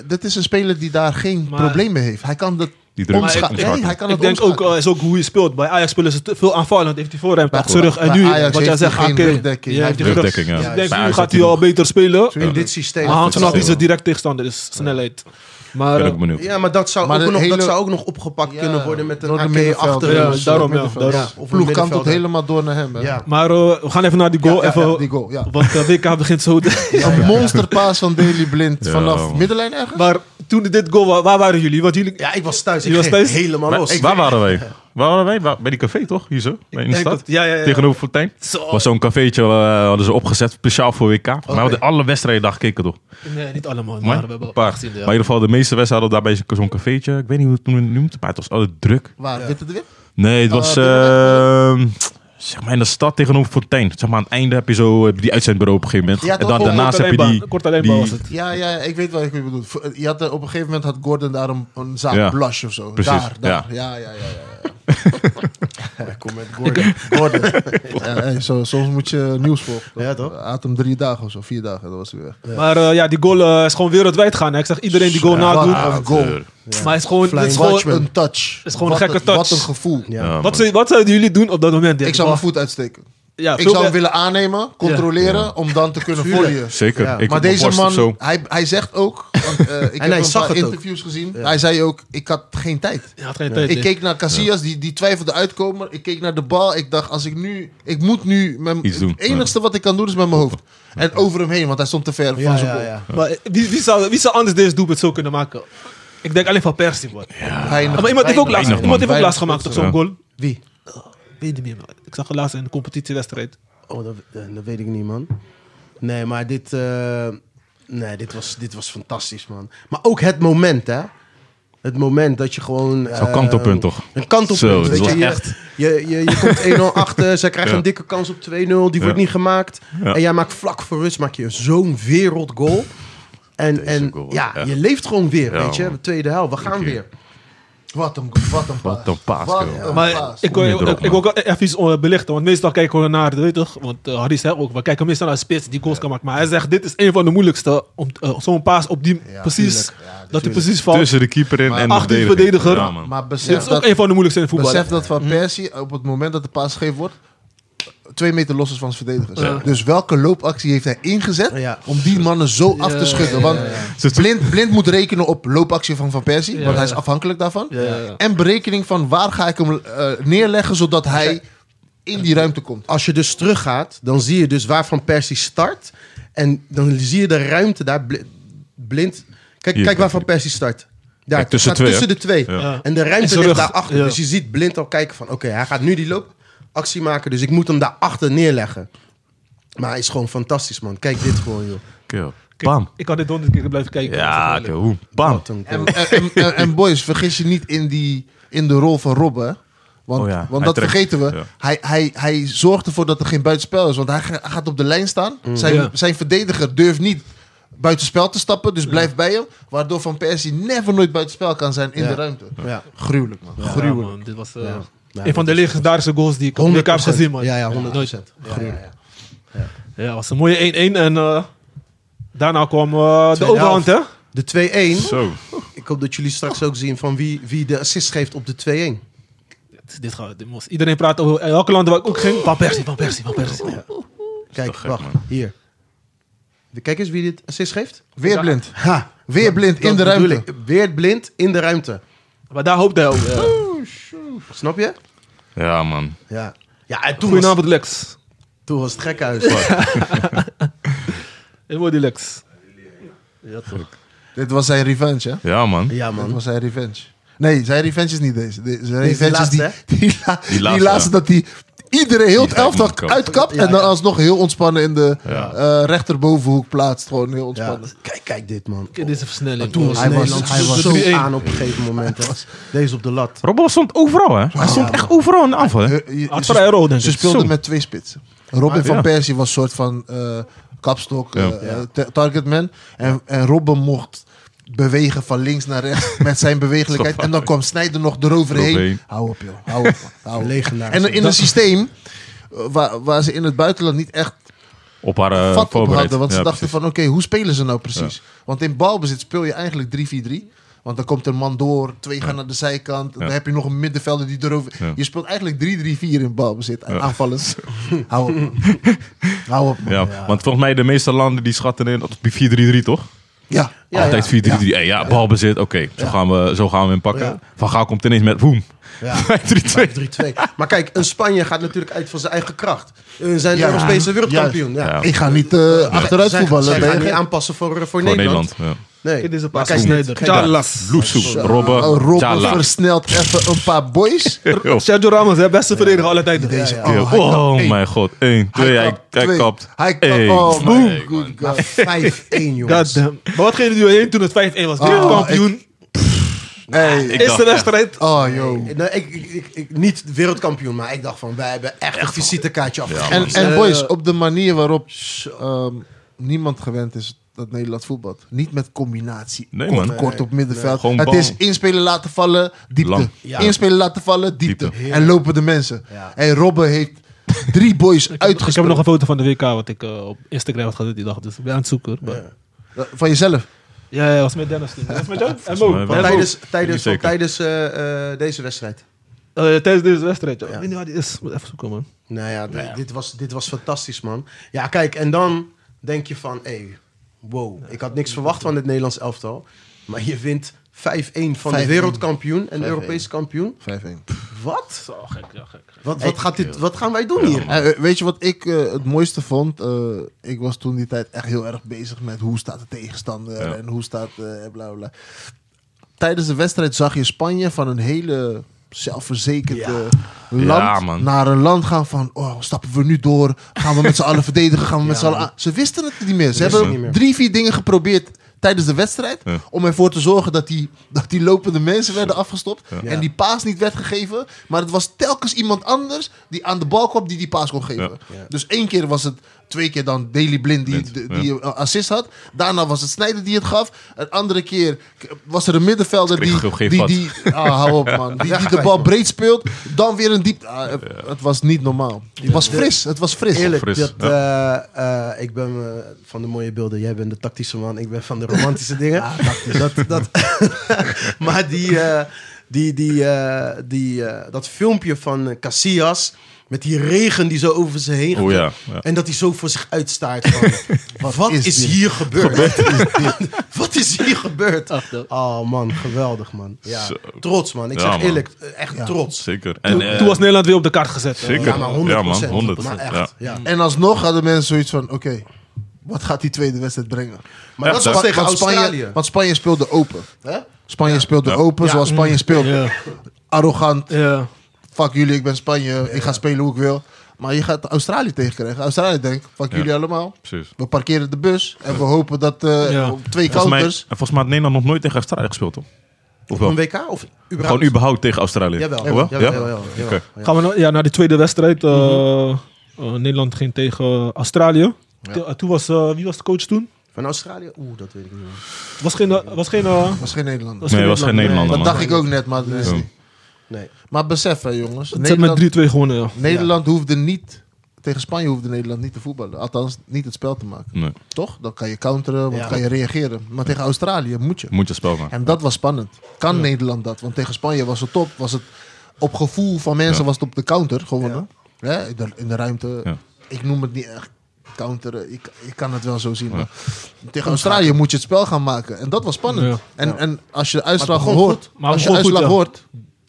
[SPEAKER 4] Dat is een speler die daar geen
[SPEAKER 2] Maar-
[SPEAKER 4] probleem mee heeft. Hij kan dat
[SPEAKER 1] Die druk
[SPEAKER 4] Onscha-
[SPEAKER 1] is
[SPEAKER 4] nee, hij
[SPEAKER 1] zwart.
[SPEAKER 4] kan
[SPEAKER 2] Ik
[SPEAKER 4] het
[SPEAKER 2] denk ook, eh, is ook hoe je speelt. Bij Ajax spelen ze te veel aanvallend. Heeft hij voorruimte
[SPEAKER 4] Bij-
[SPEAKER 2] achter zijn rug. En
[SPEAKER 4] bij
[SPEAKER 2] nu,
[SPEAKER 4] Ajax
[SPEAKER 2] wat jij
[SPEAKER 4] heeft
[SPEAKER 2] zegt,
[SPEAKER 4] hij geen
[SPEAKER 2] Haken.
[SPEAKER 4] rugdekking.
[SPEAKER 2] Ja,
[SPEAKER 4] Hij
[SPEAKER 2] heeft
[SPEAKER 4] heeft
[SPEAKER 2] rug-
[SPEAKER 1] Rugdekking, ja.
[SPEAKER 2] Ik denk,
[SPEAKER 1] Bij
[SPEAKER 2] nu
[SPEAKER 1] Ajax
[SPEAKER 2] gaat
[SPEAKER 1] heeft
[SPEAKER 2] hij al beter spelen.
[SPEAKER 3] In dit systeem.
[SPEAKER 2] Maar Hans
[SPEAKER 1] dat is
[SPEAKER 2] Knap is
[SPEAKER 1] wel.
[SPEAKER 2] een direct tegenstander, is snelheid. Maar
[SPEAKER 1] Ben
[SPEAKER 2] eh,
[SPEAKER 1] ik benieuwd.
[SPEAKER 3] Ja, maar dat zou,
[SPEAKER 4] Maar
[SPEAKER 3] ook
[SPEAKER 4] de
[SPEAKER 3] nog,
[SPEAKER 4] hele-
[SPEAKER 3] dat zou ook nog opgepakt
[SPEAKER 4] Ja,
[SPEAKER 3] kunnen worden met een
[SPEAKER 4] door de
[SPEAKER 3] AK
[SPEAKER 4] middenvelder.
[SPEAKER 3] achter.
[SPEAKER 2] Ja,
[SPEAKER 3] een
[SPEAKER 2] daarom,
[SPEAKER 3] soort
[SPEAKER 2] ja,
[SPEAKER 3] middenvelder.
[SPEAKER 2] daarom.
[SPEAKER 3] Ja, eh, of een
[SPEAKER 4] ploeg kan tot
[SPEAKER 3] middenvelder.
[SPEAKER 4] helemaal door naar hem. Hè?
[SPEAKER 3] Ja.
[SPEAKER 2] maar, eh, we gaan even naar die
[SPEAKER 4] Ja,
[SPEAKER 2] goal.
[SPEAKER 4] ja,
[SPEAKER 2] even,
[SPEAKER 4] ja, die goal, ja.
[SPEAKER 2] Want eh, WK begint zo te...
[SPEAKER 4] Een monsterpaas van Daily Blind
[SPEAKER 1] Ja,
[SPEAKER 4] vanaf
[SPEAKER 1] man.
[SPEAKER 4] middenlijn ergens.
[SPEAKER 2] Maar toen dit goal, wa- waar waren jullie? Want jullie...
[SPEAKER 3] Ja, ik was thuis.
[SPEAKER 2] Je
[SPEAKER 3] Ik
[SPEAKER 2] was
[SPEAKER 3] ging
[SPEAKER 2] thuis?
[SPEAKER 3] helemaal
[SPEAKER 1] Maar
[SPEAKER 3] los.
[SPEAKER 1] waar waren wij? Waar waren wij? Waar- Bij die café toch? Hier zo? In de
[SPEAKER 2] denk
[SPEAKER 1] stad?
[SPEAKER 2] dat- ja, ja, ja.
[SPEAKER 1] Tegenover Fontein?
[SPEAKER 2] Zo.
[SPEAKER 1] Was zo'n cafeetje eh, hadden ze opgezet speciaal voor WK. Maar we hadden alle wedstrijden daar gekeken toch?
[SPEAKER 2] Nee, niet allemaal.
[SPEAKER 1] Maar
[SPEAKER 2] Maar we hebben
[SPEAKER 1] een paar.
[SPEAKER 2] gezien, ja.
[SPEAKER 1] Maar in ieder geval, de meeste wedstrijden hadden daar bij zo'n cafeetje. Ik weet niet hoe het toen noemt, maar het was altijd druk.
[SPEAKER 4] Waar? Witte de wit?
[SPEAKER 1] Nee,
[SPEAKER 2] Ah,
[SPEAKER 1] het was...
[SPEAKER 4] Eh,
[SPEAKER 1] ehm, zeg maar in de stad tegenover Fontein. Zeg maar aan het einde heb je zo heb je die uitzendbureau op een gegeven moment.
[SPEAKER 4] Ja,
[SPEAKER 1] en
[SPEAKER 4] toch?
[SPEAKER 1] dan,
[SPEAKER 4] Oh,
[SPEAKER 1] daarnaast heb je
[SPEAKER 2] Alleen
[SPEAKER 1] die...
[SPEAKER 2] maar- Kort alleen maar
[SPEAKER 1] die-
[SPEAKER 2] was het.
[SPEAKER 4] Ja, ja, ik weet wat ik bedoel. Voor- Je had, er- op een gegeven moment had Gordon daar een, een zaak
[SPEAKER 1] Ja.
[SPEAKER 4] blush of zo.
[SPEAKER 1] Precies,
[SPEAKER 4] Daar, daar. Ja, ja, ja. ja, ja.
[SPEAKER 3] Kom met Gordon.
[SPEAKER 4] Gordon. Ja, hey, zo, soms moet je nieuws volgen.
[SPEAKER 3] Ja, toch?
[SPEAKER 4] Hij had hem drie dagen of zo, vier dagen. Dat was hij weer.
[SPEAKER 2] Maar eh, ja, die goal eh, is gewoon wereldwijd gaan. hè. Ik zag iedereen die goal
[SPEAKER 4] Ja,
[SPEAKER 2] nadoen.
[SPEAKER 4] wat een goal.
[SPEAKER 2] Maar het is gewoon... dit
[SPEAKER 3] Flying
[SPEAKER 2] is
[SPEAKER 4] Wat
[SPEAKER 2] gewoon
[SPEAKER 3] Watchman.
[SPEAKER 4] een touch.
[SPEAKER 2] is gewoon een
[SPEAKER 4] Wat
[SPEAKER 2] gekke touch.
[SPEAKER 4] Wat een gevoel.
[SPEAKER 3] Ja.
[SPEAKER 1] Ja,
[SPEAKER 2] wat,
[SPEAKER 1] man.
[SPEAKER 2] zou- wat zouden jullie doen op dat moment? Ja,
[SPEAKER 4] Ik zou mijn voet uitsteken.
[SPEAKER 2] ja,
[SPEAKER 4] Ik
[SPEAKER 2] veel
[SPEAKER 4] zou hem
[SPEAKER 2] meer-
[SPEAKER 4] willen aannemen, controleren, om dan te kunnen
[SPEAKER 3] Tuurlijk.
[SPEAKER 4] volleyen.
[SPEAKER 1] Zeker.
[SPEAKER 3] Ja.
[SPEAKER 1] Ik
[SPEAKER 4] maar
[SPEAKER 1] op mijn
[SPEAKER 4] deze
[SPEAKER 1] borst of
[SPEAKER 4] man,
[SPEAKER 1] zo.
[SPEAKER 4] hij, hij zegt ook, want, eh, ik heb
[SPEAKER 3] hij
[SPEAKER 4] een
[SPEAKER 3] zag
[SPEAKER 4] paar
[SPEAKER 3] het ook.
[SPEAKER 4] interviews gezien, hij zei ook, ik had geen tijd.
[SPEAKER 2] Ja, had geen tijd.
[SPEAKER 4] Ik
[SPEAKER 2] hè.
[SPEAKER 4] keek naar Casillas, die, die twijfelde uitkomen. Ik keek naar de bal. Ik dacht, als ik nu... Ik moet nu... Mijn,
[SPEAKER 1] Iets doen,
[SPEAKER 4] Het enigste wat ik kan doen is met mijn hoofd. En over hem heen, want hij stond te ver
[SPEAKER 3] Ja,
[SPEAKER 4] van zijn
[SPEAKER 3] ja,
[SPEAKER 4] goal.
[SPEAKER 3] ja.
[SPEAKER 2] Maar eh, wie, wie, zou, wie zou anders deze doelpunt zo kunnen maken? Ik denk alleen van Persie, man. Ah,
[SPEAKER 4] Weinig-
[SPEAKER 2] maar iemand heeft ook
[SPEAKER 4] weinig.
[SPEAKER 2] laatst,
[SPEAKER 1] man.
[SPEAKER 2] iemand heeft ook
[SPEAKER 4] Weinig
[SPEAKER 2] laatst gemaakt, toch? Zo'n
[SPEAKER 1] Ja.
[SPEAKER 2] goal.
[SPEAKER 3] Wie?
[SPEAKER 2] Weet niet meer, man. Ik zag het laatst in een competitiewedstrijd.
[SPEAKER 3] Oh, dat, eh, dat weet ik niet, man. Nee, maar dit, eh, nee, dit, was, dit was fantastisch, man. Maar ook het moment, hè? Het moment dat je gewoon...
[SPEAKER 1] Zo'n
[SPEAKER 3] eh,
[SPEAKER 1] kantelpunt, toch?
[SPEAKER 3] Een kantelpunt.
[SPEAKER 1] Zo, dat
[SPEAKER 3] weet
[SPEAKER 1] was
[SPEAKER 3] je, je,
[SPEAKER 1] echt-
[SPEAKER 3] Je, je, je komt 1-0 achter, zij krijgen
[SPEAKER 1] Ja.
[SPEAKER 3] een dikke kans op 2-0, die wordt niet gemaakt.
[SPEAKER 1] Ja.
[SPEAKER 3] En jij maakt vlak voor rust maak je zo'n wereldgoal. En, en
[SPEAKER 1] goal,
[SPEAKER 3] ja,
[SPEAKER 1] echt.
[SPEAKER 3] je leeft gewoon weer,
[SPEAKER 1] Ja,
[SPEAKER 3] weet je.
[SPEAKER 1] man.
[SPEAKER 3] De tweede helft, we gaan
[SPEAKER 1] Oké.
[SPEAKER 3] weer.
[SPEAKER 4] Wat een paas. Wat een paas.
[SPEAKER 1] Wat een paas,
[SPEAKER 4] Wat
[SPEAKER 1] joh.
[SPEAKER 4] een
[SPEAKER 2] Maar
[SPEAKER 4] paas.
[SPEAKER 2] ik
[SPEAKER 1] Kom
[SPEAKER 2] wil
[SPEAKER 1] je
[SPEAKER 2] ik,
[SPEAKER 1] erop,
[SPEAKER 2] ik wil ook even iets eh, belichten. Want meestal kijken we naar, weet je toch? Want eh, Harry zei ook, we kijken meestal naar spits die goals kan maken. Maar hij zegt, dit is een van de moeilijkste. om eh, Zo'n paas op die precies, dat hij precies valt.
[SPEAKER 1] Tussen de keeper in en de
[SPEAKER 2] 18
[SPEAKER 1] verdediger.
[SPEAKER 2] verdediger.
[SPEAKER 1] Ja, man.
[SPEAKER 4] Maar
[SPEAKER 2] dit
[SPEAKER 4] besef
[SPEAKER 2] is ook
[SPEAKER 4] dat,
[SPEAKER 2] een van de moeilijkste in het voetbal.
[SPEAKER 4] besef dat Van
[SPEAKER 2] Hm.
[SPEAKER 4] Persie, op het moment dat de paas gegeven wordt... Twee meter los is van zijn verdedigers. Dus welke loopactie heeft hij ingezet
[SPEAKER 3] Ja.
[SPEAKER 4] om die mannen zo af te schudden? Want Blind, blind moet rekenen op loopactie van Van Persie,
[SPEAKER 2] Ja.
[SPEAKER 4] want hij is afhankelijk daarvan.
[SPEAKER 2] Ja, ja, ja.
[SPEAKER 4] En berekening van waar ga ik hem eh, neerleggen zodat hij in die ruimte komt.
[SPEAKER 3] als je dus teruggaat, dan zie je dus waar Van Persie start. En dan zie je de ruimte daar bl- blind. Kijk,
[SPEAKER 1] Hier,
[SPEAKER 3] kijk waar Van
[SPEAKER 1] hier.
[SPEAKER 3] Persie start. Daar,
[SPEAKER 1] Kijk, tussen
[SPEAKER 3] staat
[SPEAKER 1] twee,
[SPEAKER 3] tussen de twee.
[SPEAKER 2] Ja.
[SPEAKER 3] En de
[SPEAKER 2] En
[SPEAKER 3] ruimte
[SPEAKER 2] zijn rug.
[SPEAKER 3] ligt daarachter.
[SPEAKER 2] Ja.
[SPEAKER 3] Dus je ziet blind al kijken van... Oké, hij gaat nu die loopactie maken. Dus ik moet hem daarachter neerleggen. Maar hij is gewoon fantastisch, man. Kijk dit gewoon, joh.
[SPEAKER 1] Kill. Bam.
[SPEAKER 2] Ik kan dit honderd keer blijven kijken.
[SPEAKER 1] Ja,
[SPEAKER 2] Dat is
[SPEAKER 1] kill.
[SPEAKER 2] wel
[SPEAKER 1] Hoe? Bam.
[SPEAKER 3] Wat een goal.
[SPEAKER 4] En, en, en, en boys, vergis je niet in, die, in de rol van Robben. hè. Want,
[SPEAKER 1] Oh ja, hij
[SPEAKER 4] want dat
[SPEAKER 1] trekt.
[SPEAKER 4] vergeten we.
[SPEAKER 1] Ja.
[SPEAKER 4] Hij, hij, hij zorgt ervoor dat er geen buitenspel is. Want hij ga- gaat op de lijn staan. Zijn,
[SPEAKER 2] Ja.
[SPEAKER 4] zijn verdediger durft niet buitenspel te stappen. Dus blijft bij hem. Waardoor Van Persie never nooit buitenspel kan zijn in
[SPEAKER 3] Ja.
[SPEAKER 4] de ruimte.
[SPEAKER 3] Ja.
[SPEAKER 4] Gruwelijk, man.
[SPEAKER 2] leuk. Ja,
[SPEAKER 4] Gruwelijk.
[SPEAKER 2] man, dit was eh,
[SPEAKER 3] Ja. Ja,
[SPEAKER 2] een van de legendarische goals die ik op
[SPEAKER 3] 100%.
[SPEAKER 2] WK heb gezien, man.
[SPEAKER 3] Ja, ja, 100%.
[SPEAKER 4] Ja, ja, ja.
[SPEAKER 2] Ja, het was een mooie 1-1 en eh, daarna kwam eh, de
[SPEAKER 3] Tweede
[SPEAKER 2] overhand, hè?
[SPEAKER 3] De 2-1.
[SPEAKER 1] Zo.
[SPEAKER 3] Ik hoop dat jullie straks ook zien van wie, wie de assist geeft op de 2-1.
[SPEAKER 2] Dit, dit gaat, dit moest. Iedereen praat over in elke land waar ik ook ging. Van Persie, van Persie, van Persie.
[SPEAKER 3] Kijk,
[SPEAKER 1] gek,
[SPEAKER 3] wacht.
[SPEAKER 1] man.
[SPEAKER 3] Hier. Kijk eens wie dit assist geeft.
[SPEAKER 4] Weer blind.
[SPEAKER 3] Ha,
[SPEAKER 4] Weer blind in de ruimte.
[SPEAKER 3] Weer blind in de ruimte.
[SPEAKER 2] Maar daar hoopte hij op. ja.
[SPEAKER 3] Snap je?
[SPEAKER 1] Ja, man.
[SPEAKER 3] Ja. Ja, en toen, was,
[SPEAKER 2] Goedenavond, Lex.
[SPEAKER 3] toen was het gekhuis.
[SPEAKER 2] Heel mooi die Lex. Ja, toch.
[SPEAKER 4] Dit was zijn revenge, hè?
[SPEAKER 1] Ja, man.
[SPEAKER 3] ja,
[SPEAKER 4] Dit
[SPEAKER 3] man.
[SPEAKER 4] was zijn revenge. Nee, zijn revenge is niet deze. De, zijn
[SPEAKER 3] Deze
[SPEAKER 4] revenge
[SPEAKER 3] laatste,
[SPEAKER 4] is die, die, la- die laatste,
[SPEAKER 1] laatste, ja.
[SPEAKER 4] dat hij iedereen heel het
[SPEAKER 1] Die
[SPEAKER 4] elftal
[SPEAKER 1] uitkapt.
[SPEAKER 4] uitkapt.
[SPEAKER 3] Ja,
[SPEAKER 4] en dan
[SPEAKER 3] ja.
[SPEAKER 4] alsnog heel ontspannen in de
[SPEAKER 1] Ja.
[SPEAKER 4] eh, rechterbovenhoek plaatst. Gewoon heel
[SPEAKER 3] Ja.
[SPEAKER 4] ontspannen.
[SPEAKER 3] Kijk, kijk dit, man.
[SPEAKER 2] Kijk, dit is een versnelling.
[SPEAKER 3] Toen was
[SPEAKER 4] Hij was-
[SPEAKER 3] Nederland
[SPEAKER 4] hij was-
[SPEAKER 3] zo
[SPEAKER 2] 3-1.
[SPEAKER 3] aan op een gegeven moment. hè. Deze op de lat.
[SPEAKER 1] Robben stond overal, hè? Hij stond echt overal in de aanval, hè?
[SPEAKER 4] Ah. Eh, je-
[SPEAKER 2] Had
[SPEAKER 4] ze,
[SPEAKER 2] vrij rood, denk
[SPEAKER 4] ze
[SPEAKER 2] ik.
[SPEAKER 4] speelden
[SPEAKER 1] Zo.
[SPEAKER 4] met twee spitsen. Robin
[SPEAKER 1] Ah,
[SPEAKER 4] van
[SPEAKER 1] ja.
[SPEAKER 4] Persie was een soort van eh, kapstok, eh,
[SPEAKER 1] Ja.
[SPEAKER 4] eh, ta- targetman. En, en Robin mocht bewegen van links naar rechts met zijn bewegelijkheid. en dan kwam Snijder nog eroverheen.
[SPEAKER 1] Eroverheen.
[SPEAKER 4] Hou op, joh. Hou op. Hou op.
[SPEAKER 3] Legendarisch.
[SPEAKER 4] En in een systeem eh, waar, waar ze in het buitenland niet echt
[SPEAKER 1] Op haar eh,
[SPEAKER 4] vat op
[SPEAKER 1] voorbereid.
[SPEAKER 4] hadden. Want ze
[SPEAKER 1] Ja,
[SPEAKER 4] dachten van, oké, hoe spelen ze nou precies? Want in balbezit speel je eigenlijk 3-4-3. Want dan komt een man door, twee gaan naar de zijkant. Dan
[SPEAKER 1] Ja.
[SPEAKER 4] heb je nog een middenvelder die erover...
[SPEAKER 1] Ja.
[SPEAKER 4] Je speelt eigenlijk 3-3-4 in balbezit. En aanvallers. Hou op. man. Hou op, man.
[SPEAKER 1] Ja, want volgens mij de meeste landen die schatten in op 4-3-3, toch?
[SPEAKER 4] Ja.
[SPEAKER 3] Ja,
[SPEAKER 1] Altijd 4-3-3.
[SPEAKER 3] ja.
[SPEAKER 1] Ja, Eh, ja. balbezit, oké. Zo, gaan we, zo gaan we hem pakken.
[SPEAKER 3] Ja.
[SPEAKER 1] Van Gaal komt ineens met boem.
[SPEAKER 3] Ja.
[SPEAKER 1] 5-3-2.
[SPEAKER 3] 3-2. Maar kijk, een Spanje gaat natuurlijk uit van zijn eigen kracht. Hun zijn
[SPEAKER 4] Ja.
[SPEAKER 3] Europese wereldkampioen. Ja.
[SPEAKER 1] Ja.
[SPEAKER 4] Ik ga niet eh, achteruit
[SPEAKER 3] Zij-
[SPEAKER 4] voetballen.
[SPEAKER 3] Zij
[SPEAKER 4] ben
[SPEAKER 3] gaan
[SPEAKER 4] je
[SPEAKER 3] niet
[SPEAKER 4] gek?
[SPEAKER 3] aanpassen voor, voor,
[SPEAKER 1] Voor
[SPEAKER 3] Nederland.
[SPEAKER 1] Nederland. Ja.
[SPEAKER 3] Nee.
[SPEAKER 2] Dit is een
[SPEAKER 3] Maar
[SPEAKER 2] paas.
[SPEAKER 3] kijk,
[SPEAKER 2] Sneijder.
[SPEAKER 3] kijk,
[SPEAKER 2] Jalas.
[SPEAKER 1] Loetsoep,
[SPEAKER 4] Oh,
[SPEAKER 1] Robben,
[SPEAKER 4] Robben
[SPEAKER 1] Jala.
[SPEAKER 4] versnelt even een paar boys.
[SPEAKER 1] Yo.
[SPEAKER 2] Sergio Ramos, hè, beste verdediger alle tijden.
[SPEAKER 4] Deze.
[SPEAKER 1] Yo.
[SPEAKER 4] Oh, hij kapt.
[SPEAKER 1] Oh,
[SPEAKER 4] Eén.
[SPEAKER 1] mijn god. 1, 2, hij hij kapt.
[SPEAKER 4] Hij kapt.
[SPEAKER 1] Eén.
[SPEAKER 4] Oh,
[SPEAKER 1] Boem.
[SPEAKER 4] my good
[SPEAKER 3] Maar
[SPEAKER 4] God.
[SPEAKER 3] 5-1, jongens.
[SPEAKER 2] Goddamn. Maar wat ging jullie heen toen het 5-1 was?
[SPEAKER 3] Ah,
[SPEAKER 4] Oh,
[SPEAKER 2] Wereldkampioen.
[SPEAKER 4] Hey.
[SPEAKER 1] dacht
[SPEAKER 2] Eerste
[SPEAKER 1] echt.
[SPEAKER 2] wedstrijd.
[SPEAKER 4] Oh, joh.
[SPEAKER 3] Nee, ik, ik, ik- ik- niet wereldkampioen, maar ik dacht van, wij hebben echt, een visitekaartje afgegeven.
[SPEAKER 4] En, en
[SPEAKER 3] Eh,
[SPEAKER 4] boys, op de manier waarop ehm, niemand gewend is dat Nederland voetbalt. Niet met combinatie.
[SPEAKER 1] Nee,
[SPEAKER 4] kort,
[SPEAKER 1] man.
[SPEAKER 4] kort op middenveld.
[SPEAKER 1] Gewoon
[SPEAKER 4] het
[SPEAKER 1] bal.
[SPEAKER 4] is inspelen laten vallen, diepte.
[SPEAKER 1] Lang.
[SPEAKER 3] Ja.
[SPEAKER 4] Inspelen laten vallen, diepte.
[SPEAKER 1] Diepte.
[SPEAKER 4] En lopen de mensen.
[SPEAKER 3] Ja.
[SPEAKER 4] En Robben heeft drie boys
[SPEAKER 2] Ik heb
[SPEAKER 4] uitgespeeld.
[SPEAKER 2] nog een foto van de WK wat ik eh, op Instagram had gezet die dag. Dus ik ben aan het zoeken. hoor. Maar-
[SPEAKER 4] Eh, Van jezelf.
[SPEAKER 2] Ja, ja, was met Dennis. toen. Was met jou? En Mo.
[SPEAKER 1] mij wel.
[SPEAKER 2] En Mo.
[SPEAKER 3] tijdens
[SPEAKER 1] Jullie
[SPEAKER 3] tijdens,
[SPEAKER 1] zeker.
[SPEAKER 3] tijdens eh, eh, deze wedstrijd.
[SPEAKER 2] Eh, tijdens deze wedstrijd. joh. Ik
[SPEAKER 3] Ja.
[SPEAKER 2] weet niet waar die is. Moet even zoeken, man.
[SPEAKER 3] Nou ja, d- Dit, was, dit was fantastisch, man. Ja, kijk, en dan denk je van, hé, wow, ik had niks verwacht van het Nederlands elftal. Maar je wint 5-1 van de
[SPEAKER 4] 5-1.
[SPEAKER 3] wereldkampioen en de Europese kampioen.
[SPEAKER 4] 5-1.
[SPEAKER 3] Wat?
[SPEAKER 2] Zo, gek, ja, gek.
[SPEAKER 3] Wat, wat, gaat dit, wat gaan wij doen hier?
[SPEAKER 4] Eh, eh, weet je wat ik eh, het mooiste vond? Eh, ik was toen die tijd echt heel erg bezig met hoe staat de tegenstander
[SPEAKER 1] Ja.
[SPEAKER 4] en hoe staat eh, en bla bla. Tijdens de wedstrijd zag je Spanje van een hele zelfverzekerd
[SPEAKER 3] Ja.
[SPEAKER 4] eh,
[SPEAKER 1] Ja,
[SPEAKER 4] land
[SPEAKER 1] man.
[SPEAKER 4] naar een land gaan van oh, stappen we nu door? Gaan we met z'n allen verdedigen? Gaan we met z'n allen aan? Ze wisten het niet meer. Ze
[SPEAKER 3] wisten
[SPEAKER 4] hebben
[SPEAKER 3] het niet meer.
[SPEAKER 4] drie, vier dingen geprobeerd tijdens de wedstrijd
[SPEAKER 1] Ja.
[SPEAKER 4] om ervoor te zorgen dat die, dat die lopende mensen werden afgestopt
[SPEAKER 3] Ja.
[SPEAKER 4] en die paas niet werd gegeven. Maar het was telkens iemand anders die aan de bal kwam die die paas kon geven.
[SPEAKER 3] Ja. Ja.
[SPEAKER 4] Dus één keer was het twee keer dan Daily Blind die,
[SPEAKER 1] Blind,
[SPEAKER 4] die,
[SPEAKER 1] ja.
[SPEAKER 4] die, eh, assist had. Daarna was het Snijder die het gaf. Een andere keer k- was er een middenvelder
[SPEAKER 1] Kreeg
[SPEAKER 4] die...
[SPEAKER 1] ook geen
[SPEAKER 4] die,
[SPEAKER 1] vat.
[SPEAKER 4] die ah, hou op man. Die, die de bal breed speelt. Dan weer een diep... ah, het, het was niet normaal. Het was fris. Het was fris.
[SPEAKER 3] Eerlijk,
[SPEAKER 1] fris,
[SPEAKER 3] dat, eh, eh, ik ben eh, van de mooie beelden. Jij bent de tactische man, ik ben van de romantische dingen. dat, dat, maar die, eh, die, die, eh, die, eh, dat filmpje van eh, Casillas met die regen die zo over ze heen gaat.
[SPEAKER 1] Oh ja, ja.
[SPEAKER 3] En dat hij zo voor zich uitstaart. Van, wat, is,
[SPEAKER 4] is dit?
[SPEAKER 3] hier gebeurd? wat is hier gebeurd?
[SPEAKER 2] Ach, dat-
[SPEAKER 3] Oh man, geweldig man. Ja,
[SPEAKER 1] Zo.
[SPEAKER 3] trots man. Ik
[SPEAKER 1] Ja,
[SPEAKER 3] zeg
[SPEAKER 1] man.
[SPEAKER 3] eerlijk, eh, echt trots.
[SPEAKER 1] Zeker.
[SPEAKER 2] Toen,
[SPEAKER 1] En, eh,
[SPEAKER 2] toen was Nederland weer op de kaart gezet.
[SPEAKER 1] Zeker.
[SPEAKER 3] Ja, maar 100
[SPEAKER 1] Ja, man, 100%.
[SPEAKER 3] Maar echt, ja.
[SPEAKER 4] En alsnog hadden mensen zoiets van... Oké, wat gaat die tweede wedstrijd brengen?
[SPEAKER 3] Maar dat
[SPEAKER 1] Echt,
[SPEAKER 3] was
[SPEAKER 1] hè?
[SPEAKER 3] tegen Australië.
[SPEAKER 4] Spanje, want Spanje speelde open.
[SPEAKER 3] Hè?
[SPEAKER 4] Spanje speelde open zoals Spanje speelde.
[SPEAKER 2] Ja.
[SPEAKER 4] Arrogant.
[SPEAKER 2] Ja.
[SPEAKER 4] Fuck jullie, ik ben Spanje. Ik ga spelen hoe ik wil. Maar je gaat Australië tegenkrijgen. Australië denkt, fuck jullie allemaal.
[SPEAKER 1] Precies.
[SPEAKER 4] We parkeren de bus en we hopen dat eh,
[SPEAKER 2] Ja.
[SPEAKER 4] op twee
[SPEAKER 1] Volgens mij, en
[SPEAKER 4] counters.
[SPEAKER 1] volgens mij had Nederland nog nooit tegen Australië gespeeld, toch? Of wel?
[SPEAKER 3] Op een WK of überhaupt?
[SPEAKER 1] Gewoon überhaupt tegen Australië?
[SPEAKER 3] Jawel.
[SPEAKER 1] Oh, wel?
[SPEAKER 3] Jawel,
[SPEAKER 1] Ja?
[SPEAKER 3] jawel, jawel,
[SPEAKER 1] Oké.
[SPEAKER 3] jawel.
[SPEAKER 2] Gaan we nou- ja, naar die tweede wedstrijd. eh, eh, Nederland ging tegen Australië. Te- eh, Toen was, eh, wie was de coach toen?
[SPEAKER 3] Van Australië? Oeh, dat weet ik niet meer.
[SPEAKER 2] Het was geen... eh, was geen eh,
[SPEAKER 4] was geen Nederlander.
[SPEAKER 2] was
[SPEAKER 1] Nee, was geen Nederlander,
[SPEAKER 4] dat
[SPEAKER 1] man.
[SPEAKER 4] dacht ik ook net, maar dat is niet.
[SPEAKER 3] Nee.
[SPEAKER 4] Maar besef hè, jongens.
[SPEAKER 2] Het zijn met
[SPEAKER 4] Nederland,
[SPEAKER 2] 3-2 gewonnen, ja.
[SPEAKER 4] Nederland hoefde niet... Tegen Spanje hoefde Nederland niet te voetballen. Althans, niet het spel te maken.
[SPEAKER 1] Nee,
[SPEAKER 4] Toch? Dan kan je counteren, want
[SPEAKER 3] Ja.
[SPEAKER 4] dan kan je reageren. Maar tegen Australië moet je.
[SPEAKER 1] moet je spel maken.
[SPEAKER 4] En dat was spannend. Kan Nederland dat? Want tegen Spanje was het top. Was het op gevoel van mensen
[SPEAKER 1] Ja.
[SPEAKER 4] was het op de counter gewonnen. Hè, in, de, in de ruimte.
[SPEAKER 1] Ja.
[SPEAKER 4] Ik noem het niet echt counteren. Ik, ik kan het wel zo zien. Maar tegen Australië moet je het spel gaan maken. En dat was spannend.
[SPEAKER 2] Ja.
[SPEAKER 4] En, en als je de uitslag
[SPEAKER 3] begon
[SPEAKER 4] hoort,
[SPEAKER 2] Maar
[SPEAKER 4] als je de
[SPEAKER 2] begon
[SPEAKER 4] uitslag hoort,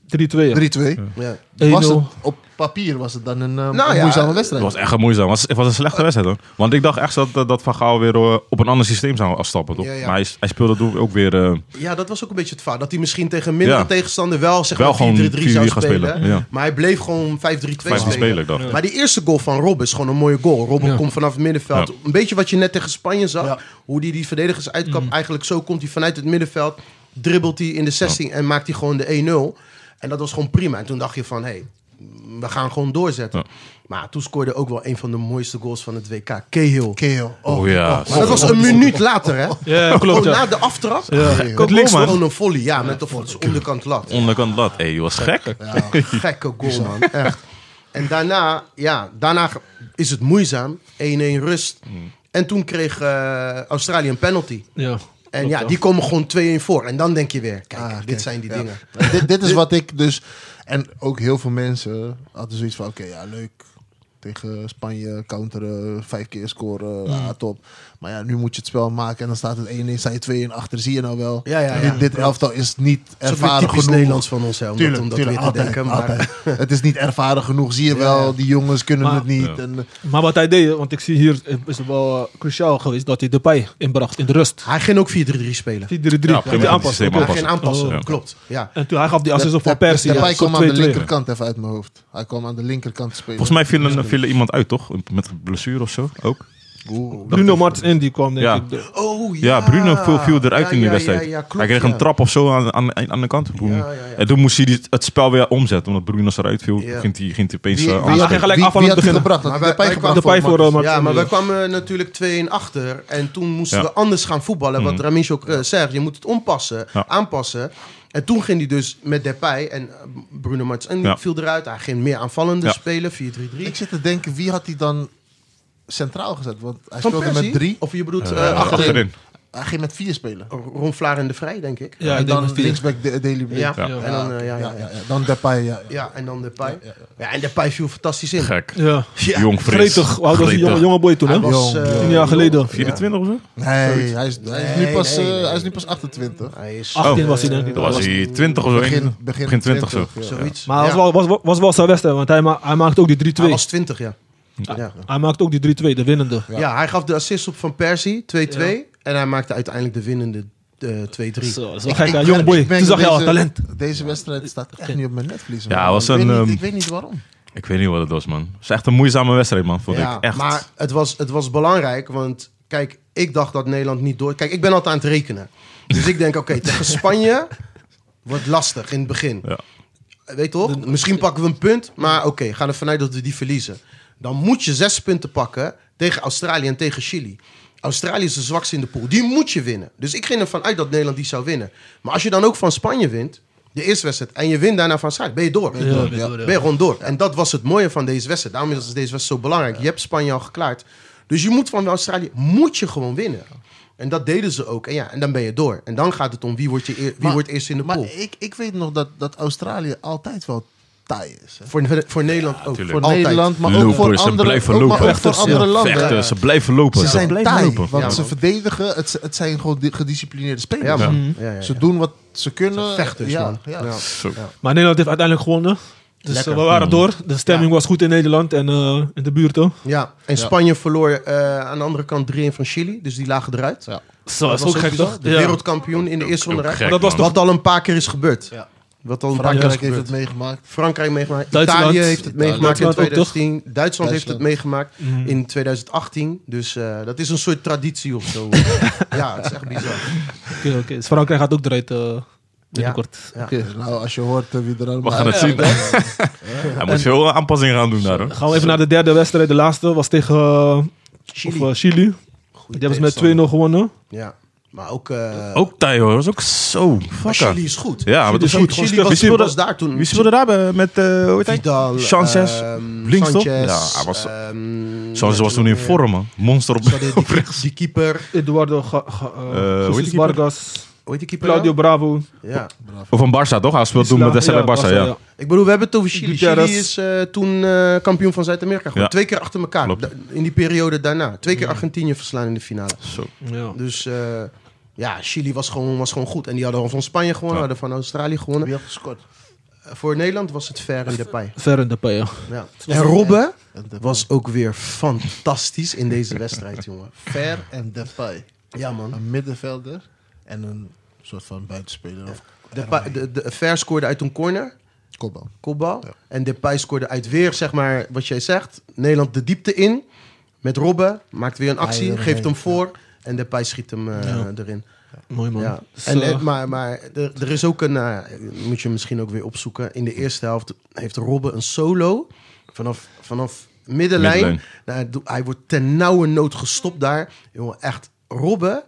[SPEAKER 2] 3-2, ja.
[SPEAKER 4] 3-2,
[SPEAKER 3] Ja.
[SPEAKER 4] was
[SPEAKER 2] 1-0.
[SPEAKER 4] het op papier was het dan een, eh,
[SPEAKER 3] Nou
[SPEAKER 4] een
[SPEAKER 3] ja,
[SPEAKER 4] moeizame
[SPEAKER 1] Het
[SPEAKER 4] wedstrijd.
[SPEAKER 1] was echt een moeizaam. Het was, het was een slechte wedstrijd hoor. Want ik dacht echt dat, dat dat Van Gaal weer eh, op een ander systeem zou afstappen. Toch?
[SPEAKER 3] Ja, ja.
[SPEAKER 1] Maar hij, hij speelde toen ook weer eh,
[SPEAKER 3] ja, dat was ook een beetje het vaart. Dat hij misschien tegen minder
[SPEAKER 1] Ja.
[SPEAKER 3] tegenstander wel, zeg
[SPEAKER 1] Wel
[SPEAKER 3] maar, 4-3-3
[SPEAKER 1] gewoon
[SPEAKER 3] zou
[SPEAKER 1] 4-3 gaan
[SPEAKER 3] spelen.
[SPEAKER 1] spelen, ja.
[SPEAKER 3] Maar hij bleef gewoon 5-3-2
[SPEAKER 1] vijf
[SPEAKER 3] spelen.
[SPEAKER 1] van spelen. Ik dacht.
[SPEAKER 3] Maar die eerste goal van Rob is gewoon een mooie goal. Rob
[SPEAKER 2] Ja.
[SPEAKER 3] komt vanaf het middenveld.
[SPEAKER 1] Ja.
[SPEAKER 3] Een beetje wat je net tegen Spanje zag.
[SPEAKER 4] Ja.
[SPEAKER 3] Hoe die die verdedigers uitkapt. Eigenlijk zo komt hij vanuit het middenveld. Dribbelt hij in de 16 en maakt hij gewoon de 1-0. En dat was gewoon prima. En toen dacht je van, hé, hey, we gaan gewoon doorzetten.
[SPEAKER 1] Ja.
[SPEAKER 3] Maar toen scoorde ook wel een van de mooiste goals van het WK. Cahill.
[SPEAKER 4] Keel. Oh,
[SPEAKER 1] Oh ja.
[SPEAKER 3] Maar dat was een minuut later, hè?
[SPEAKER 2] Ja, klopt,
[SPEAKER 3] Gewoon
[SPEAKER 2] ja.
[SPEAKER 3] na de aftrap.
[SPEAKER 2] Oh,
[SPEAKER 1] Met links, man.
[SPEAKER 3] Gewoon een volley, ja, met de vo- onderkant lat.
[SPEAKER 1] Onderkant lat. Hé, je was gek.
[SPEAKER 3] Gekke goal, man. Echt. En daarna, ja, daarna is het moeizaam. 1-1 rust. En toen kreeg eh, Australië een penalty.
[SPEAKER 2] Ja.
[SPEAKER 3] En ja, die komen gewoon 2-1 voor. En dan denk je weer, kijk,
[SPEAKER 4] Ah,
[SPEAKER 3] dit
[SPEAKER 4] kijk,
[SPEAKER 3] zijn die
[SPEAKER 4] ja.
[SPEAKER 3] dingen.
[SPEAKER 4] dit, dit is wat ik dus... En ook heel veel mensen hadden zoiets van... Oké, ja, leuk. Tegen Spanje counteren, vijf keer scoren,
[SPEAKER 3] Mm.
[SPEAKER 4] ah, top. Maar ja, nu moet je het spel maken en dan staat het 1-1, sta je 2-1 achter. Zie je nou wel.
[SPEAKER 3] Ja, ja,
[SPEAKER 4] Dit-
[SPEAKER 3] ja.
[SPEAKER 4] Dit, elftal is niet
[SPEAKER 3] Dat is ook weer
[SPEAKER 4] ervaren
[SPEAKER 3] typisch
[SPEAKER 4] genoeg.
[SPEAKER 3] Nederlands van ons, hè, om, dat-
[SPEAKER 4] Tuurlijk,
[SPEAKER 3] om dat
[SPEAKER 4] tuurlijk,
[SPEAKER 3] weer te
[SPEAKER 4] altijd,
[SPEAKER 3] denken. Maar
[SPEAKER 4] altijd. Het is niet ervaren genoeg, zie je wel. Die jongens kunnen
[SPEAKER 2] Maar-
[SPEAKER 4] het niet.
[SPEAKER 1] Ja.
[SPEAKER 4] En, eh,
[SPEAKER 2] Maar wat hij deed, want ik zie hier, eh, is het wel eh, cruciaal geweest dat hij Depay inbracht in de rust. 4-3-3.
[SPEAKER 3] hij ging ook 4-3-3 spelen.
[SPEAKER 1] Ja,
[SPEAKER 2] Ja,
[SPEAKER 1] prima.
[SPEAKER 2] aanpassen.
[SPEAKER 1] Systeem
[SPEAKER 2] oké.
[SPEAKER 3] Hij ging aanpassen,
[SPEAKER 2] Oh,
[SPEAKER 1] ja.
[SPEAKER 3] klopt. Ja.
[SPEAKER 2] En toen hij gaf die assist op van Persie.
[SPEAKER 4] Depay
[SPEAKER 2] ja,
[SPEAKER 4] kwam
[SPEAKER 2] zo'n
[SPEAKER 4] aan de
[SPEAKER 2] 2-2.
[SPEAKER 4] linkerkant even uit mijn hoofd. Hij kwam aan de linkerkant spelen.
[SPEAKER 1] Volgens mij viel, een, viel er iemand uit, toch? Met blessure of zo, ook.
[SPEAKER 2] Bruno Martens in die kwam, denk
[SPEAKER 1] Ja.
[SPEAKER 2] ik. De-
[SPEAKER 3] Oh, ja.
[SPEAKER 1] Ja, Bruno viel, viel eruit
[SPEAKER 3] Ja,
[SPEAKER 1] in die
[SPEAKER 3] ja,
[SPEAKER 1] wedstrijd.
[SPEAKER 3] ja, ja, klopt,
[SPEAKER 1] hij kreeg
[SPEAKER 3] ja.
[SPEAKER 1] een trap of zo aan, aan, aan de kant. Toen-
[SPEAKER 3] Ja, ja, ja.
[SPEAKER 1] En toen moest hij die- het spel weer omzetten, omdat Bruno eruit viel.
[SPEAKER 3] Ja.
[SPEAKER 1] Ging hij ging hij opeens
[SPEAKER 4] Wie-
[SPEAKER 1] eh,
[SPEAKER 4] wie
[SPEAKER 1] anders
[SPEAKER 4] had-
[SPEAKER 1] spelen.
[SPEAKER 2] gelijk
[SPEAKER 4] wie-
[SPEAKER 2] af aan
[SPEAKER 4] wie
[SPEAKER 2] het
[SPEAKER 4] had die
[SPEAKER 2] begin.
[SPEAKER 4] gebracht? Had
[SPEAKER 3] Maar
[SPEAKER 4] Depay
[SPEAKER 3] wij- wij
[SPEAKER 4] gebracht?
[SPEAKER 2] Depay voor eh, Martens.
[SPEAKER 3] Ja, maar we
[SPEAKER 4] Ja.
[SPEAKER 3] kwamen natuurlijk 2-1 achter. En toen moesten
[SPEAKER 1] Ja. Mhm.
[SPEAKER 3] we anders gaan voetballen. Wat Ramesh ook eh, zegt, je moet het ompassen,
[SPEAKER 1] Ja.
[SPEAKER 3] aanpassen. En toen ging hij dus met Depay en eh, Bruno Martens en
[SPEAKER 1] Ja.
[SPEAKER 3] viel eruit. Hij ging meer aanvallende
[SPEAKER 1] Ja.
[SPEAKER 3] spelen, 4-3-3.
[SPEAKER 4] Ik zit te denken, wie had hij dan centraal gezet? Want hij
[SPEAKER 3] Van
[SPEAKER 4] speelde
[SPEAKER 3] Persie?
[SPEAKER 4] met drie.
[SPEAKER 3] Of je bedoelt
[SPEAKER 1] Eh,
[SPEAKER 3] eh achterin.
[SPEAKER 1] achterin.
[SPEAKER 4] Hij ging met vier spelen.
[SPEAKER 3] Ron Vlaar en de Vrij, denk ik.
[SPEAKER 2] Ja,
[SPEAKER 4] en
[SPEAKER 2] ik denk
[SPEAKER 4] dan
[SPEAKER 2] met vier.
[SPEAKER 4] linksback de, Daily Blind.
[SPEAKER 3] Ja.
[SPEAKER 1] Ja.
[SPEAKER 3] En dan, eh, ja, ja, ja.
[SPEAKER 4] Dan Depay, ja. ja.
[SPEAKER 3] Ja, en dan Depay. Ja, en Depay viel fantastisch in.
[SPEAKER 1] Gek.
[SPEAKER 2] Ja.
[SPEAKER 3] Ja.
[SPEAKER 1] Jong Frits.
[SPEAKER 2] Gretig. Hoe oud was die
[SPEAKER 1] Gretig.
[SPEAKER 2] jonge, jonge boy toen, hè?
[SPEAKER 3] Hij was,
[SPEAKER 4] Jong,
[SPEAKER 3] eh,
[SPEAKER 4] jong.
[SPEAKER 2] Tien jaar geleden.
[SPEAKER 1] 24 of zo?
[SPEAKER 4] Nee, hij is, hij, is nu
[SPEAKER 3] Nee,
[SPEAKER 4] pas,
[SPEAKER 3] nee,
[SPEAKER 4] eh,
[SPEAKER 3] nee.
[SPEAKER 4] hij is nu pas 28.
[SPEAKER 3] Hij is
[SPEAKER 2] 18
[SPEAKER 1] Oh.
[SPEAKER 2] was hij, denk ik.
[SPEAKER 1] Dat was hij 20 of zo.
[SPEAKER 4] Begin,
[SPEAKER 1] één-
[SPEAKER 4] begin,
[SPEAKER 1] begin 20 zo.
[SPEAKER 4] ja.
[SPEAKER 3] zoiets.
[SPEAKER 2] Maar
[SPEAKER 3] ja.
[SPEAKER 2] het was, wel- was, was wel zijn wedstrijd, want hij, ma hij maakte ook die 3-2.
[SPEAKER 3] Hij was 20, ja. Ja. Ja.
[SPEAKER 2] Hij maakte ook die 3-2, de winnende.
[SPEAKER 3] hij gaf de assist op Van Persie, 2-2. En hij maakte uiteindelijk de winnende eh, 2-3.
[SPEAKER 2] Zo, dat is wel gek, hè?
[SPEAKER 4] dus Ik
[SPEAKER 2] Jong boy.
[SPEAKER 4] merk
[SPEAKER 2] Toen zag je
[SPEAKER 4] dat
[SPEAKER 2] al
[SPEAKER 4] deze-
[SPEAKER 2] talent.
[SPEAKER 4] Deze wedstrijd staat echt niet op mijn netvlies.
[SPEAKER 1] Ja,
[SPEAKER 4] man.
[SPEAKER 1] was
[SPEAKER 4] ik,
[SPEAKER 1] een,
[SPEAKER 4] weet
[SPEAKER 1] ehm,
[SPEAKER 4] niet, ik weet niet waarom.
[SPEAKER 1] Ik weet niet wat het was, man. Het is echt een moeizame wedstrijd, man, vond
[SPEAKER 3] Ja,
[SPEAKER 1] ik. Echt.
[SPEAKER 3] Maar het was, het was belangrijk, want kijk, ik dacht dat Nederland niet door... Kijk, ik ben altijd aan het rekenen. Dus ik denk, oké, tegen Spanje wordt lastig in het begin.
[SPEAKER 1] Ja.
[SPEAKER 3] Weet toch? Misschien pakken we een punt, maar oké, ga ervan uit dat we die verliezen. Dan moet je zes punten pakken tegen Australië en tegen Chili. Australië is de zwakste in de pool. Die moet je winnen. Dus ik ging ervan uit dat Nederland die zou winnen. Maar als je dan ook van Spanje wint, de eerste wedstrijd, en je wint daarna van Australië, ben je door.
[SPEAKER 2] Ja, weet je
[SPEAKER 4] Ja.
[SPEAKER 2] wel,
[SPEAKER 3] Ben je gewoon door. En dat was het mooie van deze wedstrijd. Daarom is deze wedstrijd zo belangrijk. Je hebt Spanje al geklaard. Dus je moet van Australië moet je gewoon winnen. En dat deden ze ook. En, ja, en dan ben je door. En dan gaat het om wie wordt, je eer- wie
[SPEAKER 4] Maar-
[SPEAKER 3] wordt eerst in de
[SPEAKER 4] Maar
[SPEAKER 3] pool.
[SPEAKER 4] ik, ik weet nog dat, dat Australië altijd wel taai is. hè.
[SPEAKER 3] Voor, voor Nederland ook.
[SPEAKER 1] tuurlijk.
[SPEAKER 4] Voor
[SPEAKER 3] Altijd.
[SPEAKER 4] Nederland, maar ook
[SPEAKER 1] Lopers,
[SPEAKER 4] voor
[SPEAKER 1] ze
[SPEAKER 4] andere,
[SPEAKER 1] blijven
[SPEAKER 4] ook, maar
[SPEAKER 1] lopen.
[SPEAKER 4] ook voor
[SPEAKER 2] Vechters,
[SPEAKER 4] andere
[SPEAKER 2] ja.
[SPEAKER 4] landen.
[SPEAKER 1] Vechten, ze blijven lopen.
[SPEAKER 4] Ze zijn taai, want
[SPEAKER 3] Ja,
[SPEAKER 4] ze
[SPEAKER 3] man.
[SPEAKER 4] verdedigen. Het, z- het zijn gewoon di- gedisciplineerd spelers. Mhm.
[SPEAKER 3] Ja, man. Ja, ja, ja.
[SPEAKER 4] Ze doen wat ze kunnen.
[SPEAKER 3] Vechters,
[SPEAKER 4] ja,
[SPEAKER 3] man.
[SPEAKER 4] Ja.
[SPEAKER 3] Ja.
[SPEAKER 1] Zo.
[SPEAKER 2] Maar Nederland heeft uiteindelijk gewonnen. Dus
[SPEAKER 3] Lekker.
[SPEAKER 2] eh, we waren door. De stemming was goed in Nederland en eh, in de buurt ook.
[SPEAKER 3] Ja, en Spanje verloor eh, aan de andere kant 3-1 van Chili. Dus die lagen eruit.
[SPEAKER 4] Ja.
[SPEAKER 2] Zo, dat is
[SPEAKER 3] was
[SPEAKER 2] ook gek,
[SPEAKER 3] bizar.
[SPEAKER 2] toch?
[SPEAKER 3] De
[SPEAKER 2] Ja.
[SPEAKER 3] wereldkampioen in de eerste ronde
[SPEAKER 1] ook
[SPEAKER 3] eruit.
[SPEAKER 1] gek,
[SPEAKER 2] Dat was
[SPEAKER 1] man.
[SPEAKER 3] Wat al een paar keer is gebeurd.
[SPEAKER 4] Ja.
[SPEAKER 3] Wat al een paar keer is
[SPEAKER 4] Frankrijk heeft het
[SPEAKER 3] gebeurd.
[SPEAKER 4] meegemaakt.
[SPEAKER 3] Frankrijk meegemaakt.
[SPEAKER 2] Duitsland.
[SPEAKER 3] Italië heeft het meegemaakt in
[SPEAKER 2] Duitsland ook, toch?
[SPEAKER 3] 2010. Duitsland, heeft het
[SPEAKER 4] Duitsland.
[SPEAKER 3] meegemaakt in 2018. Dus eh, dat is een soort traditie of zo. ja, het is echt bizar.
[SPEAKER 2] Oké, oké. Dus Frankrijk gaat ook eruit eh binnenkort.
[SPEAKER 3] Ja.
[SPEAKER 2] Oké.
[SPEAKER 4] Dus nou, als je hoort eh, wie er allemaal...
[SPEAKER 1] We gaan het zien. Hij moet veel aanpassingen gaan doen daar, hoor.
[SPEAKER 2] Gaan we even naar de derde wedstrijd. De laatste was tegen eh,
[SPEAKER 3] Chili.
[SPEAKER 2] Of, eh, Chili. Die hebben ze met 2-0 gewonnen.
[SPEAKER 3] Ja, maar ook... eh
[SPEAKER 1] Ook taai, hoor. Dat is ook zo.
[SPEAKER 3] maar
[SPEAKER 1] Fuck aan.
[SPEAKER 3] Chili is goed.
[SPEAKER 1] Ja, maar dat is
[SPEAKER 3] Chili-
[SPEAKER 1] goed.
[SPEAKER 3] Chili
[SPEAKER 1] Gewoon
[SPEAKER 3] was,
[SPEAKER 1] stug. Wie
[SPEAKER 3] was
[SPEAKER 1] speelde-
[SPEAKER 3] daar toen.
[SPEAKER 1] Wie speelde daar bij- met, eh, hoe heet hij?
[SPEAKER 3] Vidal,
[SPEAKER 1] Sanchez.
[SPEAKER 3] ehm,
[SPEAKER 1] links, toch?
[SPEAKER 3] Sanchez,
[SPEAKER 1] Ja, hij was-
[SPEAKER 3] ehm,
[SPEAKER 1] Zoals was toen in vorm, man. Monster op
[SPEAKER 3] Ze hadden die- Die keeper...
[SPEAKER 2] Eduardo Ga- Ga- eh,
[SPEAKER 1] hoe heet die
[SPEAKER 2] Jesus
[SPEAKER 1] keeper?
[SPEAKER 2] Vargas.
[SPEAKER 3] Hoe heet die keeper?
[SPEAKER 2] Claudio Bravo.
[SPEAKER 3] nou? Ja.
[SPEAKER 1] Of van Barça, toch? Hij speelde toen met de
[SPEAKER 2] Isla-
[SPEAKER 1] SLA Barça, ja.
[SPEAKER 3] Ik bedoel, we hebben het over Chili.
[SPEAKER 2] Guterres.
[SPEAKER 3] Chili is eh, toen eh, kampioen van Zuid-Amerika. geworden.
[SPEAKER 1] Ja.
[SPEAKER 3] Twee keer achter elkaar.
[SPEAKER 1] Klopt.
[SPEAKER 3] Da- in die periode daarna. Twee
[SPEAKER 1] Mm.
[SPEAKER 3] keer Argentinië verslaan in de finale.
[SPEAKER 1] Zo.
[SPEAKER 2] Ja.
[SPEAKER 3] Dus eh, ja, Chili was gewoon, was gewoon goed. En die hadden al van Spanje gewonnen,
[SPEAKER 1] Ja.
[SPEAKER 3] hadden van Australië gewonnen. Eh,
[SPEAKER 4] Wie heeft gescoord?
[SPEAKER 3] Voor Nederland was het ver in de pij.
[SPEAKER 2] Ver in de pay, ja.
[SPEAKER 3] Ja. En Robben was ook weer fantastisch in deze wedstrijd, jongen.
[SPEAKER 4] Ver en Depay.
[SPEAKER 3] Ja, man.
[SPEAKER 4] Een middenvelder en een soort van buitenspeler of
[SPEAKER 3] Depay, de, de, Ver scoorde uit een corner.
[SPEAKER 4] kopbal.
[SPEAKER 3] kopbal. En Depay scoorde uit weer, zeg maar, wat jij zegt. Nederland de diepte in. Met Robben. Maakt weer een actie.
[SPEAKER 2] eh,
[SPEAKER 4] Ja, ja,
[SPEAKER 3] geeft hem
[SPEAKER 4] ja.
[SPEAKER 3] voor. En Depay schiet hem eh, erin.
[SPEAKER 2] Mooi man.
[SPEAKER 3] Ja.
[SPEAKER 2] Dus,
[SPEAKER 3] En,
[SPEAKER 2] eh,
[SPEAKER 3] eh, maar maar er, er is ook een... eh, moet je misschien ook weer opzoeken. In de eerste helft heeft Robben een solo. Vanaf, vanaf middenlijn.
[SPEAKER 1] Middenlijn.
[SPEAKER 3] Nou, hij doet- hij wordt ten nauwe nood gestopt daar. Jongen, echt. Robben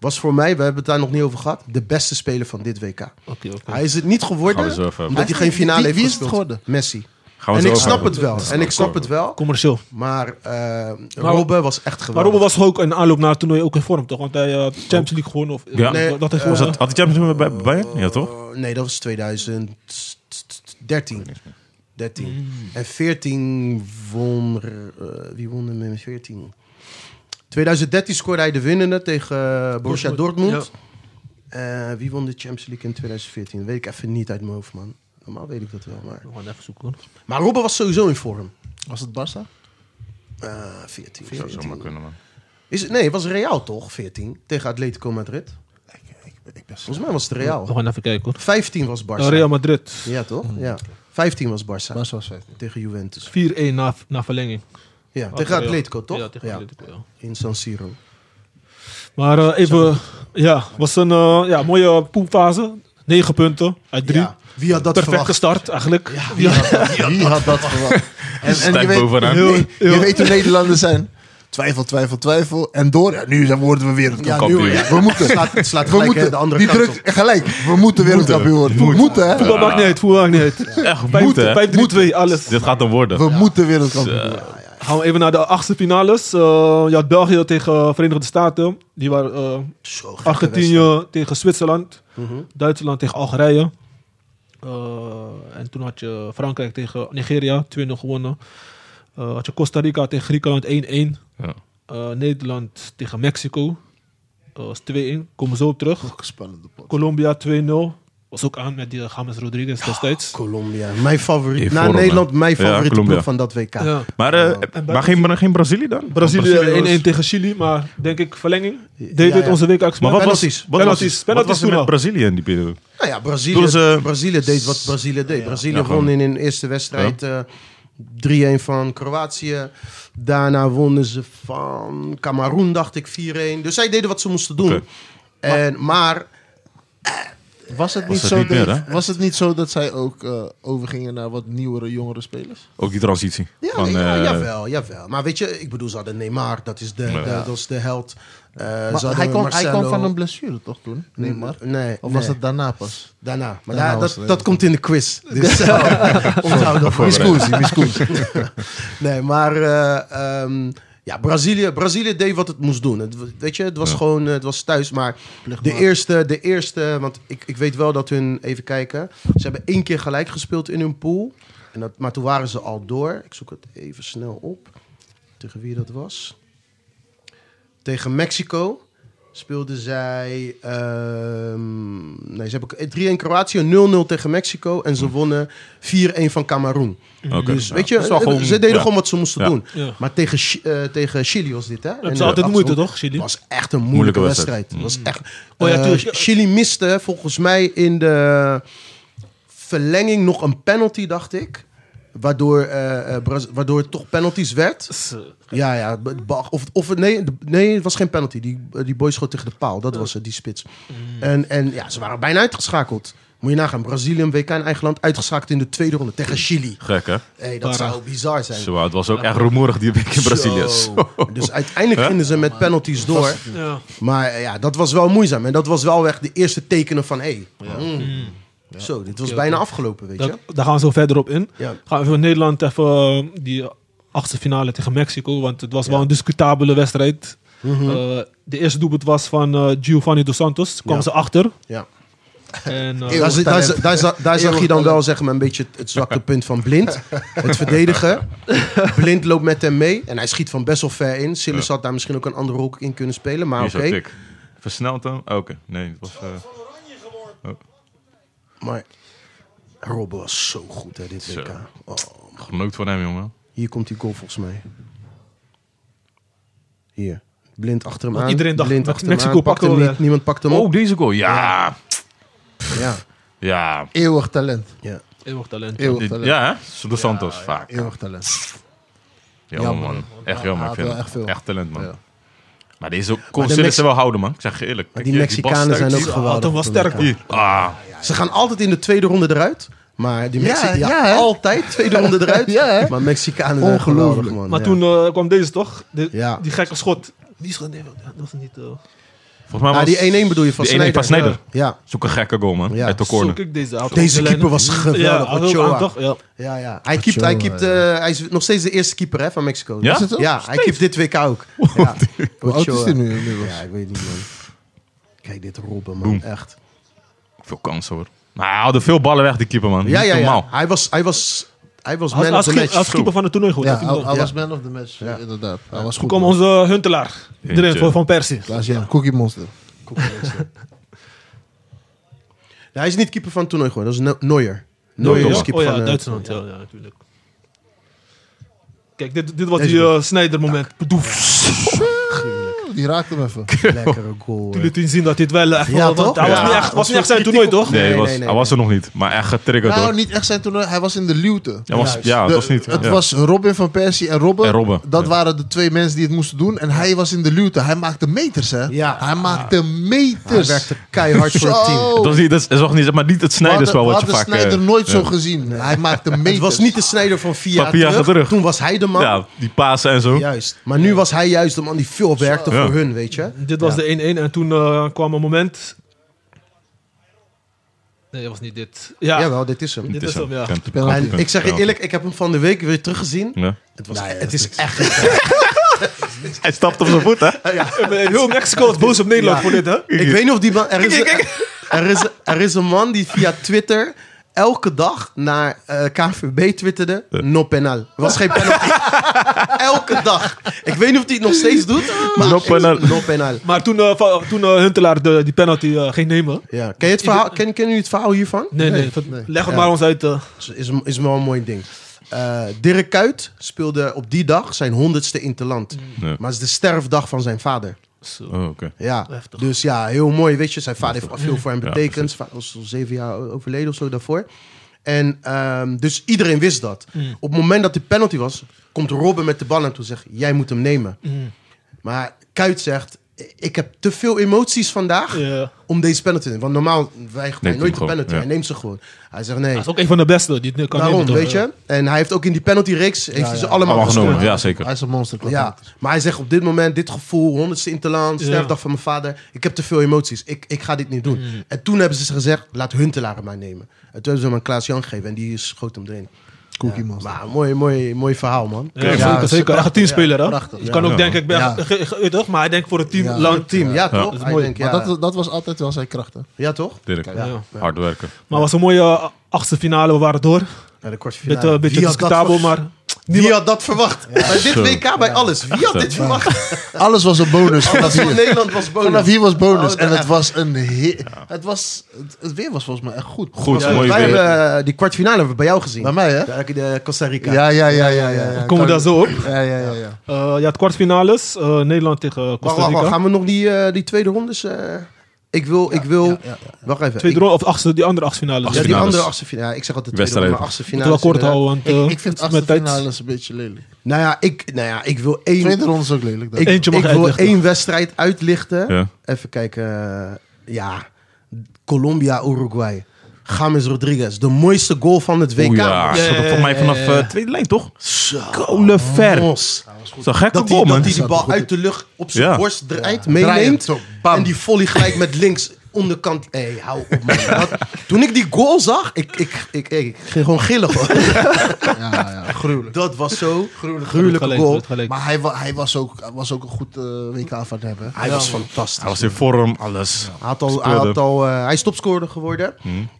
[SPEAKER 3] was voor mij, we hebben het daar nog niet over gehad... de beste speler van dit WK.
[SPEAKER 2] oké, oké.
[SPEAKER 3] Hij is het niet
[SPEAKER 1] Gaan we
[SPEAKER 3] geworden...
[SPEAKER 1] zo even-
[SPEAKER 3] omdat hij
[SPEAKER 4] Hij-
[SPEAKER 3] geen finale
[SPEAKER 4] wie-
[SPEAKER 3] heeft
[SPEAKER 4] wie is het
[SPEAKER 3] gespeeld.
[SPEAKER 4] geworden?
[SPEAKER 3] Messi.
[SPEAKER 1] Gaan we
[SPEAKER 3] en
[SPEAKER 1] zo
[SPEAKER 3] ik
[SPEAKER 1] over
[SPEAKER 3] snap
[SPEAKER 1] hebben.
[SPEAKER 3] het wel. En ik snap het wel.
[SPEAKER 2] Commercieel.
[SPEAKER 3] Maar eh Robben was echt
[SPEAKER 2] Maar
[SPEAKER 3] geweldig.
[SPEAKER 2] Robben was toch ook in aanloop naar het toernooi ook in vorm, toch? Want hij eh, Champions League gewonnen. Of,
[SPEAKER 1] Ja.
[SPEAKER 2] dat- dat hij
[SPEAKER 3] Nee,
[SPEAKER 1] Was
[SPEAKER 2] gewonnen.
[SPEAKER 1] dat, had die Champions League bij bij Bayern? Ja, toch?
[SPEAKER 3] Eh, nee, dat was 2013. 13. En 14 won... eh, wie won er met 14? 2013 scoorde hij de winnende tegen eh, Borussia Dortmund. Eh, wie won de Champions League in 2014? Dat weet ik even niet uit mijn hoofd, man. Normaal weet ik dat wel, maar...
[SPEAKER 2] We gaan even zoeken. hoor.
[SPEAKER 3] Maar Robben was sowieso in vorm.
[SPEAKER 4] Was het Barça?
[SPEAKER 3] Eh 14,
[SPEAKER 1] Dat zou maar
[SPEAKER 3] 14.
[SPEAKER 1] kunnen, man.
[SPEAKER 3] Is het, nee, het was Real toch, 14? Tegen Atletico Madrid.
[SPEAKER 4] Ik, ik, ik ben
[SPEAKER 3] Volgens mij was het
[SPEAKER 2] We
[SPEAKER 3] Real.
[SPEAKER 2] gaan even kijken, hoor.
[SPEAKER 3] 15 was
[SPEAKER 2] Eh,
[SPEAKER 3] Barça.
[SPEAKER 2] Real Madrid.
[SPEAKER 3] Ja, toch?
[SPEAKER 1] Mm.
[SPEAKER 3] Ja. 15 was Barça.
[SPEAKER 4] Barça was 15.
[SPEAKER 3] Tegen Juventus.
[SPEAKER 2] 4-1 na, na verlenging.
[SPEAKER 3] Ja,
[SPEAKER 2] Had
[SPEAKER 3] tegen
[SPEAKER 2] Oh, Real.
[SPEAKER 3] Atletico, toch?
[SPEAKER 2] Ja, tegen Atletico, ja.
[SPEAKER 3] In San Siro.
[SPEAKER 2] Maar eh, even, ja, was een eh, ja, mooie poolfase. 9 punten uit 3.
[SPEAKER 3] Ja. Wie had dat
[SPEAKER 2] Perfecte
[SPEAKER 3] verwacht?
[SPEAKER 2] start eigenlijk. Ja,
[SPEAKER 4] Wie had dat, wie had dat verwacht? En, en je,
[SPEAKER 1] Stijf
[SPEAKER 4] weet,
[SPEAKER 1] bovenaan.
[SPEAKER 4] je, weet hoe Nederlanders zijn. Twijfel, twijfel, twijfel. En door. Ja, nu zijn- worden we wereldkampioen.
[SPEAKER 1] Kampioen.
[SPEAKER 4] Ja, we moeten.
[SPEAKER 3] Het slaat, het slaat
[SPEAKER 4] we
[SPEAKER 3] gelijk
[SPEAKER 4] moeten.
[SPEAKER 3] hè, de andere
[SPEAKER 4] die
[SPEAKER 3] kant
[SPEAKER 4] druk gelijk. We moeten wereldkampioen worden. We moeten, hè?
[SPEAKER 2] voetbal maakt niet uit, voetbal maakt niet uit.
[SPEAKER 1] Echt,
[SPEAKER 2] Vijf-
[SPEAKER 1] moet, hè?
[SPEAKER 2] 5-3-2, alles.
[SPEAKER 1] Dit gaat dan worden.
[SPEAKER 4] We moeten wereldkampioen
[SPEAKER 1] Zo.
[SPEAKER 4] worden.
[SPEAKER 2] Gaan we even naar de achtste finales. Eh, je had België tegen eh, Verenigde Staten. Die waren eh,
[SPEAKER 3] op. Zo, gekke wedstrijd.
[SPEAKER 2] Argentinië tegen Zwitserland.
[SPEAKER 3] Mhm.
[SPEAKER 2] Duitsland tegen Algerije. Eh, en toen had je Frankrijk tegen Nigeria, 2-0 gewonnen. Eh, had je Costa Rica tegen Griekenland, 1-1.
[SPEAKER 1] Ja.
[SPEAKER 2] Eh, Nederland tegen Mexico, eh, was 2-1. Komen we zo op terug.
[SPEAKER 4] Ook een spannende pot.
[SPEAKER 2] Colombia 2-0. Was ook aan met die James Rodriguez destijds.
[SPEAKER 3] Colombia. Mijn favoriet.
[SPEAKER 1] In
[SPEAKER 3] Na
[SPEAKER 1] vorm, hè.
[SPEAKER 3] Nederland, mijn
[SPEAKER 1] Ja,
[SPEAKER 3] favoriete
[SPEAKER 1] Colombia.
[SPEAKER 3] ploeg van dat Nou WK. Ja,
[SPEAKER 2] Ja.
[SPEAKER 1] Maar, eh, maar geen, geen Brazilië dan? Want
[SPEAKER 2] Brazilië 1-1
[SPEAKER 1] was-
[SPEAKER 2] tegen Chili, maar denk ik verlenging. Deed
[SPEAKER 3] Ja,
[SPEAKER 2] dit
[SPEAKER 3] ja.
[SPEAKER 2] onze week actie.
[SPEAKER 1] Maar wat was,
[SPEAKER 3] Penalties.
[SPEAKER 1] wat
[SPEAKER 2] Penalties.
[SPEAKER 1] was, wat
[SPEAKER 2] Penalties
[SPEAKER 1] was er
[SPEAKER 2] toen
[SPEAKER 1] met
[SPEAKER 2] al.
[SPEAKER 1] Brazilië in die periode?
[SPEAKER 3] Nou ja, Brazilië,
[SPEAKER 1] Toen ze-
[SPEAKER 3] Brazilië deed wat Brazilië deed. Brazilië
[SPEAKER 1] Ja, gewoon-
[SPEAKER 3] won in hun eerste wedstrijd eh, 3-1 van Kroatië. Daarna wonnen ze van Cameroen, dacht ik, 4-1. Dus zij deden wat ze moesten doen.
[SPEAKER 1] Oké.
[SPEAKER 3] En, maar
[SPEAKER 4] Was het niet,
[SPEAKER 1] het
[SPEAKER 4] zo,
[SPEAKER 1] niet
[SPEAKER 4] dat,
[SPEAKER 1] meer, hè?
[SPEAKER 4] was het niet zo dat zij ook eh, overgingen naar wat nieuwere, jongere spelers?
[SPEAKER 1] Ook die transitie.
[SPEAKER 3] Ja,
[SPEAKER 1] van,
[SPEAKER 3] ja,
[SPEAKER 1] eh,
[SPEAKER 3] jawel, jawel. Maar weet je, ik bedoel, ze hadden Neymar, dat is de, de- dat is de held. Eh, ze
[SPEAKER 4] Maar
[SPEAKER 3] hadden
[SPEAKER 4] hij kwam, hij
[SPEAKER 3] Marcelo.
[SPEAKER 4] kwam van een blessure toch toen? Nee, maar.
[SPEAKER 3] Nee,
[SPEAKER 4] Of
[SPEAKER 3] nee.
[SPEAKER 4] was het daarna pas?
[SPEAKER 3] daarna? Maar
[SPEAKER 4] Daarna
[SPEAKER 3] daar-
[SPEAKER 4] was
[SPEAKER 3] dat,
[SPEAKER 4] het-
[SPEAKER 3] dat komt in de quiz. Dus eh, onthoud dat voor
[SPEAKER 4] Miscusi, miscusi.
[SPEAKER 3] Nee, maar eh, ehm, ja, Brazilië, Brazilië deed wat het moest doen. Het, wa- weet je, het was
[SPEAKER 1] Ja.
[SPEAKER 3] gewoon, eh, het was thuis. Maar de eerste, de eerste, want ik, ik weet wel dat hun, even kijken. Ze hebben één keer gelijk gespeeld in hun pool. En dat, maar toen waren ze al door. Ik zoek het even snel op. Tegen wie dat was. Tegen Mexico speelden zij... ehm, nee, ze hebben 3-1 Kroatië, 0-0 tegen Mexico. En ze wonnen 4-1 van Cameroen.
[SPEAKER 1] Oké.
[SPEAKER 3] Dus
[SPEAKER 1] Hm. Ja.
[SPEAKER 3] weet je,
[SPEAKER 1] Dat is wel gewoon-
[SPEAKER 3] ze deden
[SPEAKER 1] ja.
[SPEAKER 3] gewoon wat ze moesten
[SPEAKER 1] Ja.
[SPEAKER 3] doen.
[SPEAKER 2] Ja.
[SPEAKER 3] Maar tegen, Chi- eh, tegen Chili was dit, hè?
[SPEAKER 2] Dat
[SPEAKER 3] En,
[SPEAKER 2] is
[SPEAKER 3] eh,
[SPEAKER 2] altijd moeite,
[SPEAKER 3] Amsterdam-
[SPEAKER 2] toch, Chili?
[SPEAKER 3] was echt een moeilijke,
[SPEAKER 1] Moeilijke wedstrijd. Hm.
[SPEAKER 3] wedstrijd. Was echt,
[SPEAKER 2] Oh ja,
[SPEAKER 3] Eh,
[SPEAKER 2] tuurlijk.
[SPEAKER 3] Chili miste volgens mij in de verlenging nog een penalty, dacht ik. Waardoor, eh, eh, Braz- waardoor het toch penalties werd. Ja, ja. de bal- Of, of, nee, de- nee, het was geen penalty. Die, die boy schoot tegen de paal. Dat was het, die spits. En, en ja, ze waren bijna uitgeschakeld. Moet je nagaan. Brazilië, WK in eigen land, uitgeschakeld in de tweede ronde tegen Chili.
[SPEAKER 1] Gek, hè?
[SPEAKER 3] Hey, dat
[SPEAKER 2] Para.
[SPEAKER 3] zou bizar zijn.
[SPEAKER 1] Zo, het was ook echt rumoerig die week in Brazilië.
[SPEAKER 3] Zo.
[SPEAKER 1] Zo.
[SPEAKER 3] Dus uiteindelijk gingen ze met penalties door.
[SPEAKER 2] Ja.
[SPEAKER 3] Maar eh, ja, dat was wel moeizaam. En dat was wel echt de eerste tekenen van... Hey, mm. Zo, dit was
[SPEAKER 2] Oké,
[SPEAKER 3] bijna
[SPEAKER 2] oké.
[SPEAKER 3] afgelopen, weet
[SPEAKER 2] Dat,
[SPEAKER 3] je.
[SPEAKER 2] daar gaan we zo verder op in.
[SPEAKER 3] Ja.
[SPEAKER 2] Gaan we even Nederland even eh, die achtste finale tegen Mexico. Want het was wel een discutabele wedstrijd.
[SPEAKER 3] Mhm.
[SPEAKER 2] Eh, de eerste doelpunt was van eh, Giovanni dos Santos. Kwam
[SPEAKER 3] Ja.
[SPEAKER 2] ze achter.
[SPEAKER 3] Ja.
[SPEAKER 2] En, eh,
[SPEAKER 3] Daar,
[SPEAKER 4] Eeuwig
[SPEAKER 3] zit- daar,
[SPEAKER 4] talent.
[SPEAKER 3] zit- daar, zat- daar zag je dan
[SPEAKER 4] talent.
[SPEAKER 3] wel zeg maar, een beetje het- het zwakke punt van Blind. Het verdedigen. Blind loopt met hem mee. En hij schiet van best wel ver in. Sillis had daar misschien ook een andere rol in kunnen spelen. Maar
[SPEAKER 1] Die
[SPEAKER 3] oké.
[SPEAKER 1] is zo dik. Versneld dan? Ah, Oké. Nee, het was... eh,
[SPEAKER 3] Maar Robben was zo goed, hè, dit
[SPEAKER 1] Zo.
[SPEAKER 3] WK. Oh,
[SPEAKER 1] genoot van hem, jongen.
[SPEAKER 3] Hier komt die goal volgens mij. Hier. Blind achter hem
[SPEAKER 2] Want
[SPEAKER 3] aan.
[SPEAKER 2] iedereen dacht,
[SPEAKER 3] blind
[SPEAKER 2] Me-
[SPEAKER 3] achter hem
[SPEAKER 2] Mexico
[SPEAKER 3] aan, pakt
[SPEAKER 2] pakt
[SPEAKER 3] hem
[SPEAKER 2] wel,
[SPEAKER 3] niet.
[SPEAKER 2] eh.
[SPEAKER 3] Niemand pakt hem
[SPEAKER 1] Oh,
[SPEAKER 3] op.
[SPEAKER 1] deze goal. Ja.
[SPEAKER 3] Ja.
[SPEAKER 1] Ja.
[SPEAKER 4] Eeuwig talent.
[SPEAKER 3] ja.
[SPEAKER 2] eeuwig talent.
[SPEAKER 4] Eeuwig
[SPEAKER 1] Dit-
[SPEAKER 4] talent.
[SPEAKER 1] Ja, hè? Dos Santos. Vaak.
[SPEAKER 4] Eeuwig talent.
[SPEAKER 1] Jammer,
[SPEAKER 4] Jammer,
[SPEAKER 1] man.
[SPEAKER 4] man.
[SPEAKER 1] Echt jammer.
[SPEAKER 4] Hij
[SPEAKER 1] Ik
[SPEAKER 4] had
[SPEAKER 1] vind
[SPEAKER 4] wel
[SPEAKER 1] hem
[SPEAKER 4] echt veel.
[SPEAKER 1] Echt talent, man.
[SPEAKER 4] Ja.
[SPEAKER 1] Maar deze kon
[SPEAKER 3] de
[SPEAKER 1] ze
[SPEAKER 3] Mex-
[SPEAKER 1] wel houden, man. Ik zeg je eerlijk. Kijk,
[SPEAKER 3] die
[SPEAKER 1] je-
[SPEAKER 3] Mexicanen
[SPEAKER 1] bal stuit
[SPEAKER 3] zijn ook
[SPEAKER 1] hier.
[SPEAKER 2] Ja,
[SPEAKER 3] geweldig.
[SPEAKER 2] toch wel sterk.
[SPEAKER 3] Ja.
[SPEAKER 2] hoor.
[SPEAKER 1] Hier. Ah.
[SPEAKER 3] Ze gaan altijd in de tweede ronde eruit. Maar die
[SPEAKER 4] Ja,
[SPEAKER 3] Mexicanen... Ja,
[SPEAKER 4] ja, hè?
[SPEAKER 3] altijd tweede ronde eruit.
[SPEAKER 4] Ja, hè?
[SPEAKER 3] Maar Mexicanen zijn
[SPEAKER 4] Ongelooflijk.
[SPEAKER 3] geweldig, man.
[SPEAKER 2] Maar
[SPEAKER 3] Ja.
[SPEAKER 2] toen eh, kwam deze toch? De-
[SPEAKER 3] Ja.
[SPEAKER 2] Die gekke schot. Die schot, nee, dat was niet... eh,
[SPEAKER 1] Volgens mij
[SPEAKER 3] Ah,
[SPEAKER 1] was
[SPEAKER 3] die 1-1 bedoel je van
[SPEAKER 1] die 1-1
[SPEAKER 3] Sneijder.
[SPEAKER 1] van Sneijder.
[SPEAKER 3] Ja.
[SPEAKER 1] Zoek een gekke goal, man.
[SPEAKER 3] Ja.
[SPEAKER 1] Uit de corner.
[SPEAKER 2] Zoek ik deze auto.
[SPEAKER 3] Deze
[SPEAKER 2] Op de lijn.
[SPEAKER 3] keeper was geweldig,
[SPEAKER 2] Ja, heel
[SPEAKER 3] Ochoa.
[SPEAKER 2] aan toch? Ja.
[SPEAKER 3] Ja, ja. Hij, keept, hij, keept, eh, hij is nog steeds de eerste keeper hè, van Mexico. Dus
[SPEAKER 1] Ja?
[SPEAKER 4] Is het zo?
[SPEAKER 3] Ja, hij keept dit WK ook. Ja.
[SPEAKER 4] Hoe oud is
[SPEAKER 3] Ochoa.
[SPEAKER 4] die nu inmiddels?
[SPEAKER 3] Ja, ik weet niet, man. Kijk dit robben, man.
[SPEAKER 1] Boom.
[SPEAKER 3] Echt.
[SPEAKER 1] Veel kansen, hoor. Maar hij haalde veel ballen weg, die keeper, man.
[SPEAKER 3] Ja,
[SPEAKER 1] Niet
[SPEAKER 3] ja, ja.
[SPEAKER 1] normaal.
[SPEAKER 3] Hij was, hij was, hij was
[SPEAKER 2] Als,
[SPEAKER 3] man
[SPEAKER 2] als,
[SPEAKER 3] of the
[SPEAKER 2] keep-
[SPEAKER 3] match.
[SPEAKER 2] als keeper van het toernooi goed.
[SPEAKER 4] Ja,
[SPEAKER 2] dat vind ik
[SPEAKER 4] hij
[SPEAKER 2] wel.
[SPEAKER 4] hij
[SPEAKER 2] Ja.
[SPEAKER 4] was man of the match, eh, inderdaad. Hij was goed.
[SPEAKER 2] Kom onze eh, Huntelaar erin
[SPEAKER 1] Eentje.
[SPEAKER 2] voor Van Persie.
[SPEAKER 4] Dat is ja, Cookie Monster.
[SPEAKER 3] Ja, hij is niet keeper van het toernooi geworden. Dat is No- Neuer.
[SPEAKER 1] Neuer,
[SPEAKER 3] Neuer is
[SPEAKER 1] ja.
[SPEAKER 3] keeper
[SPEAKER 2] oh, ja,
[SPEAKER 3] van eh,
[SPEAKER 2] Duitsland. Ja, ja, natuurlijk. Kijk, dit, dit was
[SPEAKER 3] Deze
[SPEAKER 2] die eh, Sneijder-moment. Bedoef.
[SPEAKER 4] Oh, Die raakte hem even.
[SPEAKER 3] Lekkere goal.
[SPEAKER 2] Toen liet hij zien dat dit wel echt
[SPEAKER 3] Ja,
[SPEAKER 2] wel- want
[SPEAKER 3] toch?
[SPEAKER 2] Hij
[SPEAKER 1] Ja.
[SPEAKER 2] was niet echt, was niet echt zijn toernooi, toch?
[SPEAKER 1] Nee,
[SPEAKER 3] Nee,
[SPEAKER 1] hij was,
[SPEAKER 3] nee, nee,
[SPEAKER 1] hij was er nog niet. Maar echt getriggerd,
[SPEAKER 4] Nou,
[SPEAKER 1] hoor.
[SPEAKER 4] niet echt zijn toernooi. Hij was in de luwte.
[SPEAKER 1] Ja, was,
[SPEAKER 3] Juist.
[SPEAKER 1] ja, het
[SPEAKER 4] De-
[SPEAKER 1] was niet.
[SPEAKER 4] Het
[SPEAKER 1] ja.
[SPEAKER 4] was Robin van Persie en Robben.
[SPEAKER 1] En Robben,
[SPEAKER 4] Dat
[SPEAKER 1] ja.
[SPEAKER 4] waren de twee mensen die het moesten doen. En hij was in de luwte. Hij maakte meters, hè?
[SPEAKER 3] Ja.
[SPEAKER 4] Hij maakte
[SPEAKER 3] Hij
[SPEAKER 4] meters.
[SPEAKER 3] werkte keihard voor het team.
[SPEAKER 4] Oh.
[SPEAKER 1] Het was niet, dat is- het was niet, zeg maar niet het snijderspel
[SPEAKER 4] We
[SPEAKER 1] wat je
[SPEAKER 4] hadden
[SPEAKER 1] vaak... eh,
[SPEAKER 4] Sneijder nooit
[SPEAKER 1] ja.
[SPEAKER 4] zo gezien. Hij maakte meters.
[SPEAKER 3] Het was niet de snijder van vier
[SPEAKER 1] Van
[SPEAKER 3] jaar
[SPEAKER 1] vier jaar
[SPEAKER 3] terug.
[SPEAKER 1] terug.
[SPEAKER 3] Toen was hij de man.
[SPEAKER 1] Ja, die Pasen en zo.
[SPEAKER 3] Juist. Maar nu was hij juist de man die veel werkte
[SPEAKER 1] Ja.
[SPEAKER 3] voor hun, weet je.
[SPEAKER 2] Dit was de 1-1 en toen eh, kwam een moment. Nee, dat was niet dit. Ja,
[SPEAKER 3] Jawel, dit is hem.
[SPEAKER 2] Dit
[SPEAKER 1] Het
[SPEAKER 2] is hem, ja.
[SPEAKER 1] Kent-
[SPEAKER 4] Penalty.
[SPEAKER 1] kent-
[SPEAKER 3] Ik zeg je
[SPEAKER 1] ja.
[SPEAKER 3] eerlijk, ik heb hem van de week weer teruggezien.
[SPEAKER 1] Ja.
[SPEAKER 3] Het, was,
[SPEAKER 4] Nee,
[SPEAKER 3] het is
[SPEAKER 4] dat
[SPEAKER 3] echt...
[SPEAKER 1] Hij stapt op zijn voet, hè?
[SPEAKER 2] Eh, Heel Mexico was boos op Nederland
[SPEAKER 3] Ja.
[SPEAKER 2] voor dit, hè?
[SPEAKER 3] Ik weet niet of die man... Er is, er, is, er is een man die via Twitter elke dag naar eh, KVB twitterde... No penal. Was geen penalty. elke dag. Ik weet niet of hij het nog steeds doet. Maar
[SPEAKER 1] No penal.
[SPEAKER 3] No penal.
[SPEAKER 2] Maar toen, eh, va- toen eh, Huntelaar de, die penalty eh, ging nemen.
[SPEAKER 3] Ja. Ken, je het verhaal, ken, ken jullie het verhaal hiervan?
[SPEAKER 2] Nee, nee. dat- Leg het maar ons uit. eh.
[SPEAKER 3] Is, is, een- is wel een mooi ding. Eh, Dirk Kuyt speelde op die dag zijn honderdste interland.
[SPEAKER 1] Mm. Ja.
[SPEAKER 3] Maar het is de sterfdag van zijn vader.
[SPEAKER 2] Zo.
[SPEAKER 1] Oh, oké.
[SPEAKER 3] Ja,
[SPEAKER 2] Heftig.
[SPEAKER 3] dus ja, heel mooi. Weet je, zijn vader heeft veel voor hem
[SPEAKER 1] Ja,
[SPEAKER 3] betekend. Zijn vader was al zeven jaar overleden of zo daarvoor. En ehm, dus iedereen wist dat.
[SPEAKER 2] Mm.
[SPEAKER 3] Op het moment dat de penalty was, komt Robben met de bal en toe zegt: Jij moet hem nemen.
[SPEAKER 2] Mm.
[SPEAKER 3] Maar Kuyt zegt: Ik heb te veel emoties vandaag
[SPEAKER 2] Ja.
[SPEAKER 3] om deze penalty te nemen. Want normaal weigert hij
[SPEAKER 1] Neemt
[SPEAKER 3] nooit de
[SPEAKER 1] hem gewoon,
[SPEAKER 3] penalty.
[SPEAKER 1] ja.
[SPEAKER 3] Hij neemt ze gewoon. Hij zegt: Nee.
[SPEAKER 2] Dat is ook een van de beste die het nu kan
[SPEAKER 3] Daarom,
[SPEAKER 2] nemen. toch?
[SPEAKER 3] weet je. En hij heeft ook in die penalty-reeks heeft hij ze
[SPEAKER 4] ja.
[SPEAKER 3] allemaal,
[SPEAKER 1] Allemaal
[SPEAKER 3] gescoord.
[SPEAKER 1] Ah, genomen, ja
[SPEAKER 4] Hij
[SPEAKER 1] zeker.
[SPEAKER 4] is een monster. klopt.
[SPEAKER 3] Ja, maar hij zegt op dit moment, dit gevoel, honderdste interland,
[SPEAKER 2] Ja.
[SPEAKER 3] sterfdag van mijn vader. Ik heb te veel emoties, ik, ik ga dit niet doen. En toen hebben ze gezegd, laat Huntelaar hem maar nemen. En toen hebben ze hem aan Klaas-Jan gegeven en die schoot hem erin.
[SPEAKER 4] Cookie Monster.
[SPEAKER 3] Maar mooi, mooi, mooi verhaal, man.
[SPEAKER 2] Ja, zeker, zeker. Echt een teamspeler, hè? Je kan ook
[SPEAKER 1] Ja.
[SPEAKER 2] denken, ik ben
[SPEAKER 4] Ja.
[SPEAKER 2] echt- ge- ge- weet je toch? Maar hij denkt voor het team,
[SPEAKER 4] Ja.
[SPEAKER 2] lang team.
[SPEAKER 3] Team, ja, toch?
[SPEAKER 2] is
[SPEAKER 3] Hij
[SPEAKER 2] mooi.
[SPEAKER 3] denkt,
[SPEAKER 4] Maar
[SPEAKER 3] ja,
[SPEAKER 4] dat, dat was altijd wel zijn krachten.
[SPEAKER 3] ja, toch?
[SPEAKER 1] Dirk.
[SPEAKER 2] Ja.
[SPEAKER 1] Hard werken.
[SPEAKER 2] Maar het was een mooie eh, achtste finale, we waren door.
[SPEAKER 3] Ja, de
[SPEAKER 2] Met eh,
[SPEAKER 3] kwartfinale.
[SPEAKER 2] een beetje
[SPEAKER 3] Wie had dat
[SPEAKER 2] discutabel,
[SPEAKER 3] ver-
[SPEAKER 2] maar...
[SPEAKER 3] Wie had dat verwacht? Bij dit
[SPEAKER 1] Zo.
[SPEAKER 3] WK, bij alles. Wie had dit verwacht?
[SPEAKER 4] Alles was een bonus. Vanaf
[SPEAKER 3] Alles van
[SPEAKER 4] hier,
[SPEAKER 3] Nederland was
[SPEAKER 4] vanaf
[SPEAKER 3] bonus.
[SPEAKER 4] hier was bonus.
[SPEAKER 3] Oh,
[SPEAKER 4] En het
[SPEAKER 3] echt.
[SPEAKER 4] was een... he- Het, was, het, het weer was volgens mij echt goed.
[SPEAKER 1] Goed,
[SPEAKER 3] Ja,
[SPEAKER 1] mooi
[SPEAKER 3] wij
[SPEAKER 1] weer.
[SPEAKER 3] hebben eh, die kwartfinale hebben we bij jou gezien.
[SPEAKER 4] Bij mij, hè?
[SPEAKER 3] Daar heb je de Costa Rica.
[SPEAKER 4] Ja, ja, ja, ja. ja, ja.
[SPEAKER 2] Komen we daar zo op?
[SPEAKER 4] Ja, ja, ja. ja.
[SPEAKER 2] Eh, ja, het kwartfinales. eh, Nederland tegen eh,
[SPEAKER 3] Wacht,
[SPEAKER 2] Costa
[SPEAKER 3] wacht, wacht.
[SPEAKER 2] Rica.
[SPEAKER 3] Gaan we nog die, eh, die tweede rondes? eh, ik wil, ik wil...
[SPEAKER 4] ja,
[SPEAKER 3] Wacht even.
[SPEAKER 2] Tweede
[SPEAKER 3] ik,
[SPEAKER 2] ronde, of achtste, die andere achtste finale.
[SPEAKER 1] Achtste
[SPEAKER 3] ja, die
[SPEAKER 1] finales.
[SPEAKER 3] andere achtste finale. Ja, ik zeg altijd tweede ronde, maar
[SPEAKER 1] Wedstrijden.
[SPEAKER 3] achtste
[SPEAKER 2] Moet
[SPEAKER 3] finale.
[SPEAKER 2] wel kort houden, want eh,
[SPEAKER 4] Ik, ik vind
[SPEAKER 2] het is met tijd.
[SPEAKER 4] achterfinales een beetje lelijk.
[SPEAKER 3] Nou ja, ik, nou ja, ik wil één...
[SPEAKER 4] Tweede ronde is ook lelijk. dan.
[SPEAKER 3] Ik,
[SPEAKER 2] Eentje mag
[SPEAKER 3] ik
[SPEAKER 2] je
[SPEAKER 3] wil
[SPEAKER 2] uitlichten.
[SPEAKER 3] één wedstrijd uitlichten.
[SPEAKER 1] Ja.
[SPEAKER 3] Even kijken. eh, ja, Colombia, Uruguay. James Rodriguez. De mooiste goal van het eh, WK.
[SPEAKER 1] Oeh, ja.
[SPEAKER 2] Ja, ja,
[SPEAKER 1] Voor mij vanaf
[SPEAKER 2] ja, ja.
[SPEAKER 1] eh, tweede lijn, toch?
[SPEAKER 3] Zo.
[SPEAKER 1] Kole ver.
[SPEAKER 3] Mos.
[SPEAKER 1] Zo'n gekke
[SPEAKER 3] Dat hij
[SPEAKER 1] goal, man.
[SPEAKER 3] dat die, die bal uit de lucht op zijn
[SPEAKER 1] Ja.
[SPEAKER 3] borst draait,
[SPEAKER 4] Draaiend,
[SPEAKER 3] meeneemt.
[SPEAKER 4] zo, bam.
[SPEAKER 3] En die volley gelijk met links onderkant. Hé, hey, hou op man. Dat- toen ik die goal zag, ik, ik, ik, ik, ging gewoon gillen. hoor.
[SPEAKER 4] Ja, ja. Gruwelijk.
[SPEAKER 3] Dat was zo
[SPEAKER 2] Gelijk,
[SPEAKER 3] gruwelijke goal.
[SPEAKER 2] wordt gelijk.
[SPEAKER 4] Maar hij, wa- hij, was ook, hij was ook een goed eh, WK van hebben.
[SPEAKER 3] Hij was fantastisch.
[SPEAKER 1] Hij was in vorm, alles.
[SPEAKER 3] Hij, had al, hij, had al, eh, hij is topscorer geworden.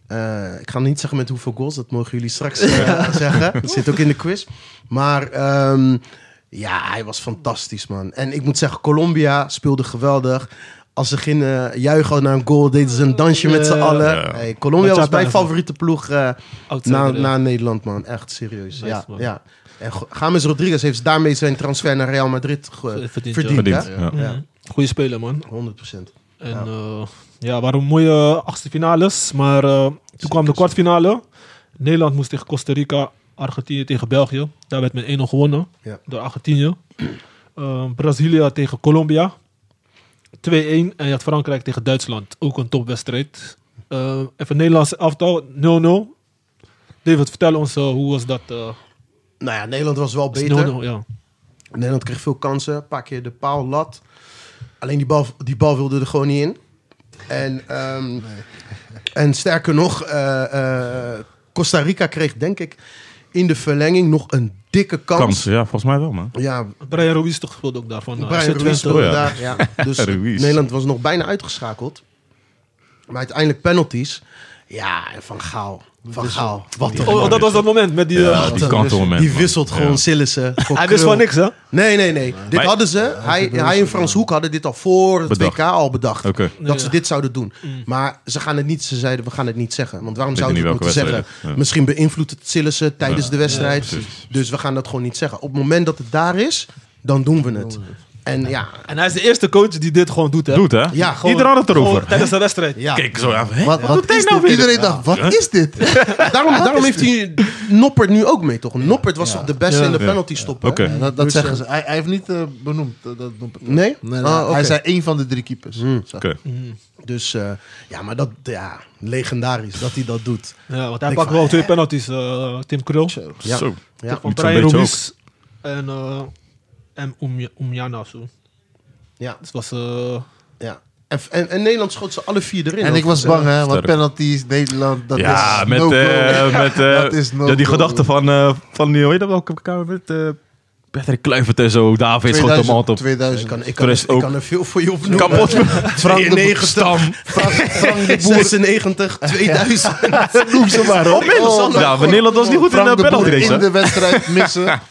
[SPEAKER 3] Eh, ik ga niet zeggen met hoeveel goals, dat mogen jullie straks eh, zeggen. Dat zit ook in de quiz. Maar ehm, ja, hij was fantastisch, man. En ik moet zeggen, Colombia speelde geweldig. Als ze gingen juichen naar een goal, deden ze een dansje met z'n
[SPEAKER 2] Ja.
[SPEAKER 3] allen.
[SPEAKER 1] Ja.
[SPEAKER 3] Hey, Colombia
[SPEAKER 2] Dat zou
[SPEAKER 3] was mijn
[SPEAKER 2] bijna-
[SPEAKER 3] favoriete ploeg eh,
[SPEAKER 2] Outsider,
[SPEAKER 3] na,
[SPEAKER 2] ja.
[SPEAKER 3] na Nederland, man. Echt serieus.
[SPEAKER 2] Nice,
[SPEAKER 3] ja,
[SPEAKER 2] man.
[SPEAKER 3] ja. En Go- James Rodriguez heeft daarmee zijn transfer naar Real Madrid ge-
[SPEAKER 2] Verdiend,
[SPEAKER 3] verdiend.
[SPEAKER 2] ja.
[SPEAKER 1] Verdiend,
[SPEAKER 3] hè?
[SPEAKER 1] ja.
[SPEAKER 2] Mhm. Goeie speler, man.
[SPEAKER 3] 100%.
[SPEAKER 2] En eh, ja, waren mooie achtste finales. Maar eh, toen kwam de kwartfinale. Nederland moest tegen Costa Rica, Argentinië tegen België. Daar werd met 1-0 gewonnen
[SPEAKER 3] Ja.
[SPEAKER 2] door Argentinië. Eh, Brazilië tegen Colombia. 2-1. En je had Frankrijk tegen Duitsland. Ook een topwedstrijd. Eh even Nederlandse aftal, 0-0. David, vertel ons eh, hoe was dat? eh,
[SPEAKER 3] Nou ja, Nederland was wel
[SPEAKER 2] is
[SPEAKER 3] beter.
[SPEAKER 2] 0-0, ja.
[SPEAKER 3] Nederland kreeg veel kansen. Een paar keer de paal, lat. Alleen die bal, die bal wilde er gewoon niet in. En, ehm, en sterker nog, eh, eh, Costa Rica kreeg denk ik in de verlenging nog een dikke kans.
[SPEAKER 1] Kans, ja, volgens mij wel, man.
[SPEAKER 3] Ja,
[SPEAKER 2] Brian Ruiz toch speelde ook daarvan. eh,
[SPEAKER 3] Brian
[SPEAKER 2] FC
[SPEAKER 3] Ruiz
[SPEAKER 2] Twente.
[SPEAKER 1] toch?
[SPEAKER 3] speelde
[SPEAKER 1] Oh ja.
[SPEAKER 3] daar. Ja. Dus
[SPEAKER 1] Ruiz.
[SPEAKER 3] Nederland was nog bijna uitgeschakeld. Maar uiteindelijk penalties. Ja, en Van Gaal. Van Gaal. Wat een
[SPEAKER 2] Oh,
[SPEAKER 3] man.
[SPEAKER 2] dat was dat moment met die... eh,
[SPEAKER 1] Ja, die kantelmoment.
[SPEAKER 3] Die
[SPEAKER 1] man.
[SPEAKER 3] wisselt gewoon
[SPEAKER 1] Ja.
[SPEAKER 3] Sillissen. voor
[SPEAKER 2] hij wist
[SPEAKER 3] Krul.
[SPEAKER 2] van niks, hè?
[SPEAKER 3] Nee, nee, nee. Dit
[SPEAKER 1] Maar-
[SPEAKER 3] hadden ze. Hij, hij en Frans Hoek hadden dit al voor het
[SPEAKER 1] Bedacht.
[SPEAKER 3] WK al bedacht.
[SPEAKER 1] Oké.
[SPEAKER 3] Dat
[SPEAKER 2] Ja.
[SPEAKER 3] ze dit zouden doen. Maar ze gaan het niet, ze zeiden we gaan het niet zeggen. Want waarom
[SPEAKER 1] Weet
[SPEAKER 3] zouden
[SPEAKER 1] niet
[SPEAKER 3] we het moeten
[SPEAKER 1] welke
[SPEAKER 3] zeggen?
[SPEAKER 1] wedstrijd, ja.
[SPEAKER 3] Misschien beïnvloedt het Sillissen tijdens de wedstrijd.
[SPEAKER 1] Ja, precies.
[SPEAKER 3] dus we gaan dat gewoon niet zeggen. Op het moment dat het daar is, dan doen we het. En ja,
[SPEAKER 2] En hij is de eerste coach die dit gewoon doet, hè?
[SPEAKER 1] Doet, hè?
[SPEAKER 3] Ja, gewoon-
[SPEAKER 1] Iedereen had het
[SPEAKER 2] Gewoon
[SPEAKER 1] erover.
[SPEAKER 2] Tijdens de wedstrijd.
[SPEAKER 3] ja.
[SPEAKER 1] Kijk zo aan. hè?
[SPEAKER 4] Wat, wat
[SPEAKER 1] doet hij
[SPEAKER 4] is
[SPEAKER 1] nou
[SPEAKER 4] dit?
[SPEAKER 1] weer?
[SPEAKER 4] Iedereen dacht, wat is dit?
[SPEAKER 3] daarom, daarom heeft hij Noppert nu ook mee, toch? Noppert was toch de beste
[SPEAKER 2] Ja.
[SPEAKER 3] in de
[SPEAKER 1] Ja.
[SPEAKER 3] penalty stoppen?
[SPEAKER 1] Oké.
[SPEAKER 3] hè?
[SPEAKER 4] Ja, dat dat
[SPEAKER 3] Dus,
[SPEAKER 4] zeggen
[SPEAKER 3] eh,
[SPEAKER 4] ze. Hij, hij heeft niet eh, benoemd. eh, dat noemt het.
[SPEAKER 3] Nee?
[SPEAKER 4] Nee, nee,
[SPEAKER 3] Ah, oké.
[SPEAKER 4] Hij zei één van de drie keepers. Zo.
[SPEAKER 1] Oké.
[SPEAKER 3] Dus eh, ja, maar dat, ja, legendarisch dat hij dat doet.
[SPEAKER 2] Ja, want hij
[SPEAKER 3] Ik
[SPEAKER 2] pakt
[SPEAKER 3] van,
[SPEAKER 2] wel twee penalties, eh, Tim Krul.
[SPEAKER 3] Ja.
[SPEAKER 1] Zo.
[SPEAKER 3] Ja,
[SPEAKER 2] Van
[SPEAKER 1] Moet zo'n
[SPEAKER 2] Brian
[SPEAKER 1] beetje
[SPEAKER 2] Ruiz en, eh en Omja- Omjana of zo.
[SPEAKER 3] ja,
[SPEAKER 2] Dus het was... eh,
[SPEAKER 3] ja. En, en, en Nederland schoot ze alle vier erin. eh,
[SPEAKER 4] En ik was bang, hè, want
[SPEAKER 1] Sterk.
[SPEAKER 4] penalties, Nederland, dat
[SPEAKER 1] ja,
[SPEAKER 4] is
[SPEAKER 1] met,
[SPEAKER 4] no
[SPEAKER 1] eh, met eh,
[SPEAKER 4] Dat is no
[SPEAKER 1] ja, die
[SPEAKER 4] go.
[SPEAKER 1] gedachte van, eh, van die, hoe heet dat welke kamer met eh Patrick Kluivert en zo, David schoot hem altijd op.
[SPEAKER 4] 2000.
[SPEAKER 3] Ik kan, ik,
[SPEAKER 1] Voor
[SPEAKER 3] kan,
[SPEAKER 1] de
[SPEAKER 3] ik
[SPEAKER 1] rest ook.
[SPEAKER 3] kan er veel voor je opnoemen.
[SPEAKER 1] Kapot. Frank de
[SPEAKER 3] 92.
[SPEAKER 1] Stam.
[SPEAKER 4] Frank de Boer.
[SPEAKER 3] 96, 2000.
[SPEAKER 4] Noem ze maar op.
[SPEAKER 1] Oh, ja, maar Nederland was niet goed in
[SPEAKER 4] Frank
[SPEAKER 1] de
[SPEAKER 4] de Boer
[SPEAKER 1] penalty race,
[SPEAKER 4] in
[SPEAKER 1] hè?
[SPEAKER 4] de wedstrijd missen.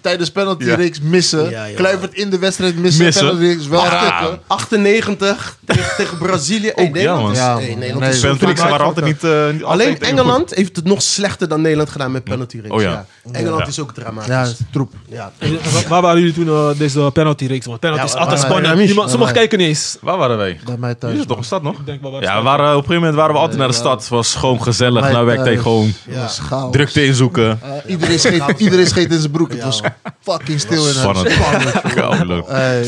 [SPEAKER 4] Tijdens penaltyreeks missen.
[SPEAKER 3] Ja, ja.
[SPEAKER 4] Kluivert in de wedstrijd missen.
[SPEAKER 1] Missen.
[SPEAKER 4] Penaltyreeks wel
[SPEAKER 1] Ah.
[SPEAKER 4] tikken.
[SPEAKER 3] 98 tegen, tegen Brazilië. Hey,
[SPEAKER 1] Ook, ja, man.
[SPEAKER 3] Nederland is-
[SPEAKER 4] Ja,
[SPEAKER 3] hey,
[SPEAKER 4] man.
[SPEAKER 3] Nederland
[SPEAKER 4] Nee,
[SPEAKER 3] is zo
[SPEAKER 1] Penalty
[SPEAKER 3] vaak
[SPEAKER 1] race waren altijd
[SPEAKER 3] uitgelopen.
[SPEAKER 1] niet... eh, niet altijd
[SPEAKER 3] Alleen
[SPEAKER 1] even
[SPEAKER 3] Engeland heeft het nog slechter dan Nederland gedaan met penalty reeks.
[SPEAKER 1] Oh, ja.
[SPEAKER 3] ja. Engeland is ook dramatisch.
[SPEAKER 4] Ja, dat is troep.
[SPEAKER 3] Ja.
[SPEAKER 2] en wa- waar waren jullie toen eh, deze penaltyreeks? Want penalty is
[SPEAKER 3] Ja,
[SPEAKER 2] altijd
[SPEAKER 4] waar-
[SPEAKER 2] spannend.
[SPEAKER 4] waar- waar-
[SPEAKER 2] Iemand- Sommigen
[SPEAKER 4] waar-
[SPEAKER 2] kijken niet eens.
[SPEAKER 1] goed. Waar waren wij?
[SPEAKER 4] Bij mij thuis.
[SPEAKER 1] Hier is toch een stad nog?
[SPEAKER 2] Ik denk wel waar
[SPEAKER 1] Ja, we
[SPEAKER 2] het
[SPEAKER 1] waren, op een gegeven moment waren we altijd naar de stad. Het was gewoon gezellig,
[SPEAKER 4] Bij
[SPEAKER 1] naar nou werk
[SPEAKER 4] thuis.
[SPEAKER 1] tegen gewoon
[SPEAKER 4] Ja. Schaal.
[SPEAKER 1] drukte inzoeken.
[SPEAKER 4] Eh, iedereen, scheet, iedereen scheet in zijn broek. Het was fucking stil in huis.
[SPEAKER 1] Spannend. Koude.
[SPEAKER 4] Hey,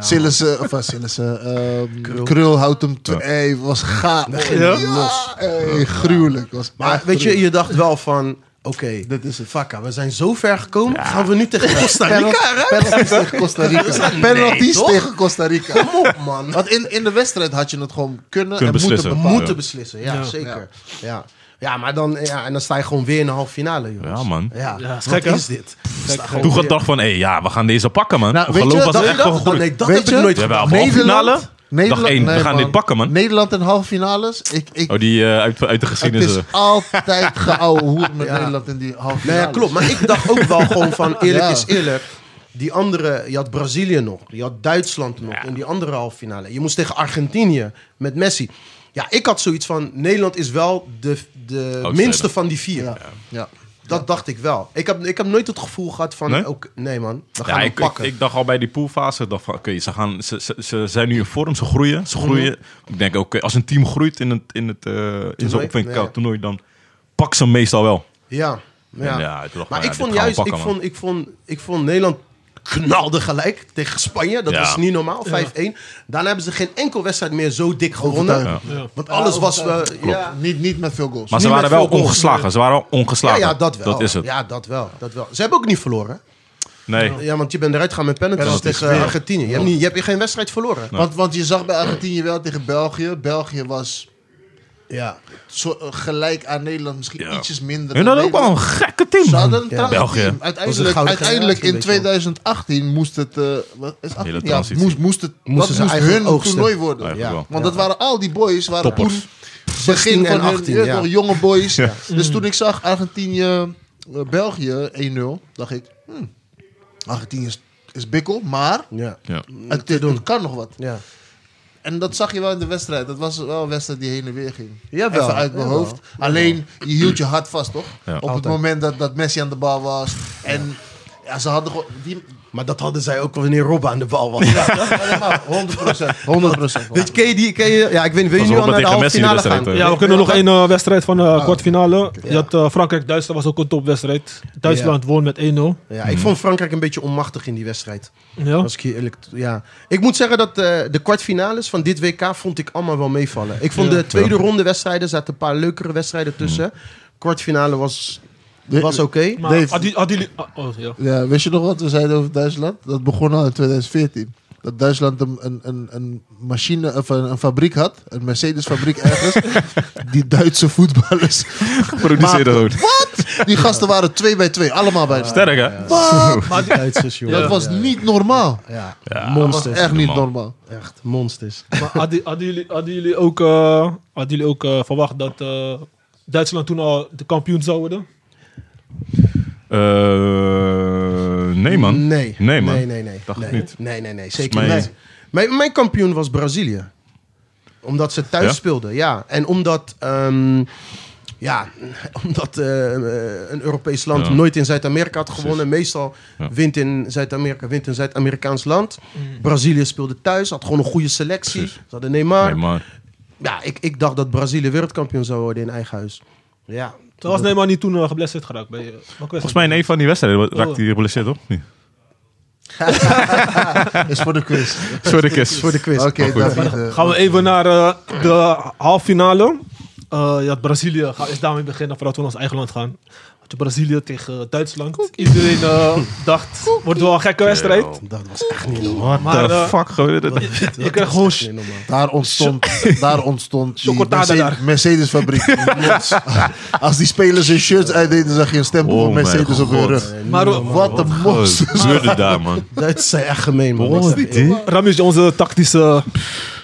[SPEAKER 4] Sillissen, of eh, Sillissen, ehm, krul. houdt hem... te- Hey, was gaaf. Ja, hey, gruwelijk. Was
[SPEAKER 3] Maar
[SPEAKER 4] echt
[SPEAKER 3] weet je,
[SPEAKER 4] gruwelijk.
[SPEAKER 3] je dacht wel van... Oké, dit is het vakka. We zijn zo ver gekomen. Gaan we nu tegen Costa Rica eruit?
[SPEAKER 4] Penalties tegen Costa Rica. Penalties
[SPEAKER 3] toch?
[SPEAKER 4] tegen Costa Rica.
[SPEAKER 3] Kom op, man.
[SPEAKER 4] Want in, in de wedstrijd had je het gewoon kunnen, en
[SPEAKER 1] Kunnen beslissen.
[SPEAKER 3] We
[SPEAKER 4] moeten
[SPEAKER 1] Ja.
[SPEAKER 4] bepalen.
[SPEAKER 3] moeten beslissen, ja,
[SPEAKER 2] Ja.
[SPEAKER 3] zeker. Ja. Ja. maar dan, ja, en dan sta je gewoon weer in de halve finale, jongens.
[SPEAKER 1] Ja, man.
[SPEAKER 3] Ja,
[SPEAKER 2] Ja, is
[SPEAKER 3] wat
[SPEAKER 2] gek, hè?
[SPEAKER 3] is dit? Sta gewoon
[SPEAKER 1] Toen
[SPEAKER 3] weer-
[SPEAKER 1] gedacht van, hé, ja, we gaan deze pakken, man.
[SPEAKER 4] Nou,
[SPEAKER 1] Nou,
[SPEAKER 4] weet je,
[SPEAKER 1] geloof was
[SPEAKER 4] dat-
[SPEAKER 1] echt
[SPEAKER 3] dat-
[SPEAKER 1] gewoon
[SPEAKER 3] dat-
[SPEAKER 1] goed.
[SPEAKER 3] Oh, nee, dat
[SPEAKER 4] Weet
[SPEAKER 3] heb ik
[SPEAKER 4] je?
[SPEAKER 3] nooit
[SPEAKER 1] We hebben
[SPEAKER 3] gedaan.
[SPEAKER 1] halve finale.
[SPEAKER 4] Nederland-
[SPEAKER 1] Dag één,
[SPEAKER 4] nee,
[SPEAKER 1] we gaan
[SPEAKER 4] man.
[SPEAKER 1] dit pakken, man.
[SPEAKER 4] Nederland in halve finales. Ik, ik,
[SPEAKER 1] Oh, die eh, uit, uit de
[SPEAKER 4] het
[SPEAKER 1] geschiedenis.
[SPEAKER 4] is
[SPEAKER 1] eh.
[SPEAKER 4] altijd geouwe hoer met
[SPEAKER 3] Ja.
[SPEAKER 4] Nederland in die halve
[SPEAKER 3] Nou
[SPEAKER 4] finales.
[SPEAKER 3] ja, klopt. Maar ik dacht ook wel gewoon van, eerlijk
[SPEAKER 4] Ja.
[SPEAKER 3] is eerlijk. Die andere, je had Brazilië nog. Je had Duitsland nog in die andere halve finale. Je moest tegen Argentinië met Messi. Ja, ik had zoiets van, Nederland is wel de, de minste van die vier.
[SPEAKER 4] Ja.
[SPEAKER 3] Dat dacht ik wel. Ik heb, ik heb nooit het gevoel gehad van,
[SPEAKER 1] Nee?
[SPEAKER 3] nee, nee man, we gaan
[SPEAKER 1] Ja,
[SPEAKER 3] hem
[SPEAKER 1] ik, ik,
[SPEAKER 3] pakken.
[SPEAKER 1] ik dacht al bij die poolfase, dacht van, oké, ze, gaan- ze, ze, ze zijn nu in vorm, ze groeien.
[SPEAKER 3] Mhm.
[SPEAKER 1] Ze groeien. Ik denk, oké, als een team groeit in, het, in, het, eh, in zo'n
[SPEAKER 3] Toernooi?
[SPEAKER 1] opwindkoud
[SPEAKER 3] Ja.
[SPEAKER 1] toernooi, dan pak ze hem meestal wel.
[SPEAKER 3] ja, ja.
[SPEAKER 1] En ja, ik dacht,
[SPEAKER 3] Maar
[SPEAKER 1] ja,
[SPEAKER 3] ik
[SPEAKER 1] dit gaan
[SPEAKER 3] vond
[SPEAKER 1] we
[SPEAKER 3] juist,
[SPEAKER 1] pakken,
[SPEAKER 3] ik
[SPEAKER 1] man.
[SPEAKER 3] vond, ik, vond, ik vond Nederland knalde gelijk tegen Spanje. Dat
[SPEAKER 1] Ja.
[SPEAKER 3] was niet normaal, 5-1. Daarna hebben ze geen enkel wedstrijd meer zo dik gewonnen. Want alles was... eh, ja,
[SPEAKER 4] Niet, niet met veel goals.
[SPEAKER 1] Maar ze
[SPEAKER 3] niet
[SPEAKER 1] waren
[SPEAKER 3] met
[SPEAKER 1] wel
[SPEAKER 3] veel goals.
[SPEAKER 1] ongeslagen. Ze waren wel
[SPEAKER 3] ja,
[SPEAKER 1] ongeslagen.
[SPEAKER 3] ja, dat wel.
[SPEAKER 1] Dat is het.
[SPEAKER 3] Ja, dat wel, dat wel. Ze hebben ook niet verloren.
[SPEAKER 1] Nee.
[SPEAKER 3] Ja, want je bent eruit gegaan met penalties
[SPEAKER 1] Penalties,
[SPEAKER 3] tegen
[SPEAKER 1] ja.
[SPEAKER 3] Argentinië. Je hebt, niet, je hebt geen wedstrijd verloren.
[SPEAKER 4] want, want je zag bij Argentinië wel tegen België. België was
[SPEAKER 3] Ja.
[SPEAKER 4] zo, eh, gelijk aan Nederland misschien
[SPEAKER 1] Ja.
[SPEAKER 4] ietsjes minder.
[SPEAKER 1] Hun
[SPEAKER 4] dan
[SPEAKER 1] hadden ook wel een
[SPEAKER 4] Nederland.
[SPEAKER 1] gekke team.
[SPEAKER 4] Ze hadden een tragisch
[SPEAKER 1] België.
[SPEAKER 4] team.
[SPEAKER 3] Was een
[SPEAKER 4] Uiteindelijk,
[SPEAKER 3] gouden
[SPEAKER 4] uiteindelijk
[SPEAKER 3] generatie
[SPEAKER 4] in
[SPEAKER 3] een beetje,
[SPEAKER 4] 2018 moest het... eh, wat is 18?
[SPEAKER 1] Hele
[SPEAKER 4] ja,
[SPEAKER 1] transitie.
[SPEAKER 4] moest, moest het
[SPEAKER 3] Moesten
[SPEAKER 4] dat
[SPEAKER 3] ze
[SPEAKER 4] moest
[SPEAKER 3] eigen
[SPEAKER 4] hun
[SPEAKER 3] oogsten.
[SPEAKER 4] toernooi worden.
[SPEAKER 1] Eigenlijk
[SPEAKER 3] Ja.
[SPEAKER 1] wel.
[SPEAKER 4] Want dat waren al die boys, waren
[SPEAKER 1] Toppers.
[SPEAKER 4] toen begin
[SPEAKER 3] 16 en
[SPEAKER 4] van
[SPEAKER 3] 18,
[SPEAKER 4] hun,
[SPEAKER 3] ja. Mm.
[SPEAKER 4] nog jonge boys. Dus toen ik zag Argentinië, eh, België 1-0, dacht ik, hm, Argentinië is, is bikkel, maar
[SPEAKER 3] Ja.
[SPEAKER 1] Ja.
[SPEAKER 4] het, het kan nog wat.
[SPEAKER 3] Ja.
[SPEAKER 4] En dat zag je wel in de wedstrijd. Dat was wel een wedstrijd die heen en weer ging.
[SPEAKER 3] Jawel,
[SPEAKER 4] Even uit mijn
[SPEAKER 3] jawel.
[SPEAKER 4] hoofd. Alleen, je hield je hard vast, toch?
[SPEAKER 1] Ja.
[SPEAKER 4] Op het
[SPEAKER 3] Altijd.
[SPEAKER 4] moment dat, dat Messi aan de bal was. En ja, ze hadden gewoon... Die,
[SPEAKER 3] Maar dat hadden zij ook wanneer Robben aan de bal was.
[SPEAKER 4] helemaal, 100%. 100
[SPEAKER 3] Weet je, ken je die... Ken je, ja, ik weet niet, wil je
[SPEAKER 1] Was
[SPEAKER 3] nu al
[SPEAKER 1] Robben
[SPEAKER 3] naar de
[SPEAKER 1] tegen Messi
[SPEAKER 3] halve
[SPEAKER 1] in de
[SPEAKER 3] finale
[SPEAKER 1] wedstrijd,
[SPEAKER 3] gaan?
[SPEAKER 1] hè?
[SPEAKER 2] Ja, we kunnen nog één eh, wedstrijd van de kwartfinale.
[SPEAKER 3] Ja.
[SPEAKER 2] Je had eh, Frankrijk-Duitsland was ook een topwedstrijd. Duitsland won met 1-0.
[SPEAKER 3] Ja, ik vond Frankrijk een beetje onmachtig in die wedstrijd.
[SPEAKER 2] Ja.
[SPEAKER 3] Als ik hier eerlijk... Ja. Ik moet zeggen dat eh, de kwartfinales van dit WK vond ik allemaal wel meevallen. Ik vond
[SPEAKER 2] Ja.
[SPEAKER 3] de tweede ronde wedstrijden, zaten een paar leukere wedstrijden tussen. Kwartfinale was, was oké.
[SPEAKER 2] Maar
[SPEAKER 4] Dave.
[SPEAKER 2] had die- had jullie... ah, oh, ja.
[SPEAKER 4] Ja, wist je nog wat we zeiden over Duitsland? Dat begon al in 2014. dat Duitsland een, een, een, een machine of een, een fabriek had, een Mercedes-fabriek ergens, die Duitse voetballers.
[SPEAKER 1] Produceerde
[SPEAKER 4] maakten.
[SPEAKER 1] rood.
[SPEAKER 4] Wat? Die gasten waren twee bij twee, allemaal bij.
[SPEAKER 1] Sterk, hè?
[SPEAKER 4] Wat?
[SPEAKER 3] Maar die Duitsers, joh.
[SPEAKER 4] Dat was
[SPEAKER 3] Ja.
[SPEAKER 4] niet normaal.
[SPEAKER 3] Ja,
[SPEAKER 1] Ja,
[SPEAKER 4] Dat was
[SPEAKER 3] monsters.
[SPEAKER 4] echt niet
[SPEAKER 1] normaal.
[SPEAKER 4] normaal.
[SPEAKER 3] Echt, monsters.
[SPEAKER 2] Maar hadden, hadden jullie, hadden jullie ook, eh, hadden jullie ook eh, verwacht dat eh, Duitsland toen al de kampioen zou worden?
[SPEAKER 1] Eh, nee, man.
[SPEAKER 3] Nee.
[SPEAKER 1] Nee, man.
[SPEAKER 3] Nee, nee, nee.
[SPEAKER 1] Dacht
[SPEAKER 3] nee.
[SPEAKER 1] ik niet.
[SPEAKER 3] Nee, nee, nee.
[SPEAKER 1] mij-
[SPEAKER 3] Zeker niet. Mijn, mijn kampioen was Brazilië. Omdat ze thuis
[SPEAKER 1] Ja?
[SPEAKER 3] speelden, ja. En omdat... ehm, ja, omdat eh, eh, een Europees land
[SPEAKER 1] Ja.
[SPEAKER 3] nooit in Zuid-Amerika had gewonnen. Meestal
[SPEAKER 1] Ja.
[SPEAKER 3] wint in Zuid-Amerika, wint een Zuid-Amerikaans land.
[SPEAKER 2] Mm.
[SPEAKER 3] Brazilië speelde thuis, had gewoon een goede selectie.
[SPEAKER 1] Precies.
[SPEAKER 3] Ze hadden Neymar.
[SPEAKER 1] Nee, maar.
[SPEAKER 3] Ja, ik, ik dacht dat Brazilië wereldkampioen zou worden in eigen huis. Ja.
[SPEAKER 2] Toen was Neymar niet toen eh, geblesseerd geraakt bij eh, welke
[SPEAKER 1] Volgens
[SPEAKER 2] wedstrijd?
[SPEAKER 1] mij in een van die wedstrijden
[SPEAKER 2] Oh.
[SPEAKER 1] raakt hij geblesseerd, toch? Nee.
[SPEAKER 4] Is voor de quiz.
[SPEAKER 1] Sorry, Chris.
[SPEAKER 3] Voor de quiz.
[SPEAKER 4] Oké,
[SPEAKER 1] Maar goed.
[SPEAKER 4] David. eh,
[SPEAKER 2] Gaan we even naar eh, de halffinale. Eh, ja, Brazilië. Ga eerst daarmee beginnen voordat we naar ons eigen land gaan. Had je Brazilië tegen eh, Duitsland. Iedereen eh, dacht, wordt wel een gekke wedstrijd.
[SPEAKER 3] Dat was echt niet normaal.
[SPEAKER 1] What
[SPEAKER 2] Maar
[SPEAKER 1] the
[SPEAKER 2] eh,
[SPEAKER 1] fuck gebeurde er?
[SPEAKER 2] je krijgt gewoon
[SPEAKER 3] Niet normaal.
[SPEAKER 4] Daar ontstond, daar ontstond die
[SPEAKER 2] Chocotada
[SPEAKER 4] Mercedes-
[SPEAKER 2] daar.
[SPEAKER 4] Mercedes-fabriek. Als die spelers hun shirts uitdeden, zag je een stempel
[SPEAKER 1] Oh
[SPEAKER 4] van
[SPEAKER 1] mijn
[SPEAKER 4] Mercedes op hun
[SPEAKER 1] God. Oh
[SPEAKER 4] rug.
[SPEAKER 2] Maar eh,
[SPEAKER 4] Wat een monster.
[SPEAKER 1] Gebeurde daar, man.
[SPEAKER 3] Duitsers zijn echt gemeen, man. Ik zeg je
[SPEAKER 1] hè?
[SPEAKER 2] Ramis, onze tactische,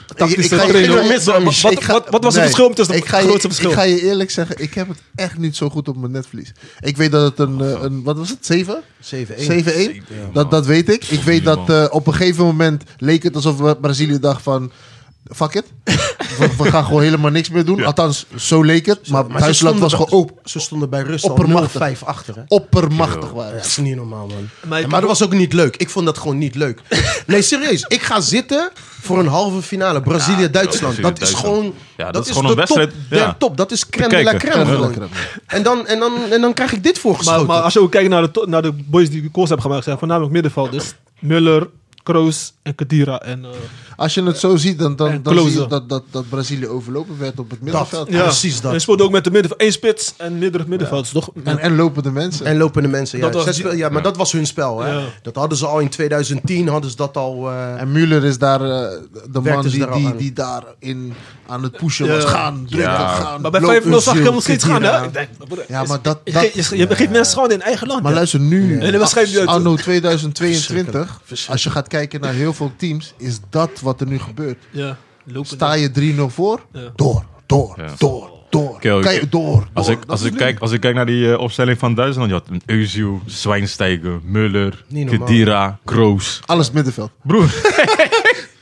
[SPEAKER 4] Ik- ik
[SPEAKER 2] tactische
[SPEAKER 4] ga je
[SPEAKER 2] trainer.
[SPEAKER 4] eerlijk-
[SPEAKER 2] Wat,
[SPEAKER 4] Ramis, ik
[SPEAKER 2] wat,
[SPEAKER 4] ga-
[SPEAKER 2] wat- wat was het
[SPEAKER 4] nee,
[SPEAKER 2] verschil tussen
[SPEAKER 4] ik
[SPEAKER 2] het
[SPEAKER 4] ga je-
[SPEAKER 2] grootste verschil?
[SPEAKER 4] Ik ga je eerlijk zeggen, ik heb het echt niet zo goed op mijn netvlies. Ik weet dat het een,
[SPEAKER 1] Oh,
[SPEAKER 4] eh, een wat was het, 7?
[SPEAKER 3] 7-1.
[SPEAKER 4] 7-1?
[SPEAKER 1] man.
[SPEAKER 4] Dat, dat weet ik. Ik weet dat eh, op een gegeven moment leek het alsof Bra- Brazilië dacht van... Fuck it. We, we gaan gewoon helemaal niks meer doen.
[SPEAKER 1] Ja.
[SPEAKER 4] Althans, zo leek het. Maar,
[SPEAKER 3] ze
[SPEAKER 4] Duitsland was
[SPEAKER 3] stonden
[SPEAKER 4] gewoon
[SPEAKER 3] bij-
[SPEAKER 4] op,
[SPEAKER 3] Ze stonden bij Rusland
[SPEAKER 4] Oppermachtig.
[SPEAKER 3] 0-5 achter. Hè?
[SPEAKER 4] oppermachtig. Waren.
[SPEAKER 3] Dat is niet normaal, man.
[SPEAKER 2] Maar
[SPEAKER 3] Maar,
[SPEAKER 2] ik-
[SPEAKER 3] dat was ook niet leuk. Ik vond dat gewoon niet leuk. nee, serieus. Ik ga zitten voor een halve finale. Brazilië-Duitsland.
[SPEAKER 1] Ja,
[SPEAKER 3] dat is
[SPEAKER 1] Brazilië-Duitsland.
[SPEAKER 3] gewoon...
[SPEAKER 1] Ja, dat is gewoon een
[SPEAKER 3] de
[SPEAKER 1] wedstrijd,
[SPEAKER 3] Top,
[SPEAKER 1] ja.
[SPEAKER 3] der top. Dat is crème de la
[SPEAKER 1] Bekijken.
[SPEAKER 3] crème.
[SPEAKER 1] Crème
[SPEAKER 4] de la
[SPEAKER 3] gewoon. En dan, en, dan, en dan krijg ik dit
[SPEAKER 2] Maar,
[SPEAKER 3] voorgeschoten.
[SPEAKER 2] maar als je ook kijkt naar de, to- naar de boys die de calls hebben gemaakt, zijn voornamelijk middenvelders. Müller, Kroos en Kadira. En, eh,
[SPEAKER 4] Als je het zo ziet, dan, dan,
[SPEAKER 2] En
[SPEAKER 4] dan zie je
[SPEAKER 2] closer.
[SPEAKER 4] dat, dat, dat Brazilië overlopen werd op het
[SPEAKER 3] dat,
[SPEAKER 4] middenveld. Dus-
[SPEAKER 3] Precies
[SPEAKER 2] En
[SPEAKER 3] dat.
[SPEAKER 2] speelde ook met de middenveld. Eén spits en meerdere middenvelders, toch?
[SPEAKER 4] En, en lopende mensen.
[SPEAKER 3] En lopende mensen. Ja,
[SPEAKER 2] Dat was
[SPEAKER 3] Zij
[SPEAKER 2] die-
[SPEAKER 3] speel- ja maar dat was hun spel. Hè?
[SPEAKER 2] Ja.
[SPEAKER 3] Dat hadden ze al in 2010. Hadden ze dat al... eh,
[SPEAKER 4] En Müller is daar eh, de man
[SPEAKER 3] Werkte ze
[SPEAKER 4] die,
[SPEAKER 3] daar al
[SPEAKER 4] die,
[SPEAKER 3] aan.
[SPEAKER 4] die daarin aan het pushen
[SPEAKER 2] Ja.
[SPEAKER 4] was. Gaan, drukken,
[SPEAKER 1] Ja.
[SPEAKER 4] gaan.
[SPEAKER 2] Maar bij
[SPEAKER 4] lopen,
[SPEAKER 2] 5-0 zag ik
[SPEAKER 4] ziel,
[SPEAKER 2] helemaal steeds
[SPEAKER 4] dit
[SPEAKER 2] gaan,
[SPEAKER 4] hier
[SPEAKER 2] hè?
[SPEAKER 4] aan.
[SPEAKER 2] Ik denk, broer,
[SPEAKER 4] Ja,
[SPEAKER 2] is-
[SPEAKER 4] maar dat-
[SPEAKER 2] je
[SPEAKER 4] dat-
[SPEAKER 2] ge- je, ge- je begint mensen schande in eigen land.
[SPEAKER 4] Maar
[SPEAKER 2] hè?
[SPEAKER 4] luister, nu,
[SPEAKER 2] En dat schrijf je uit.
[SPEAKER 4] anno 2022, als je gaat kijken naar heel veel teams, is dat wat er nu gebeurt.
[SPEAKER 2] Ja, lopen.
[SPEAKER 4] Sta je 3-0 voor,
[SPEAKER 2] Ja.
[SPEAKER 4] door, door,
[SPEAKER 1] Ja.
[SPEAKER 4] door, door.
[SPEAKER 1] Oké, oké.
[SPEAKER 4] Kan je door,
[SPEAKER 1] Als
[SPEAKER 4] door.
[SPEAKER 1] ik,
[SPEAKER 4] Dat
[SPEAKER 1] als,
[SPEAKER 4] is
[SPEAKER 1] ik
[SPEAKER 4] leuk.
[SPEAKER 1] kijk, als ik kijk naar die eh, opstelling van Duitsland, je had een Özil, Zwijnsteiger, Muller,
[SPEAKER 3] Niet normaal.
[SPEAKER 1] Kedira, Kroos.
[SPEAKER 4] Alles het middenveld.
[SPEAKER 1] Broer,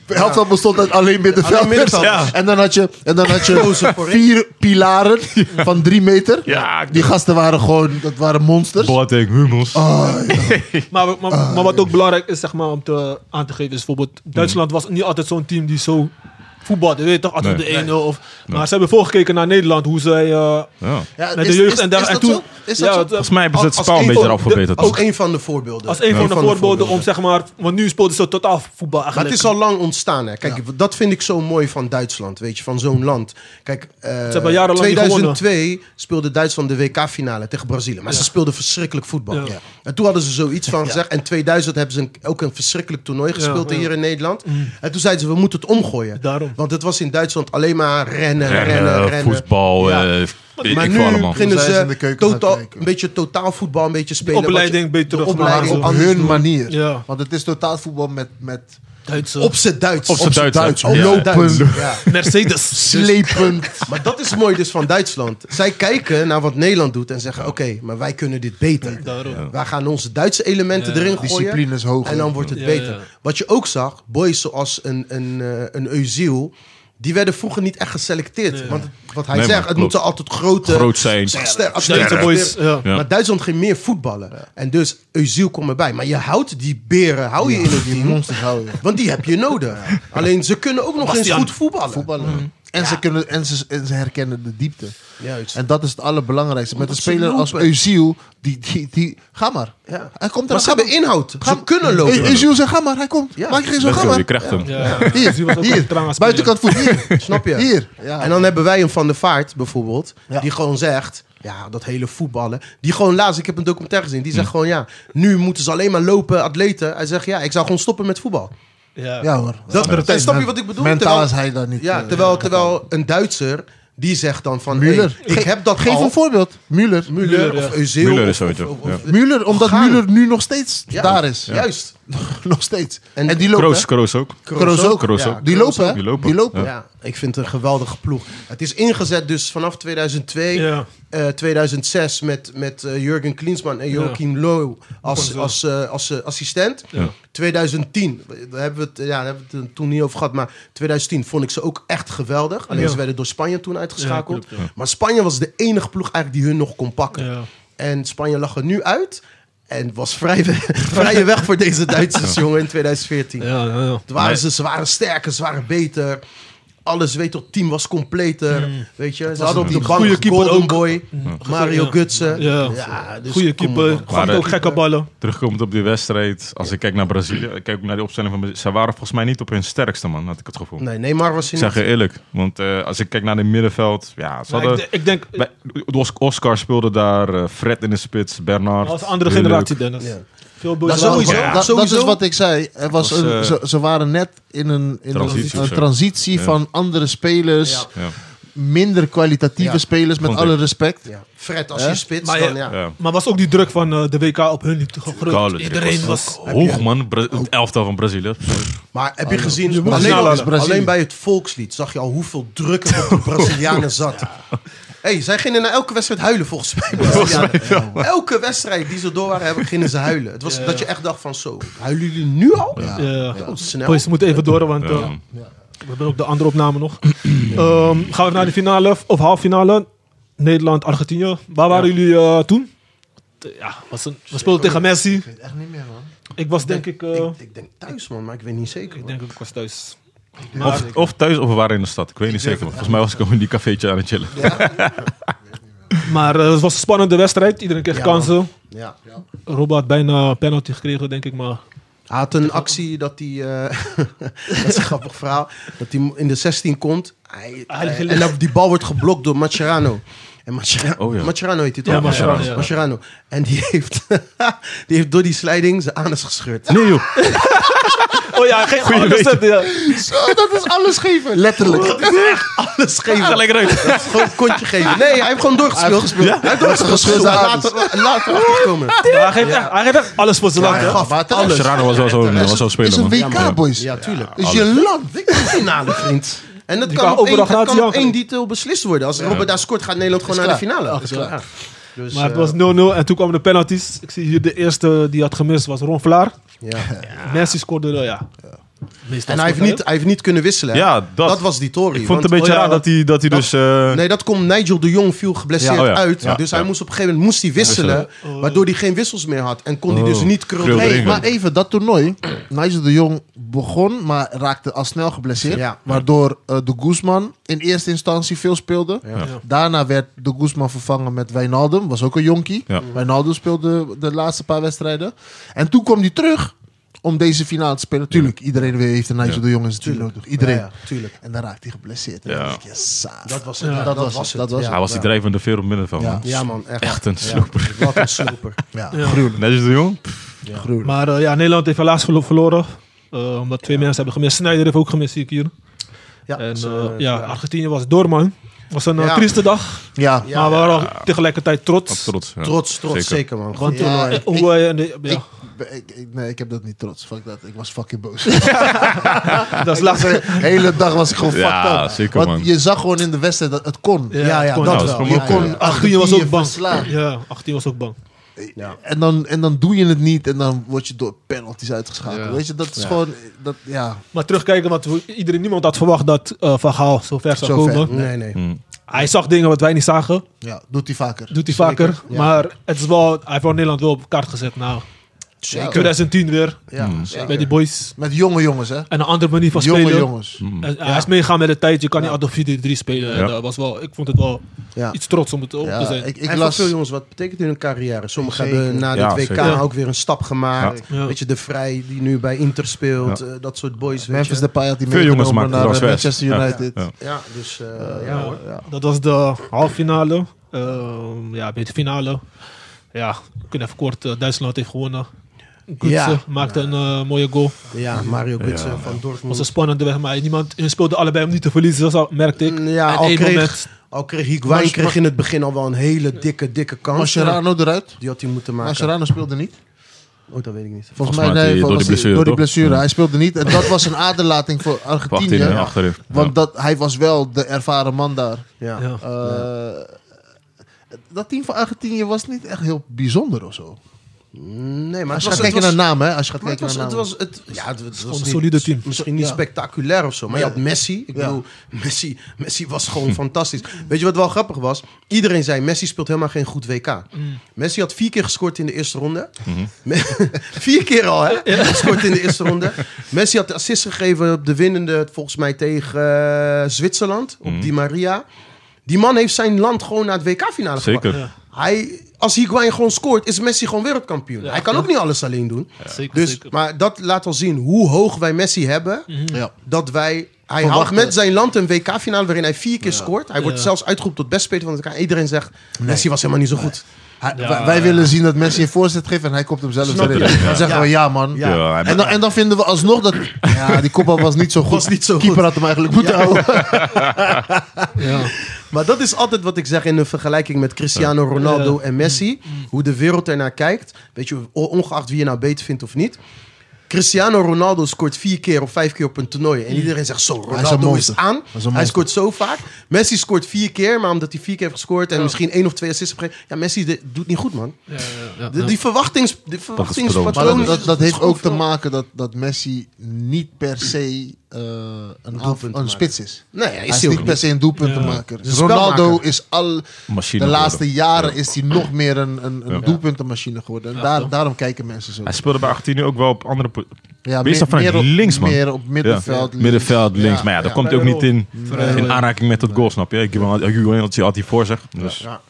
[SPEAKER 4] De helft van bestond uit alleen middenveld.
[SPEAKER 3] Alleen middenveld.
[SPEAKER 1] Ja.
[SPEAKER 4] En dan had je, en dan had je vier pilaren van drie meter.
[SPEAKER 1] Ja, ik-
[SPEAKER 4] Die gasten waren gewoon, dat waren monsters.
[SPEAKER 1] Boateng, Hummels.
[SPEAKER 4] Dus- Ah, ja.
[SPEAKER 2] Maar, maar, maar wat ook belangrijk is zeg maar, om te, aan te geven is bijvoorbeeld... Duitsland was niet altijd zo'n team die zo voetbalde. Weet je toch? Altijd
[SPEAKER 1] Nee.
[SPEAKER 2] de 1-0. of- Maar ze hebben voorgekeken naar Nederland. Hoe zij... eh,
[SPEAKER 1] Ja.
[SPEAKER 4] Ja,
[SPEAKER 2] met
[SPEAKER 4] is-
[SPEAKER 2] de jeugd
[SPEAKER 4] is-
[SPEAKER 2] en daar
[SPEAKER 4] is
[SPEAKER 2] en
[SPEAKER 4] dat
[SPEAKER 2] toen...
[SPEAKER 4] zo? Is
[SPEAKER 2] ja,
[SPEAKER 4] dat
[SPEAKER 2] eh,
[SPEAKER 4] zo?
[SPEAKER 2] het-
[SPEAKER 1] Volgens mij hebben ze het
[SPEAKER 3] Als- als
[SPEAKER 1] spel een
[SPEAKER 3] één-
[SPEAKER 1] beetje
[SPEAKER 3] oh,
[SPEAKER 1] eraf verbeterd.
[SPEAKER 3] Als een van de voorbeelden.
[SPEAKER 2] als een van de voorbeelden om zeg maar... Want nu speelden ze totaal voetbal
[SPEAKER 3] Maar het
[SPEAKER 2] eigenlijk.
[SPEAKER 3] is al lang ontstaan. Hè. Kijk, dat vind ik zo mooi van Duitsland, weet je, van zo'n land. Kijk, eh,
[SPEAKER 2] hebben jarenlang niet
[SPEAKER 3] 2002 speelde Duitsland de WK-finale tegen Brazilië. Maar ze speelden verschrikkelijk voetbal.
[SPEAKER 2] Ja.
[SPEAKER 3] Ja. En toen hadden ze zoiets van gezegd. En 2000 hebben ze een- ook een verschrikkelijk toernooi gespeeld
[SPEAKER 2] ja. Mm.
[SPEAKER 3] hier in Nederland. En toen zeiden ze, we moeten het omgooien.
[SPEAKER 2] Daarom.
[SPEAKER 3] Want het was in Duitsland alleen maar rennen, rennen, rennen.
[SPEAKER 1] Rennen, voetbal,
[SPEAKER 3] Ja.
[SPEAKER 1] eh, ik
[SPEAKER 3] Maar
[SPEAKER 1] ik
[SPEAKER 3] nu
[SPEAKER 1] voor allemaal.
[SPEAKER 3] beginnen
[SPEAKER 4] Zijn ze in de
[SPEAKER 3] ze
[SPEAKER 4] keuken gaan
[SPEAKER 3] totaal,
[SPEAKER 4] kijken.
[SPEAKER 3] een beetje totaal voetbal, een beetje spelen. wat je-
[SPEAKER 2] opleiding beter
[SPEAKER 3] de
[SPEAKER 2] terug, maar
[SPEAKER 3] opleiding
[SPEAKER 4] op
[SPEAKER 2] zo.
[SPEAKER 3] anders
[SPEAKER 4] hun
[SPEAKER 3] doen.
[SPEAKER 4] manier.
[SPEAKER 2] Ja.
[SPEAKER 4] Want het is totaal voetbal met, met
[SPEAKER 2] Duitse
[SPEAKER 3] Op z'n Duits.
[SPEAKER 1] Op z'n
[SPEAKER 3] z'n
[SPEAKER 1] Duits, ja.
[SPEAKER 3] Op z'n
[SPEAKER 1] Ja.
[SPEAKER 3] Duits.
[SPEAKER 4] Lopen.
[SPEAKER 3] Ja.
[SPEAKER 2] Mercedes.
[SPEAKER 4] slepend.
[SPEAKER 3] Maar dat is mooi dus van Duitsland. Zij kijken naar wat Nederland doet en zeggen... oké, maar wij kunnen dit beter.
[SPEAKER 2] Daarom.
[SPEAKER 3] Wij gaan onze Duitse elementen erin gooien.
[SPEAKER 4] Discipline is hoger.
[SPEAKER 3] En dan wordt het
[SPEAKER 2] Ja,
[SPEAKER 3] beter.
[SPEAKER 2] ja.
[SPEAKER 3] Wat je ook zag, boys zoals een, een, eh, een Eusiel... die werden vroeger niet echt geselecteerd. Want het- wat hij
[SPEAKER 1] Nee,
[SPEAKER 3] zegt,
[SPEAKER 1] maar
[SPEAKER 3] het
[SPEAKER 1] klopt.
[SPEAKER 3] moeten altijd grote...
[SPEAKER 1] Groot zijn.
[SPEAKER 3] ster-
[SPEAKER 2] Duitse
[SPEAKER 3] atleten-
[SPEAKER 2] boys. Ja.
[SPEAKER 1] Ja.
[SPEAKER 3] Maar Duitsland ging meer voetballen. En dus Eusiel kwam erbij. Maar je houdt die beren, hou je in het
[SPEAKER 4] Die
[SPEAKER 3] team.
[SPEAKER 4] monsters houden.
[SPEAKER 3] Want die heb je nodig. Alleen ze kunnen ook nog
[SPEAKER 2] Bastiaan.
[SPEAKER 3] eens goed voetballen.
[SPEAKER 4] Voetballen.
[SPEAKER 3] Mhm.
[SPEAKER 4] En, ze kunnen, en, ze, en ze herkennen de diepte.
[SPEAKER 3] Juist.
[SPEAKER 4] En dat is het allerbelangrijkste. Met een
[SPEAKER 3] Omdat ze
[SPEAKER 4] speler als
[SPEAKER 3] lopen.
[SPEAKER 4] Eusiel, die, die, die... Ga maar.
[SPEAKER 3] Ja.
[SPEAKER 4] Hij komt
[SPEAKER 3] Maar
[SPEAKER 4] er.
[SPEAKER 3] ze hebben inhoud. Ze kunnen lopen.
[SPEAKER 4] Eusiel zegt, ga maar. Hij komt.
[SPEAKER 3] Ja.
[SPEAKER 4] Maak je geen zorgen, ga
[SPEAKER 1] Letgo,
[SPEAKER 4] maar.
[SPEAKER 1] Je krijgt hem.
[SPEAKER 2] Ja. Dus
[SPEAKER 4] Hier,
[SPEAKER 2] Die was ook
[SPEAKER 4] hier.
[SPEAKER 2] echt traag aan het
[SPEAKER 4] Buitenkant voet, hier.
[SPEAKER 3] Snap je?
[SPEAKER 4] Hier. Ja.
[SPEAKER 3] En dan hebben wij een Van der Vaart bijvoorbeeld.
[SPEAKER 4] Ja.
[SPEAKER 3] Die gewoon zegt. Ja, dat hele voetballen. Die gewoon laatst, ik heb een Hm. documentaire gezien. Die zegt gewoon ja. Nu moeten ze alleen maar lopen, atleten. Hij zegt ja, ik zou gewoon stoppen met voetbal.
[SPEAKER 2] Ja.
[SPEAKER 4] Ja hoor.
[SPEAKER 3] Dat,
[SPEAKER 4] Ja.
[SPEAKER 3] dat snap je wat ik bedoel?
[SPEAKER 4] Mentaal
[SPEAKER 3] Terwijl-
[SPEAKER 4] is hij daar niet.
[SPEAKER 3] Ja,
[SPEAKER 4] eh,
[SPEAKER 3] terwijl, terwijl een Duitser die zegt dan van... hey,
[SPEAKER 4] Müller.
[SPEAKER 3] ik heb dat
[SPEAKER 4] Geef
[SPEAKER 3] al.
[SPEAKER 4] een voorbeeld. Müller.
[SPEAKER 3] Müller
[SPEAKER 2] Müller,
[SPEAKER 3] of
[SPEAKER 2] ja.
[SPEAKER 3] Özil.
[SPEAKER 1] Müller
[SPEAKER 3] of-
[SPEAKER 1] is sowieso,
[SPEAKER 3] of- of-
[SPEAKER 4] Müller, omdat
[SPEAKER 3] Gaan.
[SPEAKER 4] Müller nu nog steeds
[SPEAKER 3] Ja,
[SPEAKER 4] daar is.
[SPEAKER 3] Juist.
[SPEAKER 4] Nog steeds.
[SPEAKER 3] En
[SPEAKER 4] En, die loopt,
[SPEAKER 1] Kroos,
[SPEAKER 4] hè?
[SPEAKER 1] Kroos ook.
[SPEAKER 4] Kroos ook.
[SPEAKER 1] Kroos ook.
[SPEAKER 3] Ja,
[SPEAKER 4] Die
[SPEAKER 3] Kroos
[SPEAKER 4] lopen, hè?
[SPEAKER 1] Die lopen.
[SPEAKER 3] Ja. ik vind het een geweldige ploeg. Het is ingezet dus vanaf 2002,
[SPEAKER 2] Ja.
[SPEAKER 3] eh, 2006 met, met eh, Jurgen Klinsmann en Joachim Low als,
[SPEAKER 2] Hoezo?
[SPEAKER 3] als, eh, als eh, assistent.
[SPEAKER 1] Ja.
[SPEAKER 3] 2010, daar hebben we het, ja, daar hebben we het toen niet over gehad, maar 2010 vond ik ze ook echt geweldig. Alleen
[SPEAKER 2] Ja.
[SPEAKER 3] ze werden door Spanje toen uitgeschakeld.
[SPEAKER 2] Ja, klopt,
[SPEAKER 3] Maar Spanje was de enige ploeg eigenlijk die hun nog kon pakken.
[SPEAKER 2] Ja.
[SPEAKER 3] En Spanje lag er nu uit en was vrij we- vrije weg voor deze Duitsers, jongen, in 2014.
[SPEAKER 2] Ja, ja, ja.
[SPEAKER 3] Het waren
[SPEAKER 1] Nee.
[SPEAKER 3] ze, ze waren sterker, ze waren beter. Alles, weet je, het team was completer. Weet je, ze hadden op de bank
[SPEAKER 2] goede keeper
[SPEAKER 3] Golden
[SPEAKER 2] ook.
[SPEAKER 3] Boy, Mario
[SPEAKER 2] Ja.
[SPEAKER 3] Gutsen.
[SPEAKER 2] Ja.
[SPEAKER 3] dus
[SPEAKER 2] Goeie
[SPEAKER 3] kom
[SPEAKER 2] keeper.
[SPEAKER 3] op.
[SPEAKER 1] Maar,
[SPEAKER 2] Vangt ook
[SPEAKER 1] eh,
[SPEAKER 2] gekke ballen.
[SPEAKER 1] Terugkomend op die wedstrijd, als ik kijk naar Brazilië, ik kijk ook naar die opstelling van Brazilië. Zij waren volgens mij niet op hun sterkste, man, had ik het gevoel.
[SPEAKER 3] Nee, Neymar was
[SPEAKER 1] Ik
[SPEAKER 3] in
[SPEAKER 1] zeg je eerlijk, want eh, als ik kijk naar het middenveld, ja, ze
[SPEAKER 2] Maar
[SPEAKER 1] hadden...
[SPEAKER 2] Nou, ik, ik denk,
[SPEAKER 1] bij- Os- Oscar speelde daar, eh, Fred in de spits, Bernard.
[SPEAKER 2] dat was een andere
[SPEAKER 1] Heel leuk.
[SPEAKER 2] generatie, Dennis.
[SPEAKER 3] Ja.
[SPEAKER 2] Veel
[SPEAKER 4] Dat,
[SPEAKER 2] boys
[SPEAKER 4] is
[SPEAKER 3] Ja,
[SPEAKER 4] wel-
[SPEAKER 3] sowieso.
[SPEAKER 4] dat- dat
[SPEAKER 3] sowieso.
[SPEAKER 4] is wat ik zei. Er was
[SPEAKER 1] Was,
[SPEAKER 4] een,
[SPEAKER 1] eh,
[SPEAKER 4] ze, ze waren net in een, in
[SPEAKER 1] Transitie
[SPEAKER 4] een,
[SPEAKER 1] of
[SPEAKER 4] een
[SPEAKER 1] zo.
[SPEAKER 4] transitie
[SPEAKER 1] Ja.
[SPEAKER 4] van andere spelers.
[SPEAKER 3] Ja.
[SPEAKER 1] Ja,
[SPEAKER 4] Minder kwalitatieve
[SPEAKER 3] Ja.
[SPEAKER 4] spelers, met
[SPEAKER 1] Vond
[SPEAKER 4] alle
[SPEAKER 1] ik.
[SPEAKER 4] respect.
[SPEAKER 3] Ja. Fred als
[SPEAKER 4] Hè?
[SPEAKER 3] je spits,
[SPEAKER 2] Maar
[SPEAKER 3] dan
[SPEAKER 2] ja,
[SPEAKER 3] ja.
[SPEAKER 1] ja.
[SPEAKER 2] Maar was ook die druk van eh, de WK op hun niet
[SPEAKER 1] Kale,
[SPEAKER 2] gegrukt? Iedereen
[SPEAKER 1] druk
[SPEAKER 2] was...
[SPEAKER 1] Hoog, man. Bra- het elftal van Brazilië.
[SPEAKER 3] Maar heb je gezien,
[SPEAKER 4] moet
[SPEAKER 3] alleen,
[SPEAKER 4] snel
[SPEAKER 3] al-
[SPEAKER 4] aan Brazilië.
[SPEAKER 3] alleen bij het volkslied zag je al hoeveel druk er op de Brazilianen zat. hey, zij gingen na elke wedstrijd huilen volgens mij. Brazilianen. Elke wedstrijd die ze door waren, hebben, gingen ze huilen. Het was dat je echt dacht van zo, huilen jullie nu al? Ja.
[SPEAKER 2] Ja.
[SPEAKER 3] Oh, snel.
[SPEAKER 2] Boys, we moeten even door, want... eh,
[SPEAKER 1] Ja.
[SPEAKER 2] We hebben ook de andere opname nog. Ehm, gaan we naar de finale of halffinale? Nederland, Argentinië. Waar waren jullie eh, toen? T- Ja, was een, we speelden tegen Messi.
[SPEAKER 4] Ik weet echt niet meer, man.
[SPEAKER 2] Ik was denk ik. eh,
[SPEAKER 3] Ik, ik denk thuis, man, maar ik weet niet zeker.
[SPEAKER 2] ik
[SPEAKER 3] man.
[SPEAKER 2] denk ik was thuis.
[SPEAKER 1] Of, of thuis of we waren in de stad. Ik weet niet zeker. maar Volgens mij was ik ook in die cafeetje aan het chillen.
[SPEAKER 2] Maar eh, het was een spannende wedstrijd. Iedereen kreeg
[SPEAKER 3] Ja,
[SPEAKER 2] kansen.
[SPEAKER 3] Ja.
[SPEAKER 2] Robert had bijna een penalty gekregen, denk ik. Maar
[SPEAKER 3] Hij had een actie dat hij. eh, dat is een grappig verhaal. Dat hij in de 16 komt. Hij,
[SPEAKER 2] Hij
[SPEAKER 3] eh,
[SPEAKER 2] ligt-
[SPEAKER 3] en dat die bal wordt geblokt door Mascherano. En Mascherano,
[SPEAKER 1] Oh ja.
[SPEAKER 3] Mascherano heet hij toch?
[SPEAKER 2] Ja, Mascherano, ja.
[SPEAKER 3] Mascherano. En die heeft, die heeft door die sliding zijn anus gescheurd.
[SPEAKER 1] Nee, joh.
[SPEAKER 2] oh ja, geen goede
[SPEAKER 4] Zo, dat is alles geven. Letterlijk.
[SPEAKER 3] Alles
[SPEAKER 2] Ah,
[SPEAKER 3] geven.
[SPEAKER 1] Gelijk eruit.
[SPEAKER 3] Dat is gewoon een kontje geven. Nee, hij heeft gewoon doorgespeeld. Hij heeft, doorgespeeld.
[SPEAKER 4] Zijn
[SPEAKER 3] Later, later achterkomen.
[SPEAKER 2] Hij geeft echt- hij geeft echt alles voor zijn land.
[SPEAKER 3] hij
[SPEAKER 2] hè.
[SPEAKER 3] gaf
[SPEAKER 4] maar terecht.
[SPEAKER 3] alles.
[SPEAKER 1] Serrano was wel zo'n
[SPEAKER 4] Het
[SPEAKER 1] was zo'n
[SPEAKER 4] is
[SPEAKER 1] speler,
[SPEAKER 4] een
[SPEAKER 1] man.
[SPEAKER 4] WK, boys.
[SPEAKER 3] Ja, tuurlijk.
[SPEAKER 4] Dus je land.
[SPEAKER 3] Ik ben finale, vriend. En dat
[SPEAKER 2] Die
[SPEAKER 3] kan,
[SPEAKER 2] kan
[SPEAKER 3] op één,
[SPEAKER 2] overdag
[SPEAKER 3] dat
[SPEAKER 2] laten
[SPEAKER 3] kan op
[SPEAKER 2] jagen.
[SPEAKER 3] één detail beslist worden. Als Robert daar scoort, gaat Nederland gewoon
[SPEAKER 4] Is
[SPEAKER 3] naar de
[SPEAKER 4] klaar.
[SPEAKER 3] finale.
[SPEAKER 4] Oh, is
[SPEAKER 3] Ja.
[SPEAKER 4] klaar.
[SPEAKER 3] Dus,
[SPEAKER 2] Maar het
[SPEAKER 3] eh,
[SPEAKER 2] was 0-0 en toen kwamen de penalties. Ik zie hier de eerste die had gemist was Ron Vlaar.
[SPEAKER 3] ja.
[SPEAKER 2] Messi scoorde, eh, ja. Meestal
[SPEAKER 3] En hij heeft,
[SPEAKER 2] scoort
[SPEAKER 3] niet, hij heeft niet kunnen wisselen. hè?
[SPEAKER 1] Ja, dat.
[SPEAKER 3] was die Tory.
[SPEAKER 1] Ik vond het
[SPEAKER 3] want-
[SPEAKER 1] een beetje
[SPEAKER 3] oh ja,
[SPEAKER 1] raar dat hij, dat hij dus... eh,
[SPEAKER 3] Nee, dat komt. Nigel de Jong viel geblesseerd
[SPEAKER 1] Ja, oh ja,
[SPEAKER 3] uit.
[SPEAKER 1] ja,
[SPEAKER 3] dus
[SPEAKER 1] ja.
[SPEAKER 3] hij moest op een gegeven moment moest hij wisselen.
[SPEAKER 4] Oh.
[SPEAKER 3] Waardoor hij geen wissels meer had. En kon hij dus
[SPEAKER 1] Oh,
[SPEAKER 3] niet
[SPEAKER 1] Krul
[SPEAKER 3] krullen.
[SPEAKER 1] erin.
[SPEAKER 4] Hey, maar even, dat toernooi. Nigel de Jong begon, maar raakte al snel geblesseerd.
[SPEAKER 3] Ja.
[SPEAKER 4] Waardoor eh, de Guzman in eerste instantie veel speelde.
[SPEAKER 1] Ja.
[SPEAKER 4] Daarna werd de Guzman vervangen met Wijnaldum. Was ook een jonkie.
[SPEAKER 1] Ja.
[SPEAKER 4] Wijnaldum speelde de laatste paar wedstrijden. En toen kwam hij terug om deze finale te spelen. Tuurlijk, iedereen weer heeft een Nigel de Jong in zijn team nodig. Iedereen.
[SPEAKER 3] Ja, ja, tuurlijk.
[SPEAKER 4] En dan raakte hij geblesseerd. En
[SPEAKER 1] Ja.
[SPEAKER 4] dan dacht ik, yes, saaf.
[SPEAKER 3] Dat was het.
[SPEAKER 4] Ja,
[SPEAKER 3] ja, dat, was het.
[SPEAKER 4] Dat was
[SPEAKER 3] ja.
[SPEAKER 1] hij was die drijvende veer op middenveld,
[SPEAKER 4] Ja.
[SPEAKER 1] man.
[SPEAKER 3] Ja, man. Echt,
[SPEAKER 1] Echt een
[SPEAKER 3] Ja.
[SPEAKER 1] sloeper.
[SPEAKER 3] Wat een sloeper.
[SPEAKER 4] Ja,
[SPEAKER 2] Ja.
[SPEAKER 4] gruwelijk.
[SPEAKER 1] Net als de jong.
[SPEAKER 4] gruwelijk.
[SPEAKER 2] Maar eh, ja, Nederland heeft helaas verlo- verloren. Eh, omdat twee mensen hebben gemist. Snijder heeft ook gemist, zie ik hier.
[SPEAKER 3] Ja,
[SPEAKER 2] en
[SPEAKER 3] dus,
[SPEAKER 2] eh,
[SPEAKER 3] eh,
[SPEAKER 2] ja, Argentinië was door, man. Het was een eh,
[SPEAKER 3] Ja.
[SPEAKER 2] trieste dag.
[SPEAKER 4] Ja.
[SPEAKER 3] Ja,
[SPEAKER 2] maar we waren tegelijkertijd trots.
[SPEAKER 1] Trots. ja.
[SPEAKER 3] Trots, trots. Zeker,
[SPEAKER 1] Zeker.
[SPEAKER 3] man.
[SPEAKER 2] Want
[SPEAKER 4] Ja,
[SPEAKER 2] toen, eh,
[SPEAKER 4] ik-
[SPEAKER 2] hoe wij in de- ja,
[SPEAKER 4] Ik- ik- ik- nee, ik heb dat niet trots. Fuck dat. Ik was fucking boos.
[SPEAKER 2] dat is lachen.
[SPEAKER 4] De hele dag was ik gewoon
[SPEAKER 1] Ja,
[SPEAKER 4] fucked up.
[SPEAKER 1] zeker,
[SPEAKER 4] Want
[SPEAKER 1] man.
[SPEAKER 4] je zag gewoon in de wedstrijd dat het kon.
[SPEAKER 2] Ja, het kon.
[SPEAKER 1] Nou, dat is
[SPEAKER 4] Je
[SPEAKER 1] kom op,
[SPEAKER 4] kon
[SPEAKER 1] ja.
[SPEAKER 2] 18 was ook bang.
[SPEAKER 4] verslaan.
[SPEAKER 2] Ja, 18 was ook bang.
[SPEAKER 3] Ja.
[SPEAKER 4] En dan, en dan doe je het niet en dan word je door penalties uitgeschakeld. Weet je, dat is gewoon... Dat, ja,
[SPEAKER 2] Maar terugkijken, want we- iedereen, niemand had verwacht dat eh Van Gaal zo ver zou
[SPEAKER 4] Zo ver.
[SPEAKER 2] komen.
[SPEAKER 3] Nee, nee.
[SPEAKER 2] Hij zag dingen wat wij niet zagen.
[SPEAKER 4] ja, doet hij vaker.
[SPEAKER 2] Doet hij vaker. Maar het is wel, hij heeft wel Nederland wel op kaart gezet. Nou,
[SPEAKER 4] Zeker.
[SPEAKER 2] 2010 weer.
[SPEAKER 4] Ja, zeker.
[SPEAKER 2] Bij die boys.
[SPEAKER 4] Met jonge jongens, hè.
[SPEAKER 2] En een andere manier van
[SPEAKER 4] Jonge
[SPEAKER 2] spelen.
[SPEAKER 4] jongens.
[SPEAKER 2] Hij- Hij is meegaan met de tijd. Je kan niet altijd 4 3 spelen. En
[SPEAKER 1] Ja.
[SPEAKER 2] dat was wel, ik vond het wel
[SPEAKER 3] Ja.
[SPEAKER 2] iets trots om het op
[SPEAKER 4] Ja,
[SPEAKER 2] te zijn.
[SPEAKER 4] ik, ik
[SPEAKER 3] en
[SPEAKER 4] las...
[SPEAKER 3] voor veel jongens, wat betekent hun carrière? Sommigen
[SPEAKER 4] Zeker.
[SPEAKER 3] hebben na dit
[SPEAKER 1] Ja,
[SPEAKER 3] WK
[SPEAKER 1] zeker.
[SPEAKER 3] ook weer een stap gemaakt.
[SPEAKER 2] Ja. Ja.
[SPEAKER 3] Weet je, de Vrij die nu bij Inter speelt, eh, dat soort boys. Weet
[SPEAKER 4] Memphis
[SPEAKER 3] je.
[SPEAKER 4] Depay had die
[SPEAKER 1] Veel jongens
[SPEAKER 4] meegenomen
[SPEAKER 1] maken
[SPEAKER 4] naar eh,
[SPEAKER 1] transfers. Ja.
[SPEAKER 4] Manchester United.
[SPEAKER 1] Ja.
[SPEAKER 3] Ja, dus eh, ja
[SPEAKER 2] Ja,
[SPEAKER 3] hoor.
[SPEAKER 2] Dat was de halffinale. Ehm, ja, bij de finale. Ja, ik kan even kort. eh, Duitsland heeft gewonnen. Gutsen
[SPEAKER 3] Ja.
[SPEAKER 2] maakte een eh, mooie goal.
[SPEAKER 3] Ja, Mario Götze
[SPEAKER 1] Ja.
[SPEAKER 3] van
[SPEAKER 2] was
[SPEAKER 3] Dortmund.
[SPEAKER 2] een spannende weg, maar niemand hun speelden allebei om niet te verliezen, dat merkte ik.
[SPEAKER 3] Mm, Ja,
[SPEAKER 2] En
[SPEAKER 3] al
[SPEAKER 2] één
[SPEAKER 3] kreeg-
[SPEAKER 2] moment,
[SPEAKER 3] Al kreeg Higuain
[SPEAKER 4] Mas-
[SPEAKER 3] kreeg in het begin al wel een hele dikke, dikke kans.
[SPEAKER 4] Mascherano eruit.
[SPEAKER 3] Die had hij moeten maken.
[SPEAKER 4] Mascherano speelde niet.
[SPEAKER 3] Oh, dat weet ik niet.
[SPEAKER 4] Volgens
[SPEAKER 1] Volgens
[SPEAKER 4] mij
[SPEAKER 1] mij had
[SPEAKER 4] nee,
[SPEAKER 1] hij
[SPEAKER 4] volgens-
[SPEAKER 1] door die blessure,
[SPEAKER 4] door die
[SPEAKER 1] toch?
[SPEAKER 4] blessure.
[SPEAKER 1] Ja.
[SPEAKER 4] Hij speelde niet. En dat was een aderlating voor
[SPEAKER 1] Wacht
[SPEAKER 4] Argentinië.
[SPEAKER 1] in, achterin.
[SPEAKER 4] Want dat, hij was wel de ervaren man daar.
[SPEAKER 3] Ja.
[SPEAKER 2] ja.
[SPEAKER 4] Eh, Dat team van Argentinië was niet echt heel bijzonder of zo.
[SPEAKER 3] Mm, Nee, maar het was,
[SPEAKER 4] Als je gaat
[SPEAKER 3] het
[SPEAKER 4] kijken
[SPEAKER 3] was,
[SPEAKER 4] naar namen, hè? Als je gaat
[SPEAKER 3] maar het
[SPEAKER 4] kijken
[SPEAKER 3] was,
[SPEAKER 4] naar
[SPEAKER 3] het
[SPEAKER 4] namen.
[SPEAKER 3] was, het, ja, het was
[SPEAKER 2] gewoon een
[SPEAKER 3] niet-
[SPEAKER 2] solide team.
[SPEAKER 3] Misschien niet
[SPEAKER 4] Ja.
[SPEAKER 3] spectaculair of zo. Maar je
[SPEAKER 4] Ja.
[SPEAKER 3] had Messi. Ik
[SPEAKER 4] Ja.
[SPEAKER 3] bedoel, Messi, Messi was gewoon fantastisch. Weet je wat wel grappig was? Iedereen zei, Messi speelt helemaal geen goed WK. Messi had vier keer gescoord in de eerste ronde. Me- vier keer al, hè? Gescoord in de eerste ronde. Messi had de assist gegeven op de winnende, volgens mij tegen eh, Zwitserland. Op Di Maria. Die man heeft zijn land gewoon naar het WK-finale gebracht.
[SPEAKER 1] Zeker.
[SPEAKER 2] Ja.
[SPEAKER 3] Hij, als Higuain gewoon scoort, is Messi gewoon wereldkampioen.
[SPEAKER 2] Ja,
[SPEAKER 3] hij kan
[SPEAKER 2] ja.
[SPEAKER 3] ook niet alles alleen doen.
[SPEAKER 2] Zeker,
[SPEAKER 3] Dus,
[SPEAKER 2] zeker. Mhm.
[SPEAKER 3] maar dat laat al zien hoe hoog wij Messi hebben.
[SPEAKER 4] Ja.
[SPEAKER 3] Dat wij... Hij haalt
[SPEAKER 4] Verwachten.
[SPEAKER 3] met zijn land een WK-finale waarin hij vier keer scoort. Hij wordt
[SPEAKER 2] Ja.
[SPEAKER 3] zelfs uitgeroepen tot best speler van het WK. Iedereen zegt, Messi was helemaal niet zo goed.
[SPEAKER 4] Hij-
[SPEAKER 2] Ja.
[SPEAKER 4] wij, wij willen zien dat Messi een voorzet geeft en hij komt hem zelf
[SPEAKER 3] Snap
[SPEAKER 4] erin.
[SPEAKER 1] je? Ja.
[SPEAKER 4] Dan zeggen we ja, man.
[SPEAKER 3] Ja.
[SPEAKER 1] Ja, hij-
[SPEAKER 4] En, dan, en dan vinden we alsnog dat... Ja, die kopbal was niet zo goed.
[SPEAKER 3] Was niet zo
[SPEAKER 4] Keeper
[SPEAKER 3] goed.
[SPEAKER 4] had hem eigenlijk moeten houden.
[SPEAKER 2] Ja.
[SPEAKER 3] Maar dat is altijd wat ik zeg in de vergelijking met Cristiano Ronaldo en Messi.
[SPEAKER 4] Mm.
[SPEAKER 3] Hoe de wereld ernaar kijkt. Weet je, o- ongeacht wie je nou beter vindt of niet. Cristiano Ronaldo scoort vier keer of vijf keer op een toernooi. En iedereen zegt zo,
[SPEAKER 4] Mm. is
[SPEAKER 3] Ronaldo
[SPEAKER 4] een
[SPEAKER 3] is,
[SPEAKER 4] monster.
[SPEAKER 3] aan.
[SPEAKER 4] is een
[SPEAKER 3] hij
[SPEAKER 4] monster.
[SPEAKER 3] scoort zo vaak. Messi scoort vier keer, maar omdat hij vier keer heeft gescoord... en misschien één of twee assists heeft gegeven... Ja, Messi de- doet niet goed, man.
[SPEAKER 2] Ja, ja, ja.
[SPEAKER 3] De- die verwachtings, die
[SPEAKER 4] Maar
[SPEAKER 3] verwachtingspatroon...
[SPEAKER 4] dat, dat, dat heeft ook te
[SPEAKER 3] maken.
[SPEAKER 4] maken dat, dat Messi niet per se eh, een, aanv-
[SPEAKER 3] doelpunt
[SPEAKER 4] een
[SPEAKER 3] maakt.
[SPEAKER 4] spits is.
[SPEAKER 3] Nee, hij
[SPEAKER 4] Hij
[SPEAKER 3] is
[SPEAKER 4] is
[SPEAKER 3] heel
[SPEAKER 4] niet per se een doelpuntenmaker.
[SPEAKER 3] Is een
[SPEAKER 4] Ronaldo
[SPEAKER 3] spelmaker.
[SPEAKER 4] is al
[SPEAKER 1] Machine
[SPEAKER 4] de laatste
[SPEAKER 1] geworden.
[SPEAKER 4] jaren is hij nog meer een, een, een
[SPEAKER 1] Ja.
[SPEAKER 4] doelpuntenmachine geworden. En daar, daarom kijken mensen zo.
[SPEAKER 1] Hij speelde bij Argentinië ook wel op andere... po-
[SPEAKER 4] Ja,
[SPEAKER 1] Meestal vanuit
[SPEAKER 4] op,
[SPEAKER 1] links, man.
[SPEAKER 4] Meer op middenveld. links.
[SPEAKER 1] Middenveld, links. Maar ja, daar
[SPEAKER 4] ja.
[SPEAKER 1] komt hij ook niet in,
[SPEAKER 2] Vrij
[SPEAKER 1] in
[SPEAKER 2] rol.
[SPEAKER 1] aanraking met dat goal, snap je? Ik heb wel- Higuain had- had hij voor zich. Dus
[SPEAKER 2] Ja.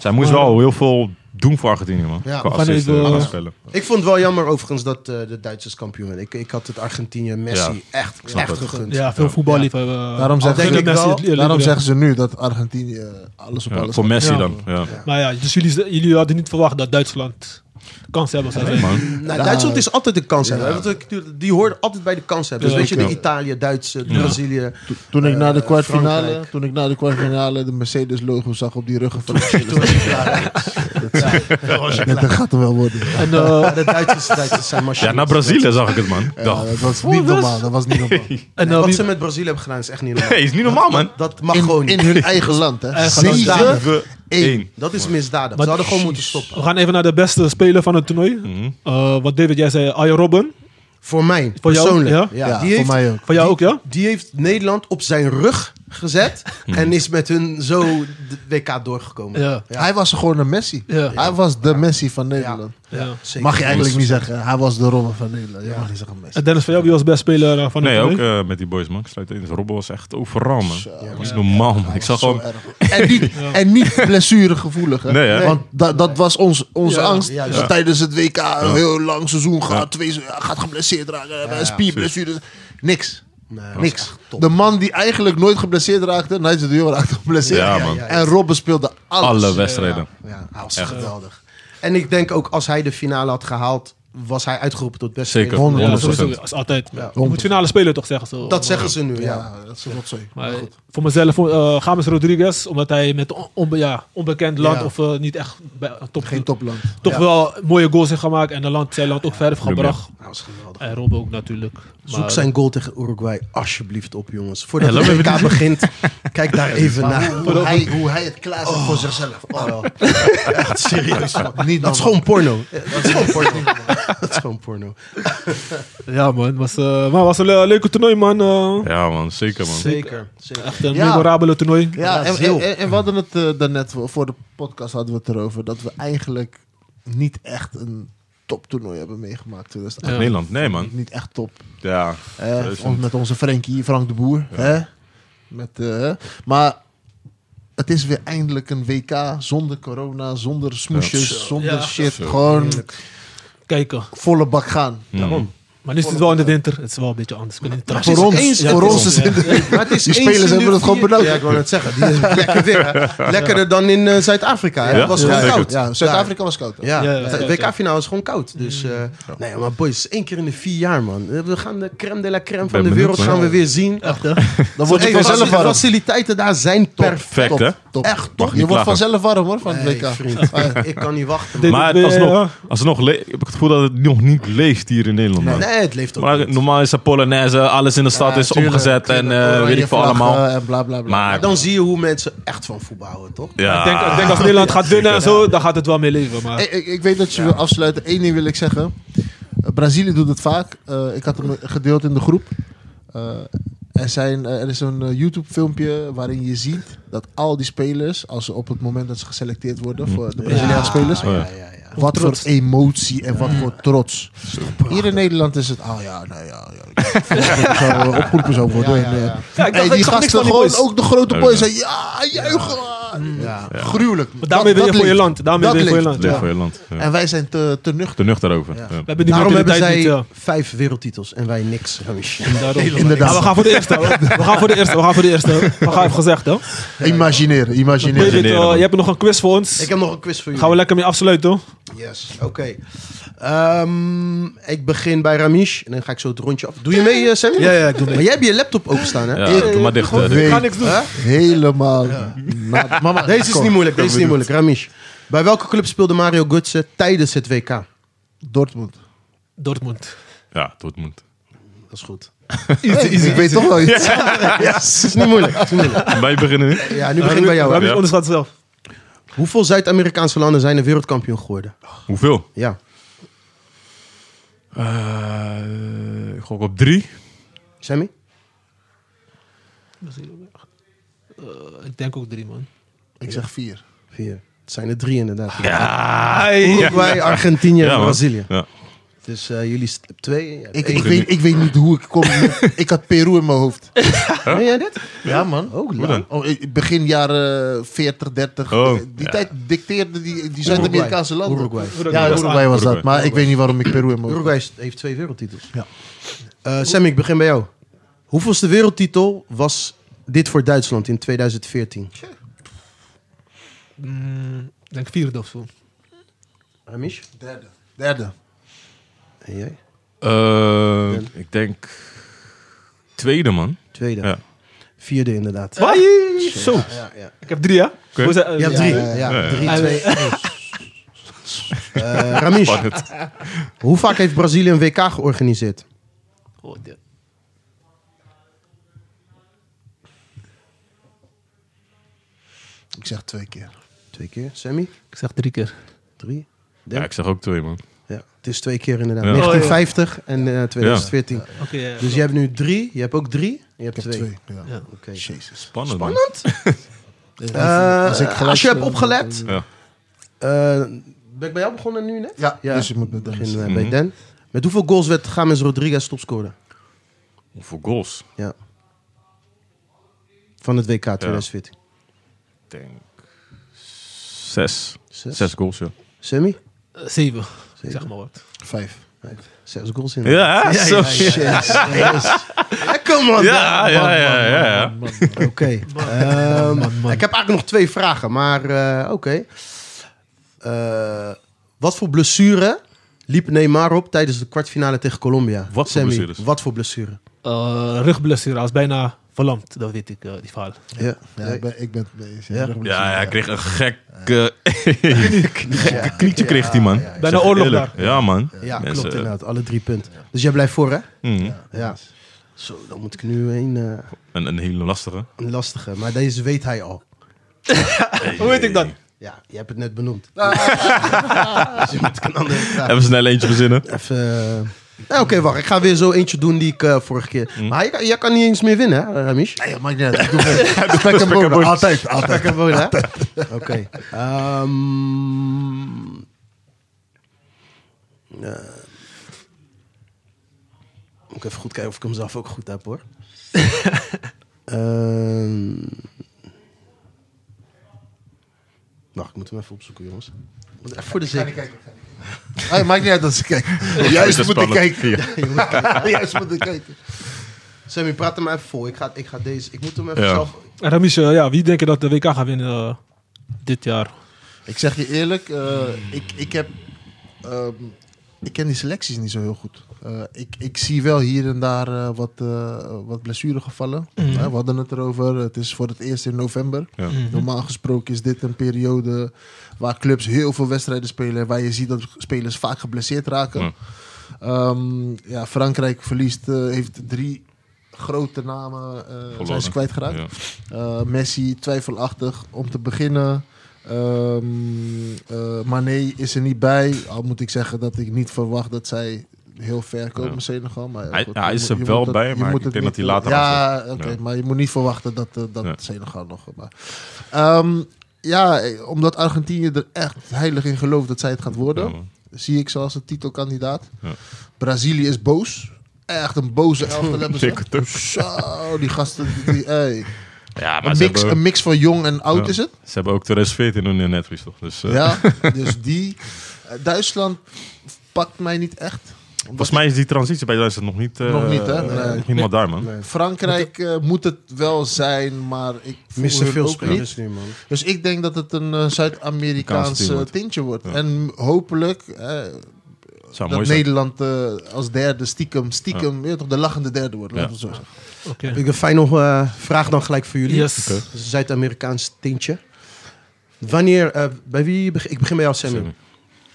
[SPEAKER 1] zij moest
[SPEAKER 2] Maar-
[SPEAKER 1] wel heel veel doen voor Argentinië, man.
[SPEAKER 4] Ja,
[SPEAKER 1] Qua
[SPEAKER 2] we gaan
[SPEAKER 1] assisten,
[SPEAKER 2] even-
[SPEAKER 1] alles spelen.
[SPEAKER 3] Ik vond het wel jammer overigens dat eh, de Duitsers kampioen werden. Ik, ik had het Argentinië Messi
[SPEAKER 1] Ja.
[SPEAKER 3] echt,
[SPEAKER 1] snap het.
[SPEAKER 3] echt gegund.
[SPEAKER 2] Ja, veel voetballiefhebber. eh,
[SPEAKER 4] Daarom
[SPEAKER 3] Al
[SPEAKER 4] zeg
[SPEAKER 3] denk
[SPEAKER 4] ik
[SPEAKER 3] ik wel-
[SPEAKER 4] Daarom zeggen ze nu dat Argentinië eh, alles op
[SPEAKER 1] Ja,
[SPEAKER 4] alles
[SPEAKER 1] voor Messi
[SPEAKER 2] Ja.
[SPEAKER 1] dan. Ja.
[SPEAKER 2] Maar ja, dus jullie, jullie hadden niet verwacht dat Duitsland kans hebben zou zijn.
[SPEAKER 1] Man.
[SPEAKER 3] Nou, Duitsland is altijd een kanshebber. hebben. Die hoort altijd bij de kanshebber. Dus
[SPEAKER 2] Ja,
[SPEAKER 3] weet je, de
[SPEAKER 4] klopt.
[SPEAKER 3] Italië, Duitse, de
[SPEAKER 1] Ja.
[SPEAKER 3] Brazilië.
[SPEAKER 4] Toen- Toen ik, na de
[SPEAKER 3] Eh,
[SPEAKER 4] kwartfinale,
[SPEAKER 3] Frankrijk.
[SPEAKER 4] toen ik na de kwartfinale de Mercedes-logo zag op die ruggen van de spelers, dacht ik, dat gaat er wel worden.
[SPEAKER 2] En eh,
[SPEAKER 3] Ja, nou, de Duitsers, Duitsers zijn machines.
[SPEAKER 1] Ja, naar Brazilië zag ik het, man. Ik
[SPEAKER 4] Ja,
[SPEAKER 1] dacht,
[SPEAKER 4] dat was
[SPEAKER 3] dus-
[SPEAKER 4] niet normaal. Dat was niet normaal.
[SPEAKER 2] en
[SPEAKER 3] Nee,
[SPEAKER 2] eh,
[SPEAKER 3] wat
[SPEAKER 2] wie-
[SPEAKER 3] ze met Brazilië hebben gedaan is echt niet normaal.
[SPEAKER 1] hey, is niet normaal, man.
[SPEAKER 3] Dat mag gewoon
[SPEAKER 4] In,
[SPEAKER 3] niet.
[SPEAKER 4] in hun eigen land, hè?
[SPEAKER 2] Eigen land, ja.
[SPEAKER 4] Zeven-
[SPEAKER 1] 1.
[SPEAKER 3] Dat is misdadig.
[SPEAKER 2] Maar
[SPEAKER 3] Ze hadden gewoon moeten
[SPEAKER 2] precies.
[SPEAKER 3] stoppen.
[SPEAKER 2] We gaan even naar de beste speler van het toernooi.
[SPEAKER 1] Mhm.
[SPEAKER 2] Eh, wat David, jij zei Arjen Robben.
[SPEAKER 3] Voor mij,
[SPEAKER 2] Voor jou?
[SPEAKER 3] persoonlijk.
[SPEAKER 2] Ja?
[SPEAKER 3] Ja,
[SPEAKER 4] Ja,
[SPEAKER 3] die,
[SPEAKER 4] voor
[SPEAKER 3] heeft,
[SPEAKER 4] mij ook.
[SPEAKER 2] Van jou ook, ja?
[SPEAKER 3] die heeft Nederland op zijn rug gezet. En is met hun zo de WK doorgekomen.
[SPEAKER 2] Ja.
[SPEAKER 4] Hij was gewoon een Messi.
[SPEAKER 2] Ja.
[SPEAKER 4] Hij was de Messi van Nederland.
[SPEAKER 2] ja.
[SPEAKER 3] Zeker.
[SPEAKER 4] Mag je eigenlijk niet zeggen. Hij was de Robben van Nederland. Je mag niet zeggen Messi.
[SPEAKER 2] En Dennis, van jou, wie was best speler eh, van het
[SPEAKER 1] Nee, ook
[SPEAKER 2] toernooi?
[SPEAKER 1] eh, met die boys, man. Ik sluit eens. Robben was echt overal, man. Dat was normaal, man. Ik zag
[SPEAKER 4] Zo
[SPEAKER 1] gewoon...
[SPEAKER 4] erg. En niet, en niet blessuregevoelig. Hè?
[SPEAKER 1] Nee, hè?
[SPEAKER 4] Want da- dat was ons, onze
[SPEAKER 2] Ja,
[SPEAKER 4] angst.
[SPEAKER 3] juist.
[SPEAKER 4] Dat tijdens het WK een heel lang seizoen gaat. Twee, se- gaat geblesseerd raken. eh, spierblessures. Niks.
[SPEAKER 3] Nee,
[SPEAKER 4] Niks. De man die eigenlijk nooit geblesseerd raakte. Nigel de Jong raakte geblesseerd.
[SPEAKER 1] Ja, man.
[SPEAKER 4] En Robben speelde alles.
[SPEAKER 1] Alle wedstrijden.
[SPEAKER 3] Ja, hij was geweldig. En ik denk ook als hij de finale had gehaald, was hij uitgeroepen tot beste
[SPEAKER 1] Zeker.
[SPEAKER 3] speler.
[SPEAKER 2] Ja,
[SPEAKER 1] 100%.
[SPEAKER 2] sowieso. Als altijd. Je moet
[SPEAKER 4] 100%.
[SPEAKER 2] finale spelen toch zeggen. Zo.
[SPEAKER 3] Dat zeggen ze nu, ja.
[SPEAKER 4] Ja, dat is een rotzooi.
[SPEAKER 2] Maar
[SPEAKER 3] Nou
[SPEAKER 2] voor mezelf, eh James Rodriguez, omdat hij met on- onbe- ja, onbekend land
[SPEAKER 3] Ja.
[SPEAKER 2] of eh, niet echt bij, top,
[SPEAKER 4] Geen topland.
[SPEAKER 2] toch
[SPEAKER 3] Ja.
[SPEAKER 2] wel mooie goals heeft gemaakt en de land, zijn land ook verder heeft
[SPEAKER 1] Premier.
[SPEAKER 2] gebracht.
[SPEAKER 3] Hij was geweldig.
[SPEAKER 2] En Robben ook natuurlijk.
[SPEAKER 3] Zoek
[SPEAKER 4] Eh,
[SPEAKER 2] Maar-
[SPEAKER 3] zijn goal tegen Uruguay alsjeblieft op, jongens. Voordat
[SPEAKER 1] Ja,
[SPEAKER 3] de
[SPEAKER 1] laten we
[SPEAKER 3] WK begint, kijk daar even naar.
[SPEAKER 4] Hoe hij, hoe hij het klaar zet voor zichzelf. Oh,
[SPEAKER 3] Echt serieus. man.
[SPEAKER 4] niet
[SPEAKER 3] Dat is
[SPEAKER 4] normaal.
[SPEAKER 3] gewoon porno. Eh, Dat is gewoon porno. Dat is gewoon porno.
[SPEAKER 2] Ja man, was, eh, maar was een le- leuke toernooi man. eh.
[SPEAKER 1] Ja, man. Zeker, man.
[SPEAKER 3] Zeker. zeker.
[SPEAKER 2] echt een
[SPEAKER 4] Ja.
[SPEAKER 2] memorabele toernooi.
[SPEAKER 4] Ja,
[SPEAKER 3] Ja,
[SPEAKER 4] en,
[SPEAKER 3] heel.
[SPEAKER 4] en, en- en we hadden het eh, daarnet voor- voor de podcast hadden we het erover dat we eigenlijk niet echt een toptoernooi hebben meegemaakt. 2008.
[SPEAKER 1] Nederland. Nee, man.
[SPEAKER 4] Niet echt top.
[SPEAKER 1] Ja.
[SPEAKER 4] Eh,
[SPEAKER 1] Duizend.
[SPEAKER 4] ons- met onze Frenkie, Frank de Boer. Hè? Met, eh, maar het is weer eindelijk een WK zonder corona, zonder smoesjes,
[SPEAKER 1] Ja.
[SPEAKER 4] zonder
[SPEAKER 2] Ja.
[SPEAKER 4] shit.
[SPEAKER 1] Zo.
[SPEAKER 4] Gewoon
[SPEAKER 2] Kijken.
[SPEAKER 4] volle bak gaan.
[SPEAKER 1] Mm.
[SPEAKER 2] Maar nu is het wel in de winter. Het is wel een beetje anders. We kunnen niet
[SPEAKER 3] het
[SPEAKER 4] Voor
[SPEAKER 3] is
[SPEAKER 4] ons,
[SPEAKER 3] eens- ja,
[SPEAKER 4] voor
[SPEAKER 3] het
[SPEAKER 4] ons
[SPEAKER 2] is-
[SPEAKER 4] is in de
[SPEAKER 3] Maar het is
[SPEAKER 4] Die
[SPEAKER 3] eens
[SPEAKER 4] spelers
[SPEAKER 3] in de
[SPEAKER 4] hebben het gewoon
[SPEAKER 3] vier-
[SPEAKER 4] benauwd.
[SPEAKER 3] Ja, ik wou net zeggen. Die is lekker weer. hè. Lekkerder dan in eh, Zuid-Afrika. hè.
[SPEAKER 1] Ja,
[SPEAKER 3] Het was
[SPEAKER 1] ja,
[SPEAKER 3] gewoon
[SPEAKER 1] zeker.
[SPEAKER 3] koud.
[SPEAKER 4] Ja, Zuid-Afrika was koud. hè?
[SPEAKER 3] Ja,
[SPEAKER 2] Ja, ja,
[SPEAKER 3] het
[SPEAKER 2] ja.
[SPEAKER 3] WK-finale is gewoon koud. Dus, eh, Nee, maar boys, één keer in de vier jaar, man. Eh, We gaan de crème de la crème van
[SPEAKER 1] Ben
[SPEAKER 3] de
[SPEAKER 1] benieuwd,
[SPEAKER 3] wereld
[SPEAKER 1] man.
[SPEAKER 3] gaan we weer zien.
[SPEAKER 2] Echt, hè?
[SPEAKER 4] Dan word je
[SPEAKER 3] Hey,
[SPEAKER 4] vanzelf
[SPEAKER 3] de
[SPEAKER 4] warm.
[SPEAKER 3] faciliteiten daar zijn perfect.
[SPEAKER 1] Perfect,
[SPEAKER 4] Top,
[SPEAKER 1] hè?
[SPEAKER 4] top.
[SPEAKER 3] Echt,
[SPEAKER 4] Top.
[SPEAKER 1] niet
[SPEAKER 4] Je wordt
[SPEAKER 1] klagen.
[SPEAKER 4] vanzelf warm hoor van het
[SPEAKER 3] Nee,
[SPEAKER 4] WK.
[SPEAKER 3] vriend. ik- Ik kan niet wachten, man.
[SPEAKER 1] Maar
[SPEAKER 2] dit-
[SPEAKER 1] alsnog, alsnog le- heb ik het gevoel dat het nog niet leeft hier in Nederland. man.
[SPEAKER 3] Nee, het leeft ook
[SPEAKER 1] Maar
[SPEAKER 3] niet.
[SPEAKER 1] normaal is dat Polonaise, alles in de stad
[SPEAKER 4] Ja,
[SPEAKER 1] is
[SPEAKER 4] tuurlijk,
[SPEAKER 1] omgezet en
[SPEAKER 4] tuurlijk.
[SPEAKER 1] eh, weet
[SPEAKER 4] Oranje
[SPEAKER 1] ik veel
[SPEAKER 4] vlag,
[SPEAKER 1] allemaal.
[SPEAKER 4] eh, en bla bla bla.
[SPEAKER 1] Maar-
[SPEAKER 3] Dan zie je hoe mensen echt van voetbal houden, toch?
[SPEAKER 1] Ja,
[SPEAKER 2] Ik denk, ik denk als Nederland gaat winnen en zo, dan gaat het wel mee leven. Maar
[SPEAKER 4] Hey, ik, ik weet dat je wil afsluiten. Eén ding wil ik zeggen. Eh, Brazilië doet het vaak. Eh, ik had hem gedeeld in de groep. Eh, er, zijn, eh, er is een eh, YouTube-filmpje waarin je ziet dat al die spelers, als ze op het moment dat ze geselecteerd worden voor de Braziliaanse spelers,
[SPEAKER 1] Oh, Mhm. ja.
[SPEAKER 3] ja, ja.
[SPEAKER 4] wat voor emotie en wat
[SPEAKER 2] Mm.
[SPEAKER 4] voor trots. Hier in Nederland is het, ah ja, nou ja, ja. Zo, eh, opgeroepen zo worden. En, eh,
[SPEAKER 2] Ja, ik dacht,
[SPEAKER 4] hey,
[SPEAKER 2] ik
[SPEAKER 4] die
[SPEAKER 2] zag niks
[SPEAKER 4] gasten
[SPEAKER 2] van die
[SPEAKER 4] gewoon,
[SPEAKER 2] boys.
[SPEAKER 4] ook de grote
[SPEAKER 1] Ja.
[SPEAKER 4] boys, zijn, ja, juichen. Ja. Gruwelijk.
[SPEAKER 2] Mm. Maar daarmee
[SPEAKER 4] Dat-
[SPEAKER 2] ben je
[SPEAKER 4] dat
[SPEAKER 2] voor je
[SPEAKER 4] leeft.
[SPEAKER 2] land. Daarmee
[SPEAKER 4] Dat
[SPEAKER 2] ben je voor je
[SPEAKER 4] leeft.
[SPEAKER 2] land.
[SPEAKER 1] Leef
[SPEAKER 2] ja.
[SPEAKER 1] voor je land. Ja.
[SPEAKER 4] En wij zijn te, te nuchter.
[SPEAKER 1] Te nuchter over.
[SPEAKER 4] Ja.
[SPEAKER 1] Ja.
[SPEAKER 2] We hebben die
[SPEAKER 3] Daarom hebben
[SPEAKER 2] mentaliteit
[SPEAKER 3] zij
[SPEAKER 2] niet. eh, ja.
[SPEAKER 3] vijf wereldtitels en wij niks.
[SPEAKER 2] Daarom.
[SPEAKER 4] Inderdaad.
[SPEAKER 2] Ja, we gaan voor de eerste. We gaan voor de eerste. We gaan voor de eerste. We gaan even gezegd, hè?
[SPEAKER 4] Imagineren, imagineren.
[SPEAKER 2] David, eh,
[SPEAKER 1] man.
[SPEAKER 2] je hebt nog een quiz voor ons.
[SPEAKER 3] Ik heb nog een quiz voor jullie.
[SPEAKER 2] Gaan we lekker mee afsluiten, hoor.
[SPEAKER 3] Yes, oké. Ehm, ik begin bij Ramish en dan ga ik zo het rondje af. Doe je mee, eh, Sammy?
[SPEAKER 2] ja, ik doe
[SPEAKER 3] Maar jij hebt je laptop openstaan, hè?
[SPEAKER 1] Ja, doe maar dicht. eh,
[SPEAKER 4] weet
[SPEAKER 2] Ik ga niks doen.
[SPEAKER 4] Helemaal. na- Mama,
[SPEAKER 3] Ah, Deze is
[SPEAKER 4] kom.
[SPEAKER 3] niet moeilijk, deze is niet moeilijk. Ramish, bij welke club speelde Mario Götze tijdens het WK? Dat
[SPEAKER 4] Dortmund.
[SPEAKER 2] Dortmund.
[SPEAKER 1] Ja, Dortmund.
[SPEAKER 3] is goed.
[SPEAKER 4] Ik weet toch wel iets.
[SPEAKER 3] Het is niet moeilijk. het is niet moeilijk.
[SPEAKER 1] Wij beginnen nu.
[SPEAKER 3] Ja, nu begin ik bij jou. hè.
[SPEAKER 2] Ramish
[SPEAKER 1] Ja.
[SPEAKER 2] onderschat zelf.
[SPEAKER 3] Hoeveel Zuid-Amerikaanse landen zijn er wereldkampioen geworden?
[SPEAKER 1] Hoeveel?
[SPEAKER 3] Ja.
[SPEAKER 1] Eh, ik gok op drie.
[SPEAKER 3] Sammy?
[SPEAKER 2] Eh, Ik denk ook drie, man.
[SPEAKER 4] Ik zeg vier.
[SPEAKER 3] Vier. Het zijn er drie inderdaad.
[SPEAKER 2] Ja.
[SPEAKER 3] Uruguay, Argentinië en
[SPEAKER 1] man.
[SPEAKER 3] Brazilië.
[SPEAKER 1] Ja.
[SPEAKER 3] Dus eh, jullie st- twee. Ja,
[SPEAKER 4] Ik,
[SPEAKER 3] één.
[SPEAKER 4] ik, weet, ik weet niet hoe ik kom. ik had Peru in mijn hoofd.
[SPEAKER 3] Meen jij dit?
[SPEAKER 4] Ja, man.
[SPEAKER 3] Oh,
[SPEAKER 1] Hoe dan?
[SPEAKER 4] Oh, ik- begin jaren 40, 30.
[SPEAKER 1] Oh,
[SPEAKER 4] die
[SPEAKER 1] ja.
[SPEAKER 4] tijd dicteerde die, die Zuid-Amerikaanse landen.
[SPEAKER 3] Uruguay.
[SPEAKER 4] Ja, Uruguay was dat. Maar ik weet niet waarom ik Peru in mijn hoofd
[SPEAKER 3] Uruguay heeft twee wereldtitels.
[SPEAKER 4] Ja.
[SPEAKER 3] Eh, Sam, ik begin bij jou. Hoeveelste wereldtitel was dit voor Duitsland in 2014?
[SPEAKER 2] Mm, Ik denk vierde of zo.
[SPEAKER 3] Amish?
[SPEAKER 4] Derde. Derde.
[SPEAKER 3] En jij?
[SPEAKER 1] Eh, ik denk tweede, man.
[SPEAKER 3] Tweede.
[SPEAKER 1] Ja.
[SPEAKER 3] Vierde inderdaad.
[SPEAKER 2] Wat? Zo.
[SPEAKER 3] Ja, ja.
[SPEAKER 2] Ik heb drie, hè? Hoe zei-
[SPEAKER 3] Je hebt drie. Ja,
[SPEAKER 1] Ja, ja.
[SPEAKER 3] Drie,
[SPEAKER 2] Ja,
[SPEAKER 3] twee, één. Eh, Ramish,
[SPEAKER 1] Spannend.
[SPEAKER 3] hoe vaak heeft Brazilië een WK georganiseerd?
[SPEAKER 2] Oh, dit.
[SPEAKER 4] Ik zeg twee keer.
[SPEAKER 3] Twee keer. Sammy?
[SPEAKER 2] Ik zeg drie keer.
[SPEAKER 3] Drie.
[SPEAKER 1] Ja, ik zeg ook twee, man.
[SPEAKER 3] Ja, het is twee keer inderdaad.
[SPEAKER 1] Ja. Oh, ja.
[SPEAKER 3] 1950 en eh, 2014.
[SPEAKER 2] Oké, ja.
[SPEAKER 3] Dus je hebt nu drie, je hebt ook drie, en je hebt
[SPEAKER 4] Ik heb
[SPEAKER 3] twee.
[SPEAKER 4] twee. Ja.
[SPEAKER 2] Ja.
[SPEAKER 3] Oké.
[SPEAKER 4] Jezus.
[SPEAKER 1] Spannend, man.
[SPEAKER 3] Eh,
[SPEAKER 4] Als ik
[SPEAKER 3] als,
[SPEAKER 4] gelijk
[SPEAKER 3] je hebt
[SPEAKER 4] speel,
[SPEAKER 3] opgelet,
[SPEAKER 1] dan- Ja.
[SPEAKER 3] eh, ben ik bij jou begonnen nu net?
[SPEAKER 4] Ja,
[SPEAKER 3] Ja.
[SPEAKER 4] dus ik moet beginnen.
[SPEAKER 3] Begin eh,
[SPEAKER 1] Mhm.
[SPEAKER 3] bij Dan. Met hoeveel goals werd James Rodriguez topscorer?
[SPEAKER 1] Hoeveel goals?
[SPEAKER 3] Ja. Van het WK 2014.
[SPEAKER 1] Ik denk zes.
[SPEAKER 3] Zes.
[SPEAKER 1] Zes goals, ja.
[SPEAKER 3] Sammy?
[SPEAKER 2] Eh, Zeven. Ik
[SPEAKER 3] Zeven.
[SPEAKER 2] zeg maar wat.
[SPEAKER 4] Vijf.
[SPEAKER 3] Zes goals in.
[SPEAKER 1] Ja, hè? zo.
[SPEAKER 4] Jezus.
[SPEAKER 3] Kom man!
[SPEAKER 1] Ja, ja, ja, ja, ja.
[SPEAKER 3] Oké. Ehm, Ik heb eigenlijk nog twee vragen, maar eh, oké. Eh, wat voor blessure liep Neymar op tijdens de kwartfinale tegen Colombia?
[SPEAKER 1] voor
[SPEAKER 3] Sammy,
[SPEAKER 1] blessures?
[SPEAKER 3] Wat voor blessure?
[SPEAKER 2] Eh, rugblessure, als bijna verlamd, dat weet ik, eh, die verhaal.
[SPEAKER 3] Ja.
[SPEAKER 4] Ja, ik ben... Ik ben nee, is-
[SPEAKER 3] Ja?
[SPEAKER 1] Ja, ja, hij kreeg een gekke, gekke knietje, kreeg die man. Ik
[SPEAKER 2] Bijna
[SPEAKER 1] zeg
[SPEAKER 2] oorlog
[SPEAKER 1] eerlijk.
[SPEAKER 2] daar.
[SPEAKER 1] Ja, man.
[SPEAKER 3] Ja,
[SPEAKER 1] Mensen, eh,
[SPEAKER 3] klopt inderdaad. Alle drie punten. Dus jij blijft voor, hè?
[SPEAKER 1] mm,
[SPEAKER 3] Ja. Zo, dan moet ik nu een, eh,
[SPEAKER 1] een, een hele lastige.
[SPEAKER 3] een lastige. Maar deze weet hij al.
[SPEAKER 2] Hoe weet ik dat?
[SPEAKER 3] Ja, je hebt het net benoemd.
[SPEAKER 4] Ah.
[SPEAKER 3] dus je moet een andere vraag.
[SPEAKER 1] Even snel eentje verzinnen.
[SPEAKER 3] Even... eh, ja, Oké, wacht. Ik ga weer zo eentje doen die ik eh, vorige keer... Maar jij, jij kan niet eens meer winnen, hè, eh, Ramish?
[SPEAKER 4] Nee, maakt niet uit. Ik doe mee. Spek en bonen. Altijd, altijd.
[SPEAKER 3] Pak hem wel, hè? Oké. Ehm, eh, moet ik even goed kijken of ik hem zelf ook goed heb, hoor. Ehm, wacht, ik moet hem even opzoeken, jongens. Moet Even voor de zekerheid.
[SPEAKER 4] Hey, maakt niet uit dat ze kijken.
[SPEAKER 1] is
[SPEAKER 4] Juist
[SPEAKER 1] het
[SPEAKER 4] moeten
[SPEAKER 1] spannend.
[SPEAKER 4] kijken. Juist moeten kijken.
[SPEAKER 3] Sammy, praat hem even vol. Ik ga, ik ga deze... Ik moet hem even
[SPEAKER 1] Ja.
[SPEAKER 3] zelf...
[SPEAKER 2] En Ramis, eh, ja, wie denk je dat de WK gaat winnen eh, dit jaar?
[SPEAKER 4] Ik zeg je eerlijk, eh, ik, ik heb... ehm, ik ken die selecties niet zo heel goed. Eh, ik, ik zie wel hier en daar eh, wat, eh wat blessuregevallen. Eh, we hadden het erover. Het is voor het eerst in november.
[SPEAKER 1] Ja.
[SPEAKER 4] Normaal gesproken is dit een periode waar clubs heel veel wedstrijden spelen. Waar je ziet dat spelers vaak geblesseerd raken.
[SPEAKER 1] Ja.
[SPEAKER 4] Ehm, ja, Frankrijk verliest, eh, heeft drie grote namen eh zijn ze kwijtgeraakt.
[SPEAKER 1] Ja.
[SPEAKER 4] Eh, Messi twijfelachtig om te beginnen. Ehm eh, Mané is er niet bij. Al moet ik zeggen dat ik niet verwacht dat zij heel ver komen,
[SPEAKER 1] Ja.
[SPEAKER 4] Senegal. Maar ja,
[SPEAKER 1] Hij-
[SPEAKER 4] goed,
[SPEAKER 1] ja, hij
[SPEAKER 4] je
[SPEAKER 1] is
[SPEAKER 4] moet-
[SPEAKER 1] er
[SPEAKER 4] je
[SPEAKER 1] wel
[SPEAKER 4] moet
[SPEAKER 1] bij,
[SPEAKER 4] je
[SPEAKER 1] maar
[SPEAKER 4] moet
[SPEAKER 1] ik
[SPEAKER 4] het
[SPEAKER 1] denk
[SPEAKER 4] niet-
[SPEAKER 1] dat hij later
[SPEAKER 4] Ja, oké,
[SPEAKER 1] Ja.
[SPEAKER 4] maar je moet niet verwachten dat, eh, dat
[SPEAKER 1] Ja.
[SPEAKER 4] Senegal nog... Maar. Ehm, ja, eh, omdat Argentinië er echt heilig in gelooft dat zij het gaat worden
[SPEAKER 1] Ja, man.
[SPEAKER 4] zie ik ze als een titelkandidaat.
[SPEAKER 1] Ja.
[SPEAKER 4] Brazilië is boos. Echt een boze elftal hebben ze.
[SPEAKER 1] Ik het ook.
[SPEAKER 4] Zo, die gasten. Die, die- hey.
[SPEAKER 1] Ja, maar
[SPEAKER 4] een,
[SPEAKER 1] ze,
[SPEAKER 4] mix,
[SPEAKER 1] hebben,
[SPEAKER 4] een mix van jong en oud
[SPEAKER 1] Ja.
[SPEAKER 4] is het.
[SPEAKER 1] ze hebben ook 2014 toen in Netflix, toch? Dus, eh,
[SPEAKER 4] Ja, dus die. Eh, Duitsland pakt mij niet echt. Omdat
[SPEAKER 1] Volgens mij is die transitie bij Duitsland nog niet... eh,
[SPEAKER 4] Nog niet, hè?
[SPEAKER 1] eh,
[SPEAKER 4] Nee.
[SPEAKER 1] nog niet helemaal daar, man.
[SPEAKER 3] Nee.
[SPEAKER 4] Frankrijk eh, moet het wel zijn, maar ik voel
[SPEAKER 3] Missen
[SPEAKER 4] hun
[SPEAKER 3] veel
[SPEAKER 4] ook niet.
[SPEAKER 3] spelers nu, man.
[SPEAKER 4] Dus ik denk dat het een eh,
[SPEAKER 1] Amerikaans
[SPEAKER 4] Zuid-Amerikaans
[SPEAKER 1] team
[SPEAKER 4] eh,
[SPEAKER 1] wordt.
[SPEAKER 4] tintje wordt.
[SPEAKER 1] Ja.
[SPEAKER 4] En hopelijk eh,
[SPEAKER 1] Zou
[SPEAKER 4] dat
[SPEAKER 1] mooi zijn.
[SPEAKER 4] Nederland eh, als derde stiekem, stiekem, weet je toch, de lachende derde wordt. Laten we het zo zeggen.
[SPEAKER 2] Oké.
[SPEAKER 3] Heb ik een final eh, vraag dan gelijk voor jullie.
[SPEAKER 2] Yes.
[SPEAKER 1] Oké.
[SPEAKER 3] Dat is een Zuid-Amerikaans tintje. Wanneer, eh, bij wie, beg- ik begin bij jou Sammy.
[SPEAKER 1] Sammy.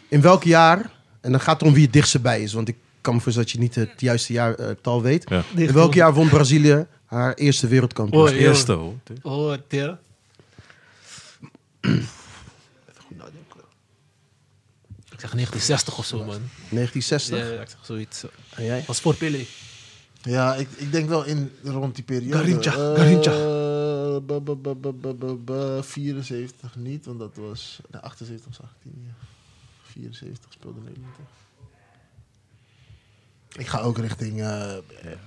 [SPEAKER 3] In welk jaar, en dan gaat het om wie het dichtst bij is, want ik kan me voorstellen dat je niet het juiste jaartal weet.
[SPEAKER 1] Ja.
[SPEAKER 3] In welk jaar won Brazilië haar eerste
[SPEAKER 2] Oh,
[SPEAKER 3] wereldkampioenschap?
[SPEAKER 2] ja.
[SPEAKER 1] Eerste, hoor.
[SPEAKER 2] Oh, dear. Ik zeg 1960 of zo, man.
[SPEAKER 3] 1960?
[SPEAKER 2] Ja, ja, ik zeg zoiets.
[SPEAKER 3] En jij?
[SPEAKER 2] Was voor Pele.
[SPEAKER 4] Ja, ik, ik denk wel in rond die periode.
[SPEAKER 2] Garincha,
[SPEAKER 4] Eh,
[SPEAKER 2] Garincha.
[SPEAKER 4] ba- ba- ba- ba- ba- ba- ba- 74 niet, want dat was... Nee, 78 was 18, ja. 74 speelde Nederland. toch? Ik ga ook richting eh, eh,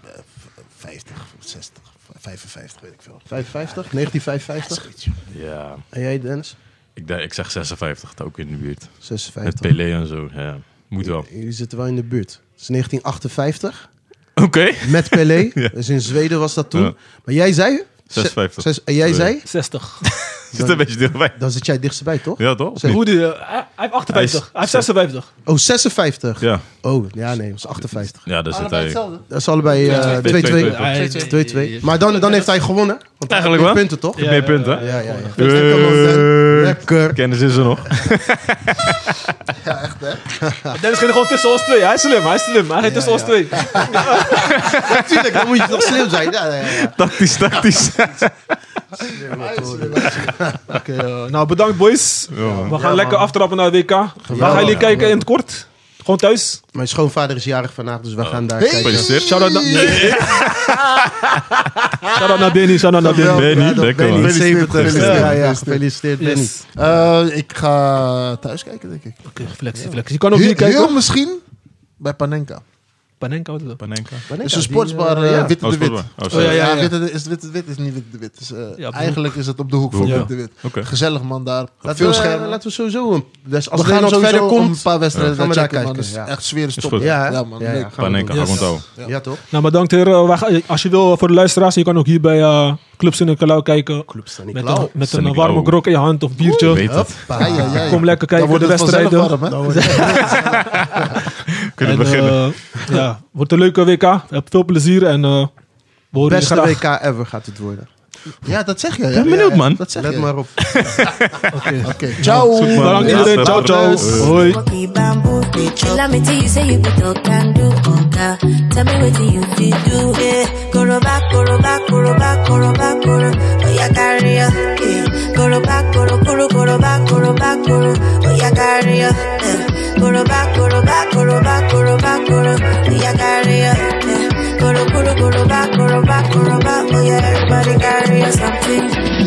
[SPEAKER 4] v- 50, 60, 55, weet ik veel.
[SPEAKER 3] 55? 1955?
[SPEAKER 1] Ja,
[SPEAKER 3] En jij Dennis?
[SPEAKER 1] ik, denk- ik zeg 56, ook in de buurt. Met
[SPEAKER 3] 56.
[SPEAKER 1] Pelé en zo, ja. Moet wel.
[SPEAKER 3] Jullie zitten wel in de buurt. Het is 1958
[SPEAKER 1] Oké.
[SPEAKER 3] met Pelé. Dus in Zweden was dat toen.
[SPEAKER 1] Ja.
[SPEAKER 3] Maar jij zei?
[SPEAKER 1] 56.
[SPEAKER 3] Zes- en jij zei?
[SPEAKER 2] 60.
[SPEAKER 1] Zit een beetje dichtbij.
[SPEAKER 3] Dan zit jij het dichtst bij, toch?
[SPEAKER 1] Ja, toch? Of
[SPEAKER 3] Zes-
[SPEAKER 1] niet?
[SPEAKER 2] Hoe die, eh, hij, hij heeft 58.
[SPEAKER 1] Hij is-
[SPEAKER 2] Hij heeft 56.
[SPEAKER 3] Oh, 56.
[SPEAKER 1] Ja,
[SPEAKER 3] Oh, ja, nee, dat is 58.
[SPEAKER 1] ja daar zit
[SPEAKER 4] Allebei
[SPEAKER 1] hij.
[SPEAKER 4] hetzelfde.
[SPEAKER 3] Dat is allebei eh, 2-2.
[SPEAKER 1] Twee, twee, twee,
[SPEAKER 2] Hij-
[SPEAKER 3] 2-2. Maar dan, dan heeft hij gewonnen. Want hij
[SPEAKER 1] Eigenlijk
[SPEAKER 3] heeft
[SPEAKER 1] wel.
[SPEAKER 3] punten, toch?
[SPEAKER 1] Meer punten, hè?
[SPEAKER 3] Ja, ja, ja.
[SPEAKER 1] Hey.
[SPEAKER 3] Lekker.
[SPEAKER 1] Kennis is er nog.
[SPEAKER 2] Dennis ging er gewoon tussen ons twee. Hij is slim, hij is slim. Hij ging tussen ons twee.
[SPEAKER 3] Natuurlijk, dan moet je nog slim zijn. Ja, ja, ja.
[SPEAKER 1] Tactisch, tactisch.
[SPEAKER 2] Oké, eh, nou bedankt boys.
[SPEAKER 1] man.
[SPEAKER 2] We gaan lekker aftrappen naar het WK. Waar gaan jullie kijken in het kort? Gewoon thuis?
[SPEAKER 3] Mijn schoonvader is jarig vandaag, dus we gaan daar kijken.
[SPEAKER 1] Oh. Gefeliciteerd. Shout out naar...
[SPEAKER 2] Shout-out naar Benny, shout-out naar Benny.
[SPEAKER 1] Ben
[SPEAKER 4] Ja,
[SPEAKER 1] niet
[SPEAKER 4] dat
[SPEAKER 1] lekker,
[SPEAKER 4] ben
[SPEAKER 1] man.
[SPEAKER 4] niet.
[SPEAKER 3] Gefeliciteerd,
[SPEAKER 4] Gefeliciteerd.
[SPEAKER 3] Ja, ja, gefeliciteerd, Benny.
[SPEAKER 2] Yes.
[SPEAKER 4] Eh, ik ga thuis kijken, denk ik.
[SPEAKER 2] Oké, flex, flex. Je kan ook
[SPEAKER 4] Heel,
[SPEAKER 2] hier kijken.
[SPEAKER 4] heel misschien bij Panenka.
[SPEAKER 2] Panenka, wat is dat?
[SPEAKER 1] Panenka.
[SPEAKER 4] Het is een sportsbar, eh,
[SPEAKER 3] ja.
[SPEAKER 4] Witte
[SPEAKER 1] Oh,
[SPEAKER 4] de Wit.
[SPEAKER 1] sportbar. Oh,
[SPEAKER 2] Oh,
[SPEAKER 1] sorry.
[SPEAKER 2] ja, ja,
[SPEAKER 4] ja,
[SPEAKER 2] ja.
[SPEAKER 4] Witte de- is Witte de Wit is niet Witte de Wit. Dus, eh,
[SPEAKER 2] de
[SPEAKER 4] eigenlijk is het op de hoek van
[SPEAKER 1] Ja.
[SPEAKER 4] Witte de Wit.
[SPEAKER 1] Oké.
[SPEAKER 4] Gezellig man daar.
[SPEAKER 3] Laten
[SPEAKER 4] Veel
[SPEAKER 3] we,
[SPEAKER 4] schermen.
[SPEAKER 3] laten we sowieso... Een, dus als
[SPEAKER 4] we gaan
[SPEAKER 3] Nederland
[SPEAKER 4] sowieso
[SPEAKER 3] verder
[SPEAKER 4] een
[SPEAKER 3] komt...
[SPEAKER 4] paar wedstrijden
[SPEAKER 3] gaan we
[SPEAKER 4] daar
[SPEAKER 3] daar
[SPEAKER 4] checken, man.
[SPEAKER 3] kijken,
[SPEAKER 4] Dat is
[SPEAKER 3] ja.
[SPEAKER 4] echt sfeer is
[SPEAKER 1] Is
[SPEAKER 4] top.
[SPEAKER 1] goed.
[SPEAKER 4] Ja, ja, man.
[SPEAKER 3] Ja, ja,
[SPEAKER 4] leuk.
[SPEAKER 3] gaan we
[SPEAKER 1] Panenka,
[SPEAKER 2] Yes.
[SPEAKER 1] yes. onthouden.
[SPEAKER 3] doen. Ja, toch?
[SPEAKER 2] Nou, bedankt heren. Eh, wij gaan- Als je wil, voor de luisteraars, je kan ook hier bij eh, Clubs in de Kalau kijken.
[SPEAKER 3] Clubs staan niet
[SPEAKER 2] Met
[SPEAKER 3] klaar.
[SPEAKER 2] een, met een
[SPEAKER 1] Stanislau.
[SPEAKER 2] warme grok in je hand of
[SPEAKER 1] Ik
[SPEAKER 2] biertje.
[SPEAKER 1] weet het.
[SPEAKER 4] Ja, ja, ja, ja.
[SPEAKER 2] Kom lekker kijken
[SPEAKER 4] Dan
[SPEAKER 2] voor
[SPEAKER 4] wordt
[SPEAKER 2] de
[SPEAKER 4] het vanzelf
[SPEAKER 2] wedstrijden.
[SPEAKER 4] warm, hè?
[SPEAKER 1] Kunnen
[SPEAKER 2] En,
[SPEAKER 1] beginnen.
[SPEAKER 2] eh, ja, wordt een leuke WK. Heb veel plezier en eh we horen je
[SPEAKER 3] Beste
[SPEAKER 2] graag.
[SPEAKER 3] WK ever gaat het worden.
[SPEAKER 4] Ja, dat zeg je.
[SPEAKER 1] ben benieuwd, man.
[SPEAKER 4] Dat zeg
[SPEAKER 3] Let
[SPEAKER 4] je.
[SPEAKER 3] maar op.
[SPEAKER 4] Oké, ciao.
[SPEAKER 1] Goed, man.
[SPEAKER 2] Bedankt iedereen. Ciao, ciao.
[SPEAKER 1] Eh.
[SPEAKER 2] Hoi.
[SPEAKER 5] Monkey bamboo, bitch. Tell me till you say you be no can do, oh God. Tell me what you did do, yeah. Go to back, go to back, go to back, go to back, go to. Oh yeah, carry ya, eh. yeah. Go to back, go to, go to, go to back, go to back, go to. Oh yeah, carry ya, eh. yeah. Go to back, go to back, go to back, go to back, go to. Oh yeah, carry ya, eh. yeah. Go to, go to, go to back, go to back, go to back. Oh yeah, everybody carry ya something.